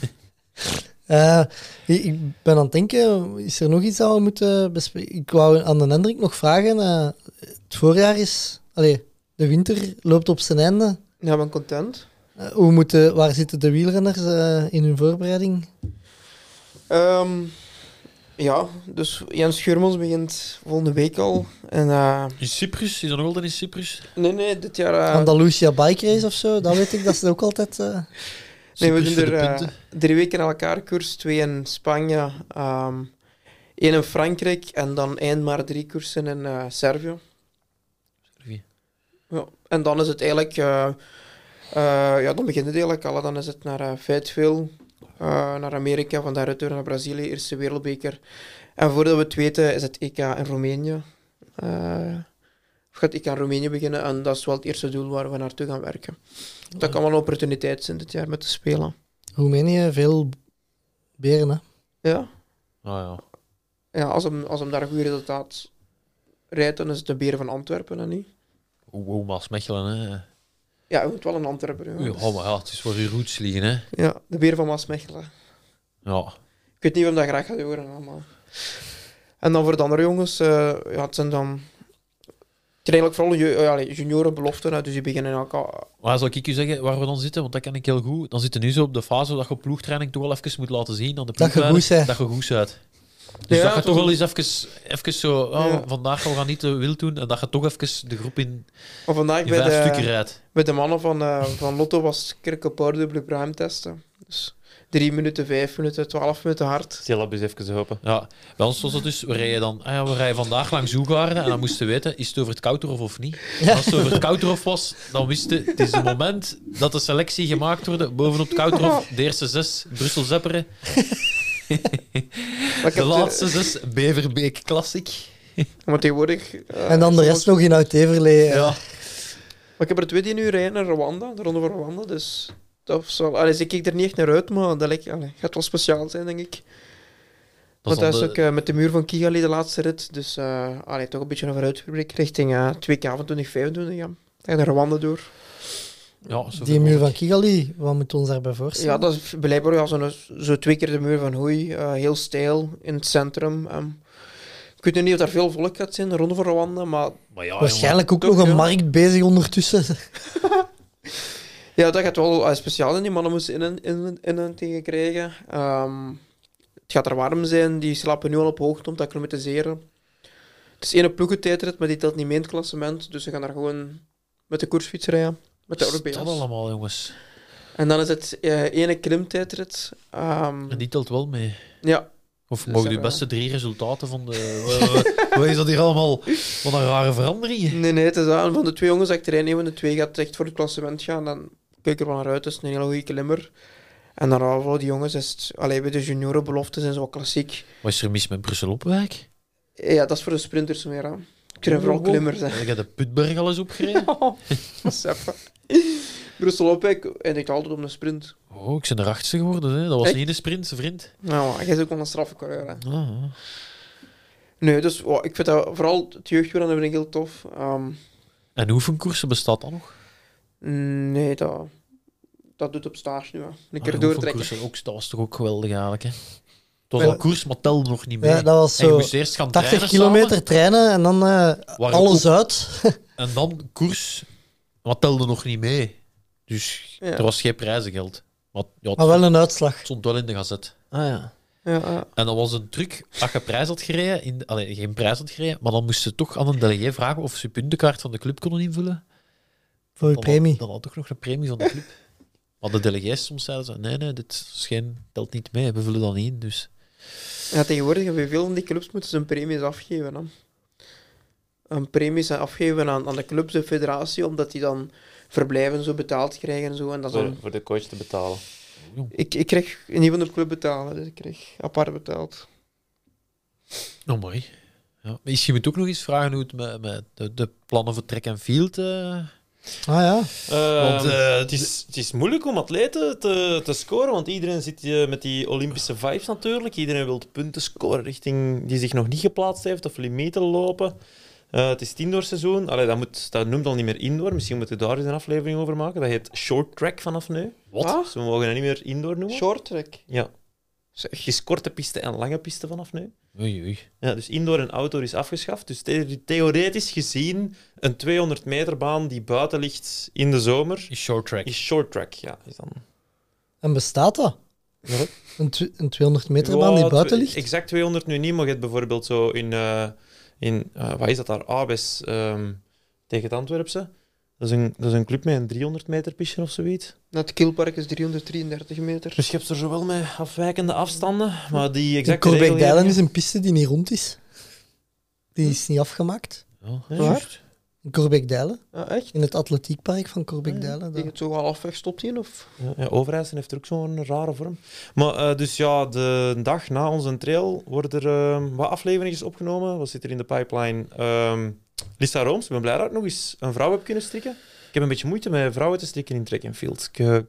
Eh, ik, ik ben aan het denken, is er nog iets dat we moeten bespreken? Ik wou aan de Hendrik nog vragen. eh, het voorjaar is... Allee, de winter loopt op zijn einde.
Ja, ik ben content.
Eh, hoe moeten, waar zitten de wielrenners eh, in hun voorbereiding?
Ehm, ja, dus Jens Schurmans begint volgende week al. En, eh,
in Cyprus, is dat nog altijd in Cyprus?
nee, nee, dit jaar... eh,
Andalusia Bike Race of zo, dat weet ik. Dat is ook altijd... eh,
nee,
Cyprus
we doen
voor
er
de
eh,
punten.
drie weken aan elkaar koers. Twee in Spanje, ehm één in Frankrijk en dan eind maar drie koersen in eh, Servië.
Servië.
Ja, en dan is het eigenlijk... eh, eh, ja, dan begint het eigenlijk al. hè. Dan is het naar eh, Fayetteville, eh, naar Amerika, van daaruit door naar Brazilië, Eerste Wereldbeker. En voordat we het weten is het EK in Roemenië. Eh, of gaat het EK in Roemenië beginnen en dat is wel het eerste doel waar we naartoe gaan werken. Dat kan wel een opportuniteit zijn dit jaar met te spelen.
Roemenië, veel beren, hè.
Eh, Ja,
Ah, ja.
ja als, hem, als hem daar een goed resultaat rijdt, dan is het de beren van Antwerpen en niet.
Wow, Maas Mechelen, hè.
Ja, je moet wel een Antwerpen. Ja, Dus
Ja, maar ja, het is waar je roots liggen, hè.
ja de beren van Maasmechelen.
Ja.
Ik weet niet of dat graag gaat horen allemaal. En dan voor de andere jongens, eh, ja, het zijn dan... Het zijn eigenlijk vooral ju- ja, allee, juniorenbeloften, hè, dus die beginnen elkaar...
Maar zou ik je zeggen waar we dan zitten? Want dat ken ik heel goed. Dan zitten we nu zo op de fase dat je op ploegtraining toch wel even moet laten zien aan de
Dat je
ploegleider
goed bent.
dat je goed bent. Dus
Ja,
dat je
dat
toch
is-
wel eens even, even zo... Oh,
Ja.
Vandaag gaan we gaan niet te wild doen. En dat je toch even de groep in,
Maar vandaag
in
bij
vijf stukken
de,
rijdt.
bij de mannen van, eh, van Lotto was Kirkelpoor dubbele prime testen. Dus drie minuten, vijf minuten, twaalf minuten hard.
Syllabus even open.
Ja. Bij ons was dat dus... We rijden, dan, ah ja, we rijden vandaag langs Hoegaarden. En dan moesten we weten, is het over het Kouterhof of niet? En als het over het Kouterhof was, dan wisten het is het moment dat de selectie gemaakt wordt. Bovenop het Kouterhof, de eerste zes, Brussel-Zepperen.
Maar ik
De
heb de-
laatste zes, Beverbeek Classic.
Maar tegenwoordig... eh,
En dan de rest nog in Oud-Everlee. eh.
Ja.
Maar ik heb er twee die nu rijden naar Rwanda, de Ronde van Rwanda, dus... Dat is wel... Allee, ik kijk er niet echt naar uit, maar dat lijkt... allee, gaat wel speciaal zijn, denk ik.
Dat
Want dat
is
is
dan
ook
de-
eh, met de muur van Kigali de laatste rit. Dus eh, allee, toch een beetje een vooruitblik richting eh 2K van 2025. Ja. En naar Rwanda door.
ja, zo
Die muur van Kigali, wat moet ons daarbij voorstellen?
Ja, dat is blijkbaar ja, zo'n- zo, twee keer de muur van Hoei. eh, heel steil in het centrum. ehm. ik weet nu niet of daar veel volk gaat zijn, de Ronde van Rwanda. Maar
Maar ja,
Waarschijnlijk ook
Toch,
nog een
Ah, ja.
markt bezig ondertussen.
ja, dat gaat wel eh, speciaal zijn. Die mannen moesten in, in, in, in tegen krijgen. Ehm, het gaat er warm zijn. Die slapen nu al op hoogte om te acclimatiseren. Het is één ploegentijdrit, maar die telt niet mee in het klassement. Dus ze gaan daar gewoon met de koersfiets rijden. Met de
Dat
RBS.
allemaal, jongens.
Mm. En dan is het eh, ene klimtijdrit. ehm,
En die telt wel mee.
ja,
Of
Dus
mogen
dat
de
wel.
beste drie resultaten van de... Wat- Wat is dat hier allemaal? Wat een rare verandering.
nee, nee, het is aan. Van de twee jongens dat ik erin neem, van de twee gaat echt voor het klassement gaan. Dan kijk ik er wel naar uit. Dat is een hele goede klimmer. En daarna voor die jongens is het... Allee, bij de juniorenbeloften zijn ze wat klassiek.
Wat is er mis met Brussel-Opwijk?
Ja, dat is voor de sprinters meer aan. Ik zijn vooral klimmers, hè.
Ik heb de Putberg al eens opgereden.
Seffen. Brussel-Opwijk eindigt altijd op een sprint.
Oh, ik ben de achtste geworden. Hè. Dat was
Echt?
niet een sprint, ze vriend.
Nou, hij is ook wel een straffe coureur, hè.
Ah, ah.
Nee, dus wow, ik vind dat vooral het jeugdwielrennen vind ik heel tof. Ehm,
En oefenkoersen bestaat dat nog?
nee, dat, dat doet op stage nu. Hè. Een keer
Ah,
doortrekken.
oefenkoersen Ook, dat was toch ook geweldig eigenlijk, hè? Het was
Ja.
al koers, maar telde nog niet mee.
Ja, dat was
en je
zo
moest eerst gaan
80
trainen
kilometer
samen,
trainen en dan eh,
waar je
alles uit.
En dan koers, maar telde nog niet mee. Dus
Ja.
er was geen prijzengeld. Maar ja, het
Maar wel een uitslag.
stond- stond wel in de gazet.
Ah ja.
Ja, ja.
En dat was een truc. Als je prijs had gereden, in de- allee, geen prijs had gereden, maar dan moest ze toch aan een delegé vragen of ze puntenkaart van de club konden invullen.
Voor je
Dan
premie.
Had, dan had toch nog een premie van de club. maar de delegés soms zeiden ze, nee, nee, dit is geen, telt niet mee, we vullen dat niet in. Dus
Ja, tegenwoordig hebben veel van die clubs moeten hun premies afgeven. Hè. Een premies zijn afgeven aan, aan de clubs, de federatie, omdat die dan verblijven zo betaald krijgen en zo. En dat is
Voor,
dan,
voor de coach te betalen.
ik, ik kreeg niet van de club betalen, dus ik kreeg apart betaald.
Oh, mooi. Ja. Misschien moet ik ook nog eens vragen hoe het met, met de, de plannen voor track en field. eh,
Ah ja.
Ehm,
Want, eh, het, is, het is moeilijk om atleten te, te scoren, want iedereen zit eh, met die Olympische vibes natuurlijk. Iedereen wil punten scoren richting die zich nog niet geplaatst heeft of limieten lopen. Eh, het is het indoorseizoen. Allee, dat, moet, dat noemt al niet meer indoor. Misschien moeten we daar eens een aflevering over maken. Dat heet short track vanaf nu.
Wat?
Dus we mogen dat niet meer indoor noemen.
Short track.
Ja.
Zeg.
Het is korte piste en lange piste vanaf nu.
Oei, oei.
Ja, dus indoor en outdoor is afgeschaft. Dus the- theoretisch gezien, een 200 meter baan die buiten ligt in de zomer,
Is short track.
is short track. Ja, is dan
En bestaat dat?
Ja.
Een, tw- een 200 meter baan die
Ja,
buiten
tw-
ligt?
Exact 200 nu niet, maar je hebt bijvoorbeeld zo in, eh in eh, wat is dat daar, Abes ehm, tegen het Antwerpse. Dat is, een, dat is een club met een 300 meter pisje of zoiets.
Naar het kielpark is 333 meter.
Dus je hebt er zowel met afwijkende afstanden, maar die
In
exacte
Corbeck
regelgeving-
Dylan is een piste die niet rond is. Die is niet afgemaakt.
Ja,
Ja,
juist.
juist.
In Corbeck Dylan,
Ah, echt?
in het atletiekpark van Corbeck Dylan.
Die het zo halfweg stopt in, of?
Ja, ja, Overijssel heeft er ook zo'n rare vorm. Maar eh, dus ja, de dag na onze trail worden er ehm, wat afleveringen opgenomen. Wat zit er in de pipeline? Ehm, Lisa Rooms, ik ben blij dat ik nog eens een vrouw heb kunnen strikken. Ik heb een beetje moeite met vrouwen te strikken in track and field. Ik, eh, maar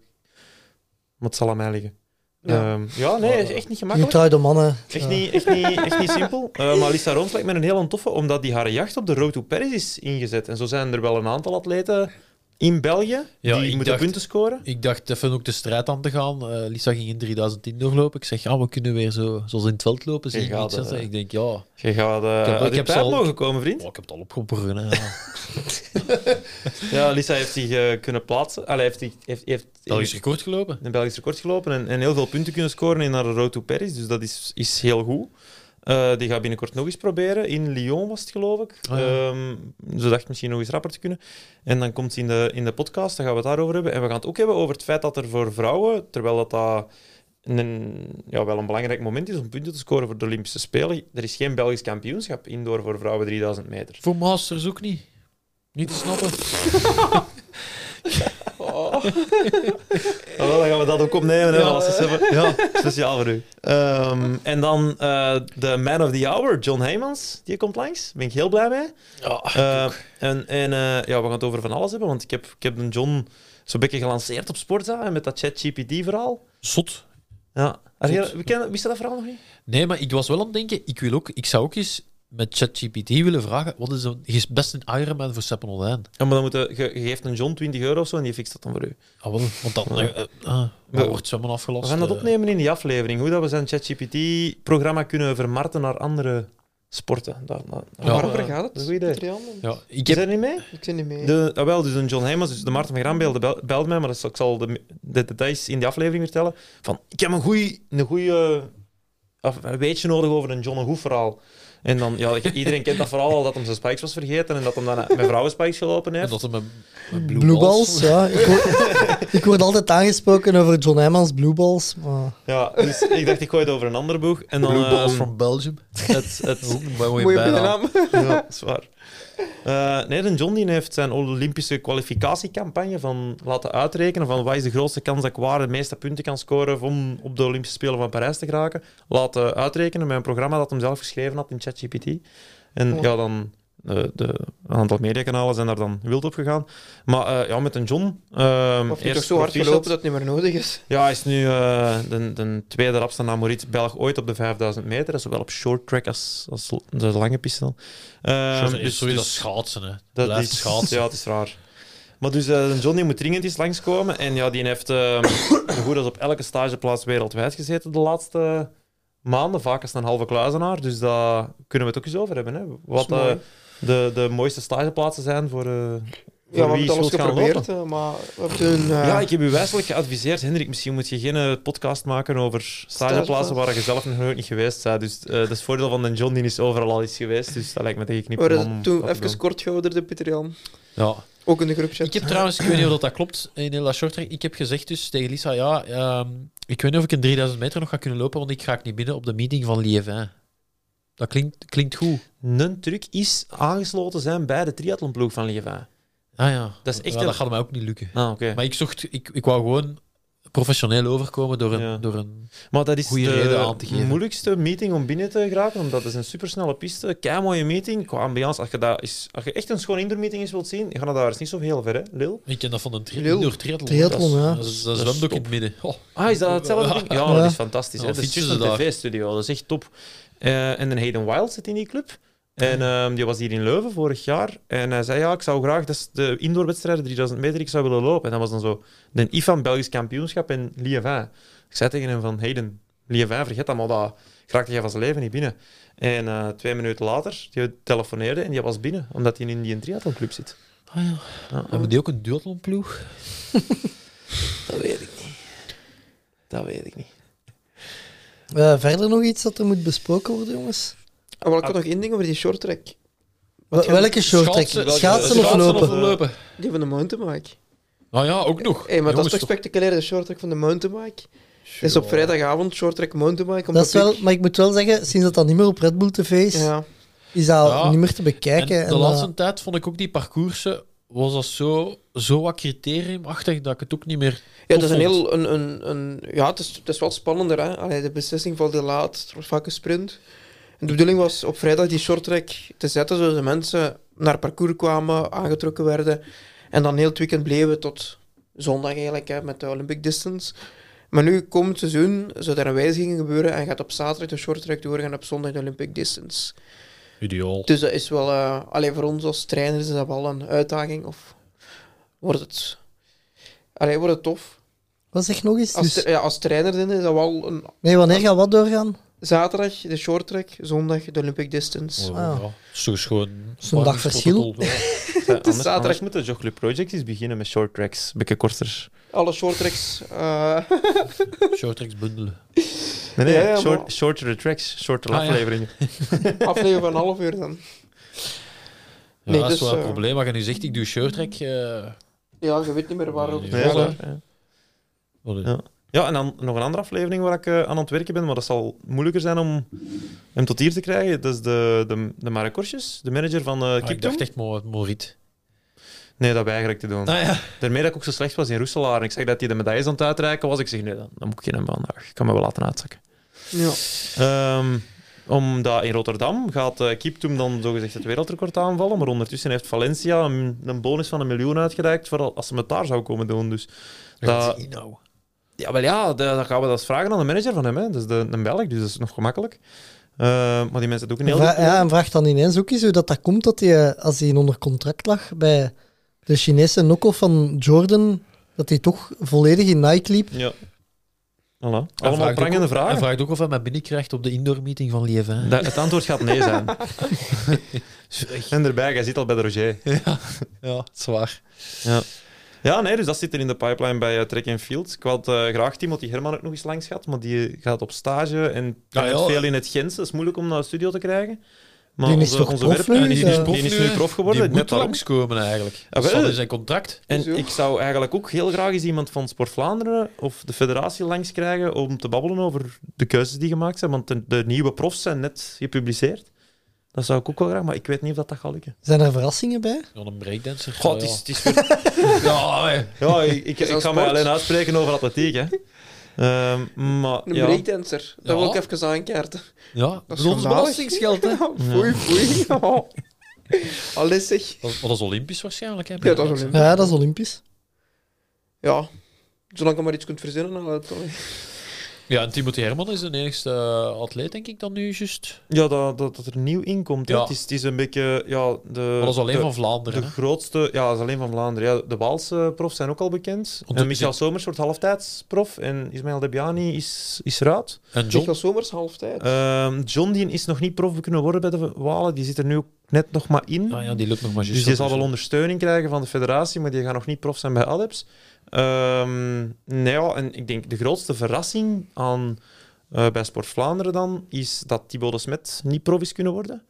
het zal aan mij liggen.
Ja.
Ja, ja nee, is echt niet
Die
gemakkelijk.
trouwde mannen. eh,
Echt
ja.
niet, echt niet, echt niet simpel. Eh, maar Lisa Rooms lijkt me een heel toffe, omdat die haar jacht op de Road to Paris is ingezet. En zo zijn er wel een aantal atleten in België
Ja, ik
die moeten
dacht-
punten scoren.
Ik dacht even ook de strijd aan te gaan. Eh, Lisa ging in 3010 doorlopen. Ik zeg, ja, we kunnen weer zo, zoals in het veld lopen. Zie
Je
ik
gaat,
niks aan
eh,
zeggen. Ik denk, ja, oh,
Je gaat
Ik heb-
eh
ik
uit je
heb ze
pijp
al-
mogen komen, vriend.
ik heb het al opgeborgen. hè. Ja.
Ja, Lisa heeft zich eh, kunnen plaatsen. Allee, heeft, zich- heeft, heeft,
Belgisch
heeft
record gelopen.
een Belgisch record gelopen en, en heel veel punten kunnen scoren in haar Road to Paris. Dus dat is, is heel goed. Eh, die gaat binnenkort nog eens proberen. In Lyon was het, geloof ik.
Ah, ja.
Ehm, ze dacht misschien nog eens rapper te kunnen. En dan komt ze in de, in de podcast, dan gaan we het daarover hebben. En we gaan het ook hebben over het feit dat er voor vrouwen, terwijl dat, dat een, ja, wel een belangrijk moment is om punten te scoren voor de Olympische Spelen, er is geen Belgisch kampioenschap indoor voor vrouwen 3000 meter.
Voor Masters ook niet. Niet te snappen.
Ah, wel, dan gaan we dat ook opnemen, hè,
Ja.
als we het hebben. Speciaal voor u. Ehm, en dan eh, de man of the hour, John Heymans, die komt langs. Daar ben ik heel blij mee.
Ah, Ja,
Eh, en en eh, ja, we gaan het over van alles hebben, want ik heb, ik heb een John zo'n beetje gelanceerd op Sportza en met dat ChatGPT-verhaal.
zot.
Ja.
Goed.
We kennen, wist je dat verhaal nog niet?
Nee, maar ik was wel aan het denken, ik, wil ook, ik zou ook eens met ChatGPT willen vragen, wat is een, je is best een Ironman voor Seppen Oldijn?
Ja, maar dan moet je, je- je geeft een John 20 euro of zo en die fixt dat dan voor u.
Ah, wel, want dan eh, eh, ah, dan wordt zwemmen afgelast.
We gaan dat
eh.
opnemen in die aflevering, hoe dat we zijn ChatGPT-programma kunnen vermarkten naar andere sporten. Dat, dat,
Ja.
Waarover gaat het?
Dat is een goed idee.
Triathlon?
Ja, ik
Is
heb
dat niet mee?
Ik zit niet mee.
De, ah, wel, dus een John Heymans, dus de Maarten van Graanbeelde bel- belt mij, maar dat zal, ik zal de, de details in die aflevering vertellen. Van, ik heb een goeie, een goeie eh, af- een weetje nodig over een John, een goed verhaal. En dan, ja, iedereen kent dat vooral al, dat hij zijn spikes was vergeten en dat hij dan met vrouwen spikes gelopen
En
heeft.
dat hem een, een blue,
Blue
balls.
balls, ja. Ik word, ik word altijd aangesproken over John Emmons blue balls. Maar
Ja, dus ik dacht, ik gooi het over een andere boeg. En dan,
Blue balls
ehm,
from Belgium.
het, het,
Ook een mooie
Mooie
bijnaam.
bijnaam.
ja, zwaar. Eh nee, de John die heeft zijn Olympische kwalificatiecampagne van laten uitrekenen van wat is de grootste kans dat ik waar de meeste punten kan scoren om op de Olympische Spelen van Parijs te geraken. Laten uitrekenen met een programma dat hem zelf geschreven had in ChatGPT. En ja, dan... eh, de, een aantal mediakanalen zijn daar dan wild op gegaan. Maar eh, ja, met een John... ehm,
Of niet
eerst
toch zo hard
proficiat.
gelopen dat het niet meer nodig is.
Ja, hij is nu eh, de, de tweede rapste Namorit Belg ooit op de 5000 meter. Zowel op short track als, als de lange piste. Ehm,
Short- is sowieso schaatsen, hè.
dat
Blijft
is,
schaatsen.
Ja, het is raar. Maar dus eh, Johnny moet dringend eens langskomen. En ja, die heeft eh, zo goed als op elke stageplaats wereldwijd gezeten de laatste maanden. Vaak is het een halve kluizenaar. Dus daar kunnen we het ook eens over hebben. Hè? Wat
Dat is
eh,
mooi.
de, de mooiste stageplaatsen zijn voor, eh voor
Ja, we
wie
hebben het alles
wilt gaan lopen.
geprobeerd, eh, maar we hebben toen... eh,
Ja, ik heb u wijselijk geadviseerd, Hendrik. Misschien moet je geen eh, podcast maken over stageplaatsen waar je zelf nog nooit niet geweest bent. Dus eh, dat is het voordeel van Den John, die is overal al iets geweest. Dus dat lijkt me
we
tegenknipt.
Oh,
hadden toen even kort gehouden, de Pieter Jan.
Ja.
Ook in de groepchat.
Ik heb trouwens, ik weet niet of dat klopt, in heel dat short track, ik heb gezegd dus tegen Lisa, ja, ehm, ik weet niet of ik een 3000 meter nog ga kunnen lopen, want ik ga ik niet binnen op de meeting van Lievin. Dat klinkt, klinkt goed.
Een truc is aangesloten zijn bij de triathlonploeg van Lieva.
Ah ja,
Dat is echt
Ja,
een-
dat gaat mij ook niet lukken.
Ah, oké.
Maar ik zocht, ik, ik wou gewoon professioneel overkomen door een,
Ja.
door een
Maar dat is
Goeie reden aan te
de
geven.
moeilijkste meeting om binnen te geraken, omdat het is een supersnelle piste, kei mooie meeting. Qua ambiance, als je, dat is, als je echt een schoon indoor meeting eens wilt zien, je gaat dat daar eens niet zo heel ver, hè, Lil?
ik ken dat van een tri
Lil.
door triathlon.
Triathlon, ja.
dat is, dat is, dat is
Dat is
zwemdoek in
top.
het midden. Oh,
Ah, is dat hetzelfde
Ja.
ding? Ja, dat
Ja.
is fantastisch. hè.
Ja,
dat is
fietsen
juist
ze
een
daar.
tv-studio, dat is echt top. Eh, en een Hayden Wild zit in die club. En ehm, die was hier in Leuven vorig jaar. En hij zei, ja, ik zou graag, dat is de indoorwedstrijden, 3000 meter, ik zou willen lopen. En dat was dan zo de IFAN Belgisch kampioenschap in Liévin. Ik zei tegen hem van, Hayden, Liévin, vergeet dat maar, dat raakte jij van zijn leven niet binnen. En eh, twee minuten later, die telefoneerde en die was binnen, omdat hij in die triathlonclub zit.
ah, ja.
Ja,
Hebben die ook een duathlonploeg?
dat weet ik niet. Dat weet ik niet.
eh, verder nog iets dat er moet besproken worden, jongens?
Ah, maar ik had nog één ding over die short track.
Wel- Welke short track?
Schaatsen.
Schaatsen, of
Schaatsen of
lopen?
lopen?
Die van de mountainbike.
Nou ja, ook nog.
Hé, maar dat is
Jongens,
toch spectaculair, de short track van de mountainbike? Dat is op vrijdagavond short track mountainbike. om
Dat
de
is wel,
piek.
maar ik moet wel zeggen, sinds dat dat niet meer op Red Bull TV is,
Ja,
is dat
Ja.
niet meer te
En
bekijken.
de
En,
laatste
eh,
tijd vond ik ook die parcoursen was dat zo, zo wat criteriumachtig dat ik het ook niet meer.
ja dat is een
vond.
heel... Een, een, een, ja, het is, het is wel spannender. Hè? Allee, de beslissing valt heel laat. Het wordt vaak een sprint. En de bedoeling was op vrijdag die short track te zetten, zodat de mensen naar parcours kwamen, aangetrokken werden. En dan heel het weekend bleven tot zondag eigenlijk, hè, met de Olympic Distance. Maar nu, komend seizoen, zou er een wijziging gebeuren en gaat op zaterdag de short track doorgaan en op zondag de Olympic Distance.
Ideaal.
Dus dat is wel, eh alleen voor ons als trainers is dat wel een uitdaging. Of wordt het, allee, wordt het tof?
Wat zeg nog eens?
Als,
Dus-
tra- ja, als trainer zijn is dat wel een
nee, wanneer gaat wat doorgaan?
zaterdag de short track, zondag de Olympic distance.
Oh,
Ah.
ja. Zo schoon.
Zo'n dag verschil.
Het is
zaterdag.
Anders moet de Jogclub Project eens beginnen met short tracks. Beetje korter.
Alle short tracks. eh,
oh. Shorttracks bundelen.
Nee, nee,
Ja, ja,
short,
maar-
shortere tracks, shortere
Ah, ja.
afleveringen.
aflevering van een half uur dan.
Ja,
Nee,
dat is
dus,
wel een
eh,
probleem. Maar je nu zegt, ik doe shorttrack. eh
Ja, je weet niet meer waarover het
Nee,
Ja,
gaat, hè.
waar, ja.
allee.
Ja. Ja, en dan nog een andere aflevering waar ik eh, aan het werken ben, maar dat zal moeilijker zijn om hem tot hier te krijgen. Dat is de, de, de Marek Korsjes, de manager van eh
Ah, ik
Kiptoon.
dacht echt Mo- Morit.
Nee, dat weigerde ik te doen.
Ah ja.
Daarmee dat ik ook zo slecht was in Roeselaar en ik zag dat hij de medailles aan het uitreiken was, ik zeg nee, dan, dan moet ik geen hebben vandaag. Ik kan me wel laten uitzakken.
Ja.
Ehm, omdat in Rotterdam gaat eh Kiptoom dan zogezegd het wereldrecord aanvallen. Maar ondertussen heeft Valencia een, een bonus van een miljoen uitgereikt. Voor als ze het daar zou komen doen. Dus dat,
nou.
ja, wel ja, da- dan gaan we dat eens vragen aan de manager van hem. Hè. Dat is de, een Belg, dus dat is nog gemakkelijk. Eh, maar die mensen doen ook een heel
Vra-
goed-
ja, en vraag dan ineens ook eens hoe dat, dat komt dat hij, eh, als hij onder contract lag bij de Chinese knock-off van Jordan, dat hij toch volledig in Nike liep.
Ja. Voilà. Allemaal prangende
Hij
vragen.
vraagt ook of hij mij binnenkrijgt op de indoor meeting van Lievin.
Da- het antwoord gaat nee zijn. en erbij, jij zit al bij de Roger.
Ja, zwaar.
Ja, nee, dus dat zit er in de pipeline bij eh, Track and Field. Ik had eh, graag Timothy Herman ook nog eens langs gehad, maar die gaat op stage en
Ah, ja.
traint veel in het Gens. Dat is moeilijk om naar de studio te krijgen. Maar
Die is
onze,
toch
onze
prof
werper-
nu?
en die,
Ja.
eh, die is nu prof geworden.
Die
net
moet
daarom.
langskomen eigenlijk.
Ah,
Dat
wel.
staat in zijn contract.
En
Hoezo?
ik zou eigenlijk ook heel graag eens iemand van Sport Vlaanderen of de federatie langs krijgen om te babbelen over de keuzes die gemaakt zijn. Want de, de nieuwe profs zijn net gepubliceerd. Dat zou ik ook wel graag, maar ik weet niet of dat, dat gaat lukken.
Zijn er verrassingen bij?
Nog een breakdancer.
Goh,
Ja,
het is, het
ja.
is weer-
Ja, hè.
Ja, ik, ik,
Is dat
ik ga
sport?
mij alleen uitspreken over atletiek, hè. Ehm, maar,
Een
ja.
breakdancer. Dat wil
Ja.
ik even aankaarten.
ja.
Dat
Dat
is
is ons
schandalig.
belastingsgeld, hè.
Foei, foei. Oh. Alles zeg.
Dat, dat is Olympisch waarschijnlijk, hè.
Ja, dat is Olympisch.
Ja, dat is Olympisch.
Ja. Zolang je maar iets kunt verzinnen, dan gaat het wel.
Ja, en Timothy Herman is de enigste eh, atleet, denk ik, dan nu juist.
ja dat, dat, dat er nieuw inkomt. hè.
Ja.
Het, is, het is een beetje... Ja, de,
Maar dat is alleen
Eh, de,
van Vlaanderen,
De
hè.
grootste, ja, dat is alleen van Vlaanderen. Ja, de Waalse profs zijn ook al bekend.
Want
en
het-
Michael Somers wordt halftijdsprof. En Ismail Debiani is, is eruit.
En
Zeg
John,
wel zomers halftijd.
Ehm, John die is nog niet prof kunnen worden bij de Walen. Die zit er nu ook net nog maar in.
ah, ja, die lukt nog maar juist.
dus die
op,
zal wel ondersteuning krijgen van de federatie, maar die gaan nog niet prof zijn bij Adeps. Ehm nee, ja, en ik denk de grootste verrassing aan, eh, bij Sport Vlaanderen dan is dat Thibaut de Smet niet prof is kunnen worden.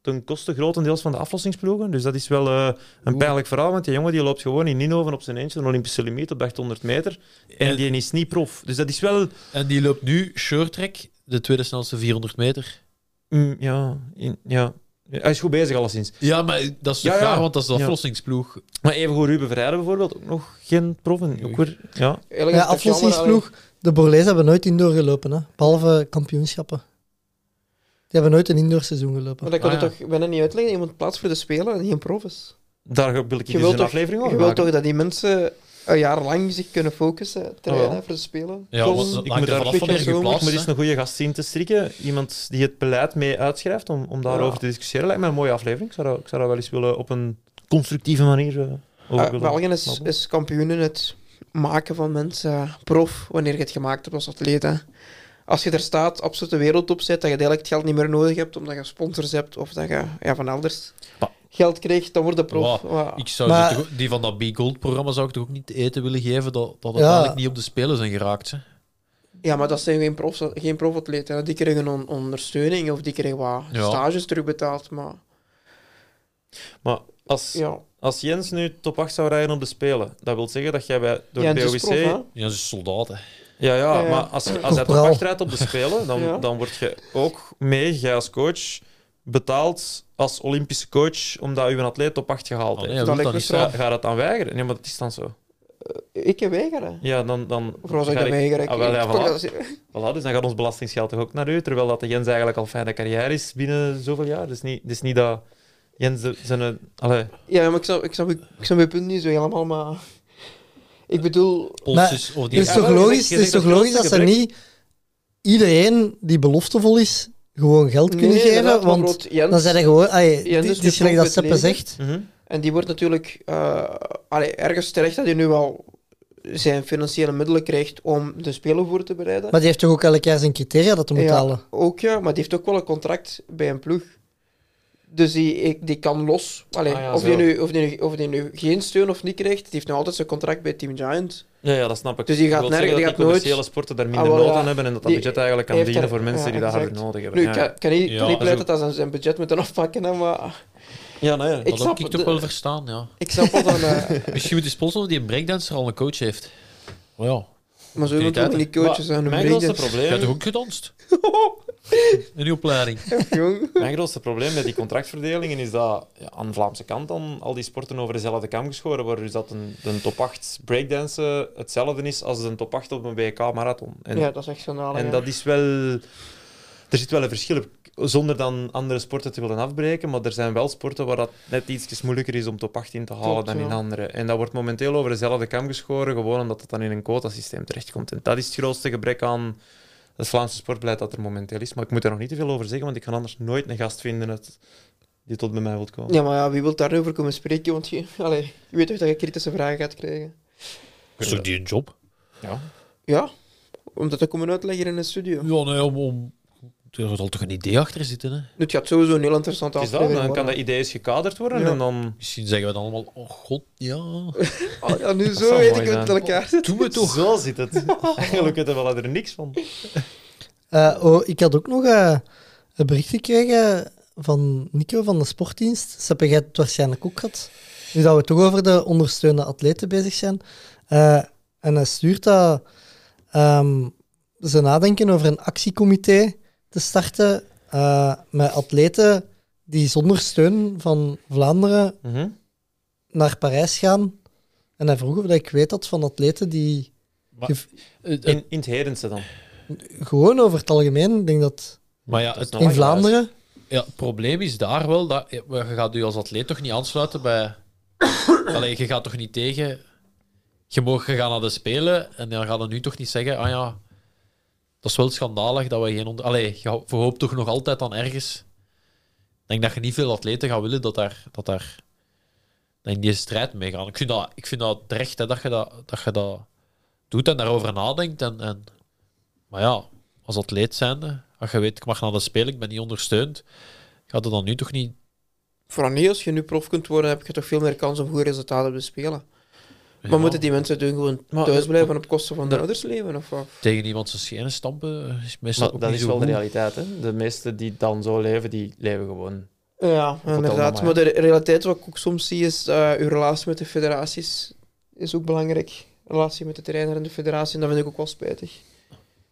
Ten koste grotendeels van de aflossingsploegen. Dus dat is wel eh, een pijnlijk verhaal, want die jongen die loopt gewoon in Ninhoven op zijn eentje, een Olympische limiet op de 800 meter. En
En-
die is niet prof. Dus dat is wel...
En die loopt nu shirttrack, de tweede snelste 400 meter.
mm, ja, in, ja, hij is goed bezig alleszins.
Ja, maar dat is toch
Ja, ja.
raar, want dat is de
Ja.
aflossingsploeg.
Maar even goed, Ruben Verheijden bijvoorbeeld, ook nog geen prof. en Ook weer, ja.
Ja,
Eigenlijk is het toch jammer,
aflossingsploeg. De Borlees hebben nooit indoor gelopen, hè. behalve kampioenschappen. Die hebben nooit een indoor seizoen
Maar
gelopen.
dat kan
Ah,
je
ja.
toch bijna niet uitleggen. Je moet plaats voor de Spelen en geen prof is.
Daar wil ik
Je
dus
wilt
een
toch-
aflevering
Je
over
wilt
maken.
toch dat die mensen een jaar lang zich kunnen focussen, trainen
Ah, wel.
voor de Spelen?
Ja,
Klopt.
want
Ik
dat
moet
hangt er
daar
vanaf van
pikken,
erg
zo,
geplaatst.
Ik moet eens een goede gast zien te strikken. Iemand die het beleid mee uitschrijft om, om daarover
Ja.
te discussiëren. Lijkt mij een mooie aflevering. Ik zou, dat- ik zou dat wel eens willen op een constructieve manier eh, over willen
Eh, België is,
babbelen.
is kampioen in het maken van mensen eh, prof wanneer je het gemaakt hebt als atleet. Hè. Als je er staat, absoluut de wereld op zet, dat je eigenlijk het geld niet meer nodig hebt omdat je sponsors hebt of dat je ja, van elders
Maar-
geld krijgt, dan word je prof.
Wow,
Wow.
Ik zou
Maar-
ze toch ook- die van dat Be Gold programma zou ik toch ook niet te eten willen geven dat, dat
Ja.
uiteindelijk niet op de spelen zijn geraakt. Hè?
Ja, maar dat zijn geen, profs, geen profatleten. hè. Die krijgen on- ondersteuning of die krijgen wat
Ja.
stages terugbetaald. Maar
Maar als,
ja,
als Jens nu top 8 zou rijden op de Spelen, dat wil zeggen dat jij bij, door
ja
de
het is
POWC...
prof, hè.
Ja, ze is soldaat. Hè.
Ja, ja,
Ja.
maar als, als hij toch
Corporaal.
achteruit op de Spelen, dan,
Ja.
dan word je ook mee, jij als coach, betaald als Olympische coach omdat je een atleet op 8 gehaald
Oh, nee, hij
heeft.
dat
wil
lijkt
dat
me
niet.
straf.
Ga, ga je dat dan weigeren? Nee, maar dat is dan zo.
Ik heb weigeren.
Ja, dan... dan
Vooral zou ik
ga
dat weigeren. Ik-
Ah, wel,
ik-
ja,
toch, dat
voilà.
is-
Voilà, dus dan gaat ons belastingsgeld toch ook naar u, terwijl dat de Jens eigenlijk al fijne carrière is binnen zoveel jaar. Dus niet, dus niet dat Jens de- zijn... eh, Allee,
Ja, maar ik snap, ik, snap, ik, snap je punt niet zo helemaal, maar... Ik bedoel...
Maar-
Polsjes of
Het
die
is toch
maar je
logisch,
zegt- je
het is
zegt
toch
dat
logisch dat
grootste
ze niet iedereen die beloftevol is, gewoon geld kunnen
nee, inderdaad,
geven.
maar
Want
brood, Jens,
dan zijn er gewoon... ai, het-
Jens is
het
nu
is gelijk
prof
dat Seppe
met leger.
zegt.
mhm.
En die wordt natuurlijk eh, allee, ergens terecht dat hij nu wel zijn financiële middelen krijgt om de Spelen voor te bereiden.
Maar die heeft toch ook elk jaar zijn criteria dat hij moet
Ja,
halen?
Ook ja, maar die heeft ook wel een contract bij een ploeg. Dus die, ik- die kan los. Allee,
Ah ja,
of, die
zo.
nu, of, die nu, of die nu geen steun of niet krijgt, die heeft nog altijd zijn contract bij Team Giant.
Ja, ja, dat snap ik.
Dus die
Ik
gaat
wil
nergens-
zeggen
die
dat
gaat nooit-
commerciële sporten daar minder
Ah, voilà.
nood aan hebben en dat dat
Die-
budget eigenlijk kan
heeft
dienen
daar-
voor mensen
ja,
die dat
exact.
harder nodig hebben.
Nu, ik
ja.
kan, kan
Ja,
niet, kan niet
dat is
pleiten
ook-
dat ze zijn budget moeten afpakken, hè, maar
ja, nou ja.
ik
Dat heb
snap,
ik toch
de-
wel verstaan, ja.
ik snap wel dat... eh,
Misschien moet die sponsor die een breakdancer al een coach heeft. Oh ja,
Maar zo moet ook
Activiteiten.
niet coaches
Maar
aan
mijn
een
grootste
break.
jij hebt toch
probleem,
ook gedanst? In die opleiding.
Jong.
mijn grootste probleem met die contractverdelingen is dat ja, aan de Vlaamse kant dan al die sporten over dezelfde kam geschoren worden. Dus dat een, de top 8 breakdansen hetzelfde is als een top 8 op een WK-marathon. En,
Ja, dat is echt schandalig.
en
hè.
dat is wel... Er zit wel een verschil op, zonder dan andere sporten te willen afbreken, maar er zijn wel sporten waar dat net iets moeilijker is om top 8 in te halen
Klopt,
dan in
ja.
andere. En dat wordt momenteel over dezelfde kam geschoren, gewoon omdat het dan in een quotasysteem terechtkomt. En dat is het grootste gebrek aan het Vlaamse sportbeleid dat er momenteel is. Maar ik moet er nog niet te veel over zeggen, want ik kan anders nooit een gast vinden uit- die tot bij mij wilt komen.
Ja, maar ja, wie wil daarover komen spreken? Want je, allee, je weet toch dat je kritische vragen gaat krijgen?
Dat is toch die een job?
Ja.
Ja, om dat te komen uitleggen in een studio.
Ja, nee, om... om er zal toch een idee achter zitten, hè?
Het gaat sowieso een heel interessant
Het is dat,
aflevering
dan kan dat
worden.
idee eens gekaderd worden
Ja.
en dan...
Misschien zeggen we dan allemaal, oh god, ja.
Ah, ja, nu zo
zou
weet
mooi
ik hoe het
zijn.
met elkaar zit.
Doe het toch.
Zo zit het. Eigenlijk weten we er niks van.
Eh, oh, ik had ook nog eh, een bericht gekregen van Nico van de sportdienst. Seppe, jij hebt het waarschijnlijk ook gehad. Nu dat we toch over de ondersteunde atleten bezig zijn. Eh, en hij stuurt dat ehm, ze nadenken over een actiecomité te starten eh, met atleten die zonder steun van Vlaanderen
Mhm.
naar Parijs gaan. En hij vroeg of dat ik weet had van atleten die
In, in het Herense dan.
gewoon over het algemeen, ik denk dat
Maar ja, het,
nog
in
lang
Vlaanderen,
ja, het probleem is daar wel dat je je gaat je als atleet toch niet aansluiten bij. Allee, je gaat toch niet tegen. Je mag je gaat naar de spelen en dan gaan we nu toch niet zeggen: ah ja, dat is wel schandalig dat we geen. Onder... Allee, je ho- je hoopt toch nog altijd aan ergens. Ik denk dat je niet veel atleten gaat willen dat daar. Dat daar dat in die strijd mee gaan. Ik vind dat, ik vind dat terecht hè, dat, je dat, dat je dat doet en daarover nadenkt. En, en... Maar ja, als atleet zijnde, als je weet, ik mag naar de spelen, ik ben niet ondersteund, gaat het dan nu toch niet...
Vooral niet als je nu prof kunt worden, heb je toch veel meer kans om goede resultaten te spelen.
Ja,
Maar moeten die mensen doen gewoon
Maar-
thuis blijven op kosten van hun ouders leven? Of wat?
Tegen iemand zijn schenen stampen is meestal
Maar
ook
dat
niet
is
zo
wel de
goed.
realiteit. Hè? De meesten die dan zo leven, die leven gewoon.
Eh, Ja,
allemaal,
inderdaad.
ja.
Maar de realiteit wat ik ook soms zie is, eh uw relatie met de federaties is ook belangrijk. Relatie met de trainer en de federatie, en dat vind ik ook wel spijtig.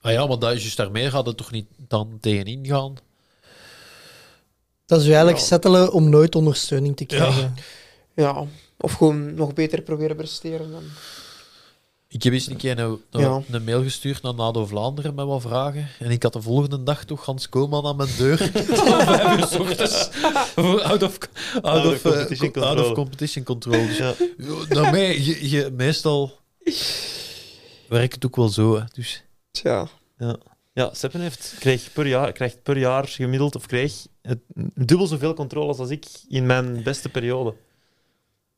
Ah ja, maar dat is juist daarmee gaat het toch niet dan tegenin gaan?
dat ze eigenlijk
Ja.
settelen om nooit ondersteuning te krijgen.
Ja, of gewoon nog beter proberen presteren. Dan.
Ik heb eens een keer een, een,
Ja.
een mail gestuurd naar NADO Vlaanderen met wat vragen. En ik had de volgende dag toch Hans Koolman aan mijn deur. om vijf uur 's ochtends. Voor Out of, out
Out of
of, eh,
competition
co- out
control.
of competition control. Dus
Ja.
ja, daarmee, je, je, meestal werkt het ook wel zo. Hè. Dus
Tja.
Ja, Seppen heeft, kreeg per jaar, krijgt per jaar gemiddeld, of kreeg het, dubbel zoveel controles als ik in mijn beste periode.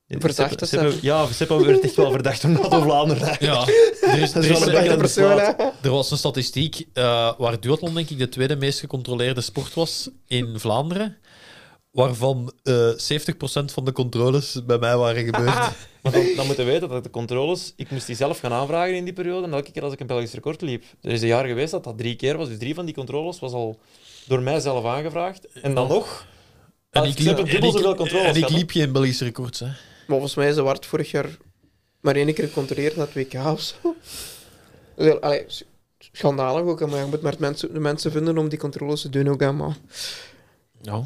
Verdachte
Seppen-
Seppen.
Ja, Seppen werd echt wel verdacht om dat Vlaanderen.
ja, er is,
Dat
er is
is wel een
een-
beetje-
Echte persoon, hè?
Er was een statistiek eh, waar duathlon denk ik de tweede meest gecontroleerde sport was in Vlaanderen. Waarvan eh 70% van de controles bij mij waren gebeurd.
Maar dan, dan moeten we weten dat de controles, ik moest die zelf gaan aanvragen in die periode. En elke keer als ik een Belgisch record liep. Er is een jaar geweest dat dat drie keer was. Dus drie van die controles was al door mij zelf aangevraagd. En dan nog.
En
had
ik liep, en
Seppen Ah, dubbel
ik-
zoveel controles.
en ik
gehad, hè.
liep geen Belgische records. Hè.
Maar volgens mij is de Ward vorig jaar maar één keer gecontroleerd naar het WK of zo. Dat is heel- allee, s- schandalig ook, hè, maar je moet maar het mensen, de mensen vinden om die controles te doen ook, hè, maar...
Ja,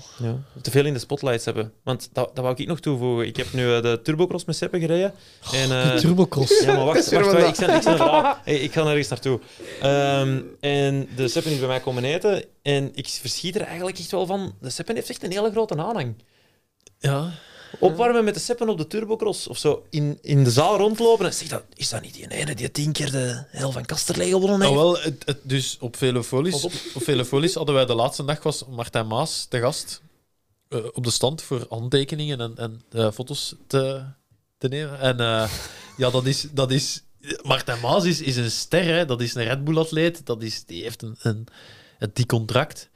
te veel in de spotlights hebben. Want dat, dat wou ik nog toevoegen. Ik heb nu eh, de turbocross met Seppe gereden. En, eh,
Turbocross.
ja, maar wacht,
Is er
wacht,
wel
wacht, ik, zet, ik, zet een verhaal. Hey, ik ga nergens naartoe. Ehm, en de Seppen is bij mij komen eten. En ik verschiet er eigenlijk echt wel van. De Seppen heeft echt een hele grote aanhang.
Ja.
Opwarmen met de Seppen op de turbocross of zo. In, in de zaal rondlopen. En zeg, dat, is dat niet die ene die tien keer de heel van Kasterlee gewonnen heeft?
Nou, wel, het, het- dus op Velofolies,
Pas op.
op Velofolies hadden wij de laatste dag was Martijn Maas te gast eh, op de stand voor handtekeningen en, en eh, foto's te, te nemen. En eh, ja, dat is, dat is. Martijn Maas is, is een ster, hè. dat is een Red Bull-atleet, dat is- die heeft een, een, het- die contract.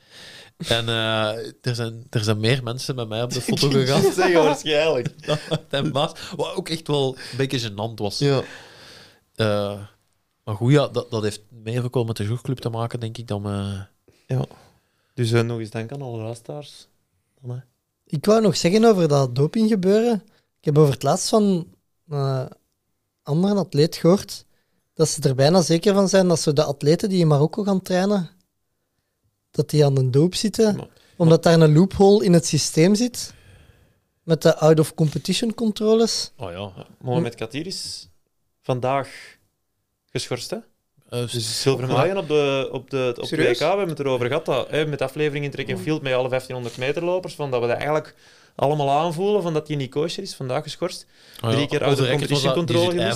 En eh, er, zijn, er zijn meer mensen met mij op de foto gegaan
Dat zeggen waarschijnlijk.
dan Martijn Maas, wat ook echt wel een beetje gênant was.
Ja.
Eh, maar goed, ja, dat, dat heeft meer ook wel met de joegclub te maken, denk ik, dan... eh,
Dus eh, nog eens dank aan alle luisteraars.
Ik wou nog zeggen over dat doping gebeuren. Ik heb over het laatst van eh andere atleet gehoord dat ze er bijna zeker van zijn dat ze de atleten die in Marokko gaan trainen, dat die aan de doop zitten.
Maar-
omdat daar een loophole in het systeem zit. Met de out-of-competition controles.
Oh ja.
Mohamed Katir is vandaag geschorst, hè?
Eh,
Dus zilveren medaille op de, op de op de WK.
Serieus?
We hebben het erover gehad, dat, hè, met de aflevering in Trek en Field met alle 1500 meterlopers, van dat we dat eigenlijk allemaal aanvoelen, van dat die niet kosher is, vandaag geschorst.
oh ja,
drie keer
op
out
de
of
record was
competition
dat, die
control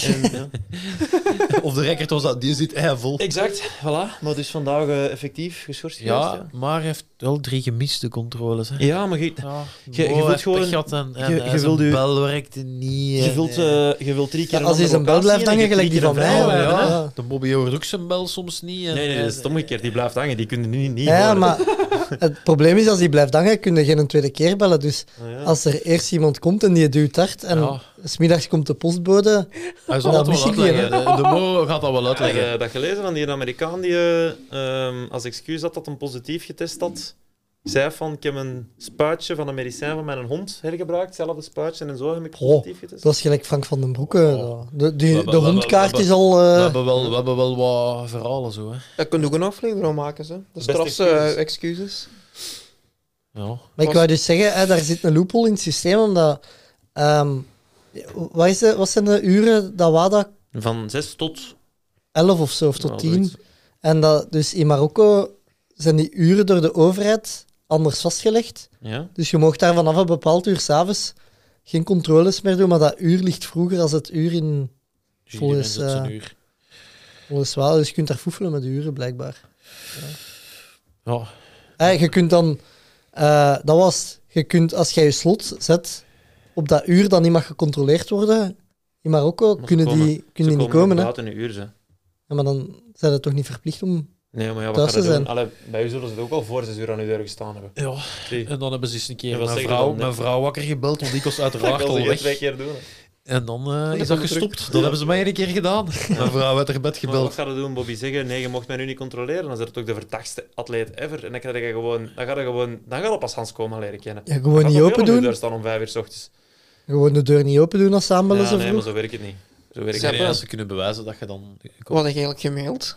zit
gemist.
eivol.
En, ja.
Op de record was dat, die zit eivol.
Exact, voilà. Maar dus vandaag eh, effectief geschorst geweest,
Ja, maar heeft wel drie gemiste controles, hè.
Ja, ja maar je,
Ja,
je
Bo
wilt
heeft
gewoon-
pech gehad en, en
je-
eh,
je
zijn
wilt u-
bel werkte niet.
je,
en,
wilt,
eh,
eh, je wilt drie keer
Ja, als
andere
hij zijn bel
locatie
blijft
en je
hangen, gelijk die
drie keer
van
een
mij.
vrouw.
ja,
ja,
ja.
ja.
De Bobby hoort ook zijn bel soms niet. en-
Nee, nee, dat is het omgekeerd. Die blijft hangen. Die kunnen nu niet
Ja,
horen.
maar het probleem is als die blijft hangen, kun je geen tweede keer bellen. Dus
Ah, ja.
als er eerst iemand komt en die duwt hard en
Ja.
smiddags komt de postbode,
Hij zal
Ja,
dat wel
misschien
uitleggen. De, de Mo gaat dat wel
Had
uitleggen.
eh, je dat gelezen van die Amerikaan die eh, ehm, als excuus had dat een positief getest had zei van, ik heb een spuitje van een medicijn van mijn hond hergebruikt, hetzelfde spuitje, en zo heb ik
Oh,
positief getest.
Dat is gelijk Frank van den Broeke. dat. De, die-
We hebben-
de
we
hondkaart
hebben-
is al...
We,
eh,
hebben wel, we hebben wel wat verhalen zo, hè.
Daar kunnen we ook een aflevering van maken. Ze. De
Beste
strafse
excuses.
eh, excuses.
Ja.
Maar ik wou dus zeggen, hè, daar zit een loophole in het systeem, omdat... ehm, wat, is de, wat zijn de uren dat WADA?
Van 6 tot...
11 of zo, of
Ja,
tot
zoiets.
10. En dat, dus in Marokko zijn die uren door de overheid anders vastgelegd.
Ja.
Dus je mag daar vanaf een bepaald uur s'avonds geen controles meer doen, maar dat uur ligt vroeger als het uur in Volgens,
Iedereen zet zijn
eh,
uur.
volgens WADA. Dus je kunt daar foefelen met de uren, blijkbaar.
Ja.
Hè, je kunt dan... eh, dat was het. Je kunt, als jij je slot zet op dat uur dat niet mag gecontroleerd worden in Marokko,
ze
kunnen
komen.
die,
Ze
kunnen die niet
ook
komen. Hè?
buiten een uur, ze.
Ja, maar dan zijn ze toch niet verplicht om...
Nee, maar ja, wat
Thuis
gaan we
te
doen?
zijn.
Allee, bij u zullen ze het ook al voor 6 uur aan uw deur gestaan hebben.
ja.
Drie.
En dan hebben ze eens een keer
En wat
mijn
zeg je
vrouw,
dan?
mijn vrouw wakker gebeld, want die was
Dat
uiteraard
oh,
kan
al
ze geen
weg.
twee keer doen. hè.
En dan eh,
dan
is dat
komt het terug.
gestopt. Dat hebben ze mij een keer gedaan. Mijn vrouw werd er bed
Maar wat
gebeld.
gaat het doen, Bobby? Zeggen, nee, je mocht mij nu niet controleren. Dan is dat toch de verdachtste atleet ever. En dan ga je gewoon... Dan ga je, gewoon, dan ga je pas Hans Koman leren kennen.
Ja, gewoon
Gaat
niet
toch heel
open
om uw
doen.
deur staan om 5 uur s ochtends.
Gewoon de deur niet open doen als ze aanbellen
Ja,
zo
nee,
vroeg.
maar zo werkt het niet. Zo werkt
Ik
het
denk
niet.
dat ze kunnen bewijzen dat je dan...
Wat had ik eigenlijk gemaild?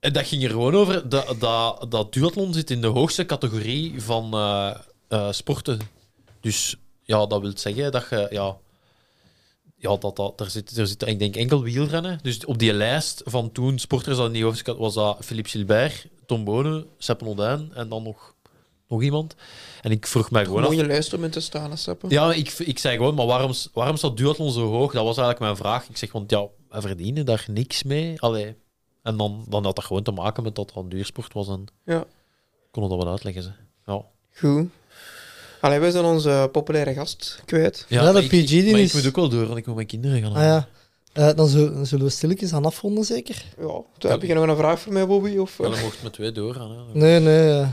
En dat ging er gewoon over dat, dat, dat duathlon zit in de hoogste categorie van eh, eh, sporten. Dus ja, dat wil zeggen dat je... Ja, ja dat, dat, er, zit, er zit, ik denk, enkel wielrennen. Dus op die lijst van toen sporters dat in die hoogste categorie was dat Philippe Gilbert, Tom Bonen, Sepp Nodijn en dan nog, nog iemand. En ik vroeg mij gewoon af...
Moet je luisteren om in te staan, hè, Seppe?
Ja, maar ik, ik zei gewoon, maar waarom, waarom staat duathlon zo hoog? Dat was eigenlijk mijn vraag. Ik zeg, want ja, we verdienen daar niks mee. Allee. En dan, dan had dat gewoon te maken met dat het een duursport was. En
Ja.
konden dat wel uitleggen, ze. Ja,
Goed. Allee, wij zijn onze populaire gast kwijt.
Ja, de
maar ik-
PG die
ik, maar ik
is-
moet ook wel door, want ik moet mijn kinderen gaan
Ah ja. Eh, dan zullen, dan zullen we stilletjes aan afronden, zeker?
Ja, daar heb je nog een vraag voor mij, Bobby? Of, eh,
halen. Ja, dan mocht met twee doorgaan. Hè.
Nee, nee. eh,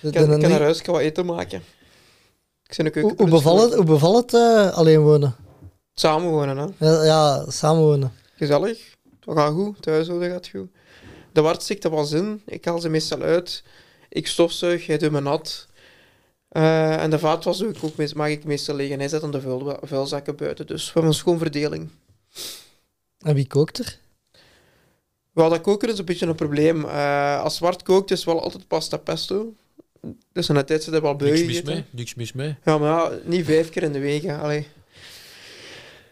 de-
ik kan,
de-
ik kan
nee.
naar huis, ik ga wat eten maken. Ik zit in de
Hoe,
keuken.
hoe bevalt het, hoe bevalt het eh, alleen wonen?
Samen wonen, hè.
Ja, ja, samen wonen.
Gezellig. Dat gaat goed. Thuishouden gaat goed. De wartziekte was in. Ik haal ze meestal uit. Ik stofzuig, hij doet me nat. Eh, en de vaat was ook, ook meest- mag ik meestal liggen. Hij zet dan de vuil, vuilzakken buiten. Dus we hebben een schoon verdeling.
En wie kookt er?
Wel, dat koken is een beetje een probleem. Eh, als zwart kookt is wel altijd pasta pesto. Dus aan de tijd zit er wel bij
Niks mis
gegeten.
mee, niks mis mee.
Ja, maar ja, niet vijf keer in de week. hè. Allee.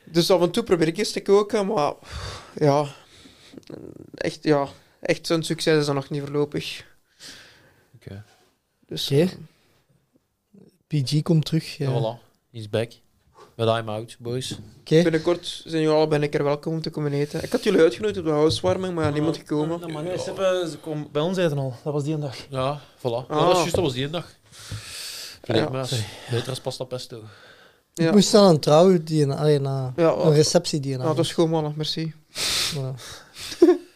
Dus af en toe probeer ik eens te koken, maar ja, echt, ja, echt zo'n succes is dat nog niet voorlopig.
Oké.
Dus
Oké. PG komt terug. eh.
Ja.
ja.
voilà, he's back. But I'm out, boys.
Oké.
binnenkort zijn jullie allebei een keer welkom om te komen eten. Ik had jullie uitgenodigd op de housewarming, maar niemand
Ah.
gekomen.
Maar nee, ze, hebben- ze komen bij ons eten al. Dat was die een dag.
Ja, voilà. Ja, dat
Ah.
was juist, dat was die ene dag. Vergeet
Ja.
me eens. Beter als pasta pesto.
Ja.
Ik moest aan een trouw die een, allee, na-
Ja,
een
wat-
receptie die een
nou, dat
avond.
is gewoon mannen, merci.
Ja. Ja,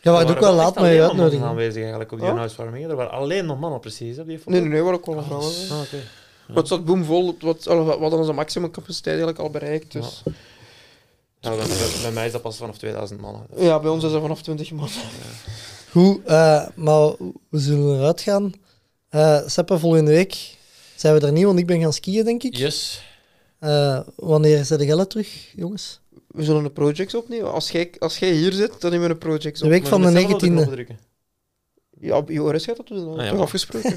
we waren ook wel laat met
maar
je
mannen
uitnodiging.
aanwezig eigenlijk op die
Oh?
huiswarming. Er waren alleen nog mannen precies op die foto.
Nee, nee, nee, we waren ook wel vrouwen. hè.
Ah, oké.
Maar het zat boomvol, wat, we hadden onze maximum capaciteit eigenlijk al bereikt. Dus.
Ja, Nou, bij, bij- bij mij is dat pas vanaf 2000 mannen.
Ja. bij ons is dat vanaf 20 man.
Goed, eh, maar we zullen eruit gaan. Eh Seppe, volgende week zijn we er niet, want ik ben gaan skiën, denk ik.
Yes.
Eh, wanneer zijn de gellen terug, jongens?
We zullen de projects opnemen. Als jij, als jij hier zit, dan nemen we de projects
De
op.
week van de 19e.
Ja, op Joris gaat dat doen, dat
Ah, ja,
toch
maar-
afgesproken.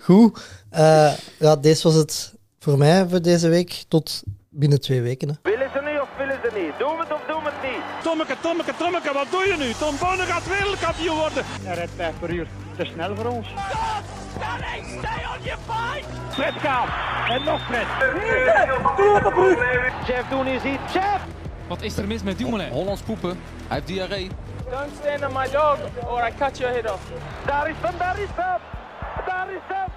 Goed. Eh, ja, deze was het voor mij voor deze week. Tot binnen twee weken. Hè.
Willen ze nu of willen ze niet? Doen we het of doen we het niet?
Tommeke, Tommeke, Tommeke, wat doe je nu? Tom Bonne gaat wereldkampioen worden.
Hij rijdt 5 per uur. Te snel voor ons.
Sterling, stay on your bike!
Fred gaan. En nog Fred.
Chef doen is iets. Chef!
Wat is er mis met Dumoulin? Hollands poepen. Hij heeft diarree.
Don't stand on my dog or I cut your head off.
Daar is hem, daar is hem! Daar is hem!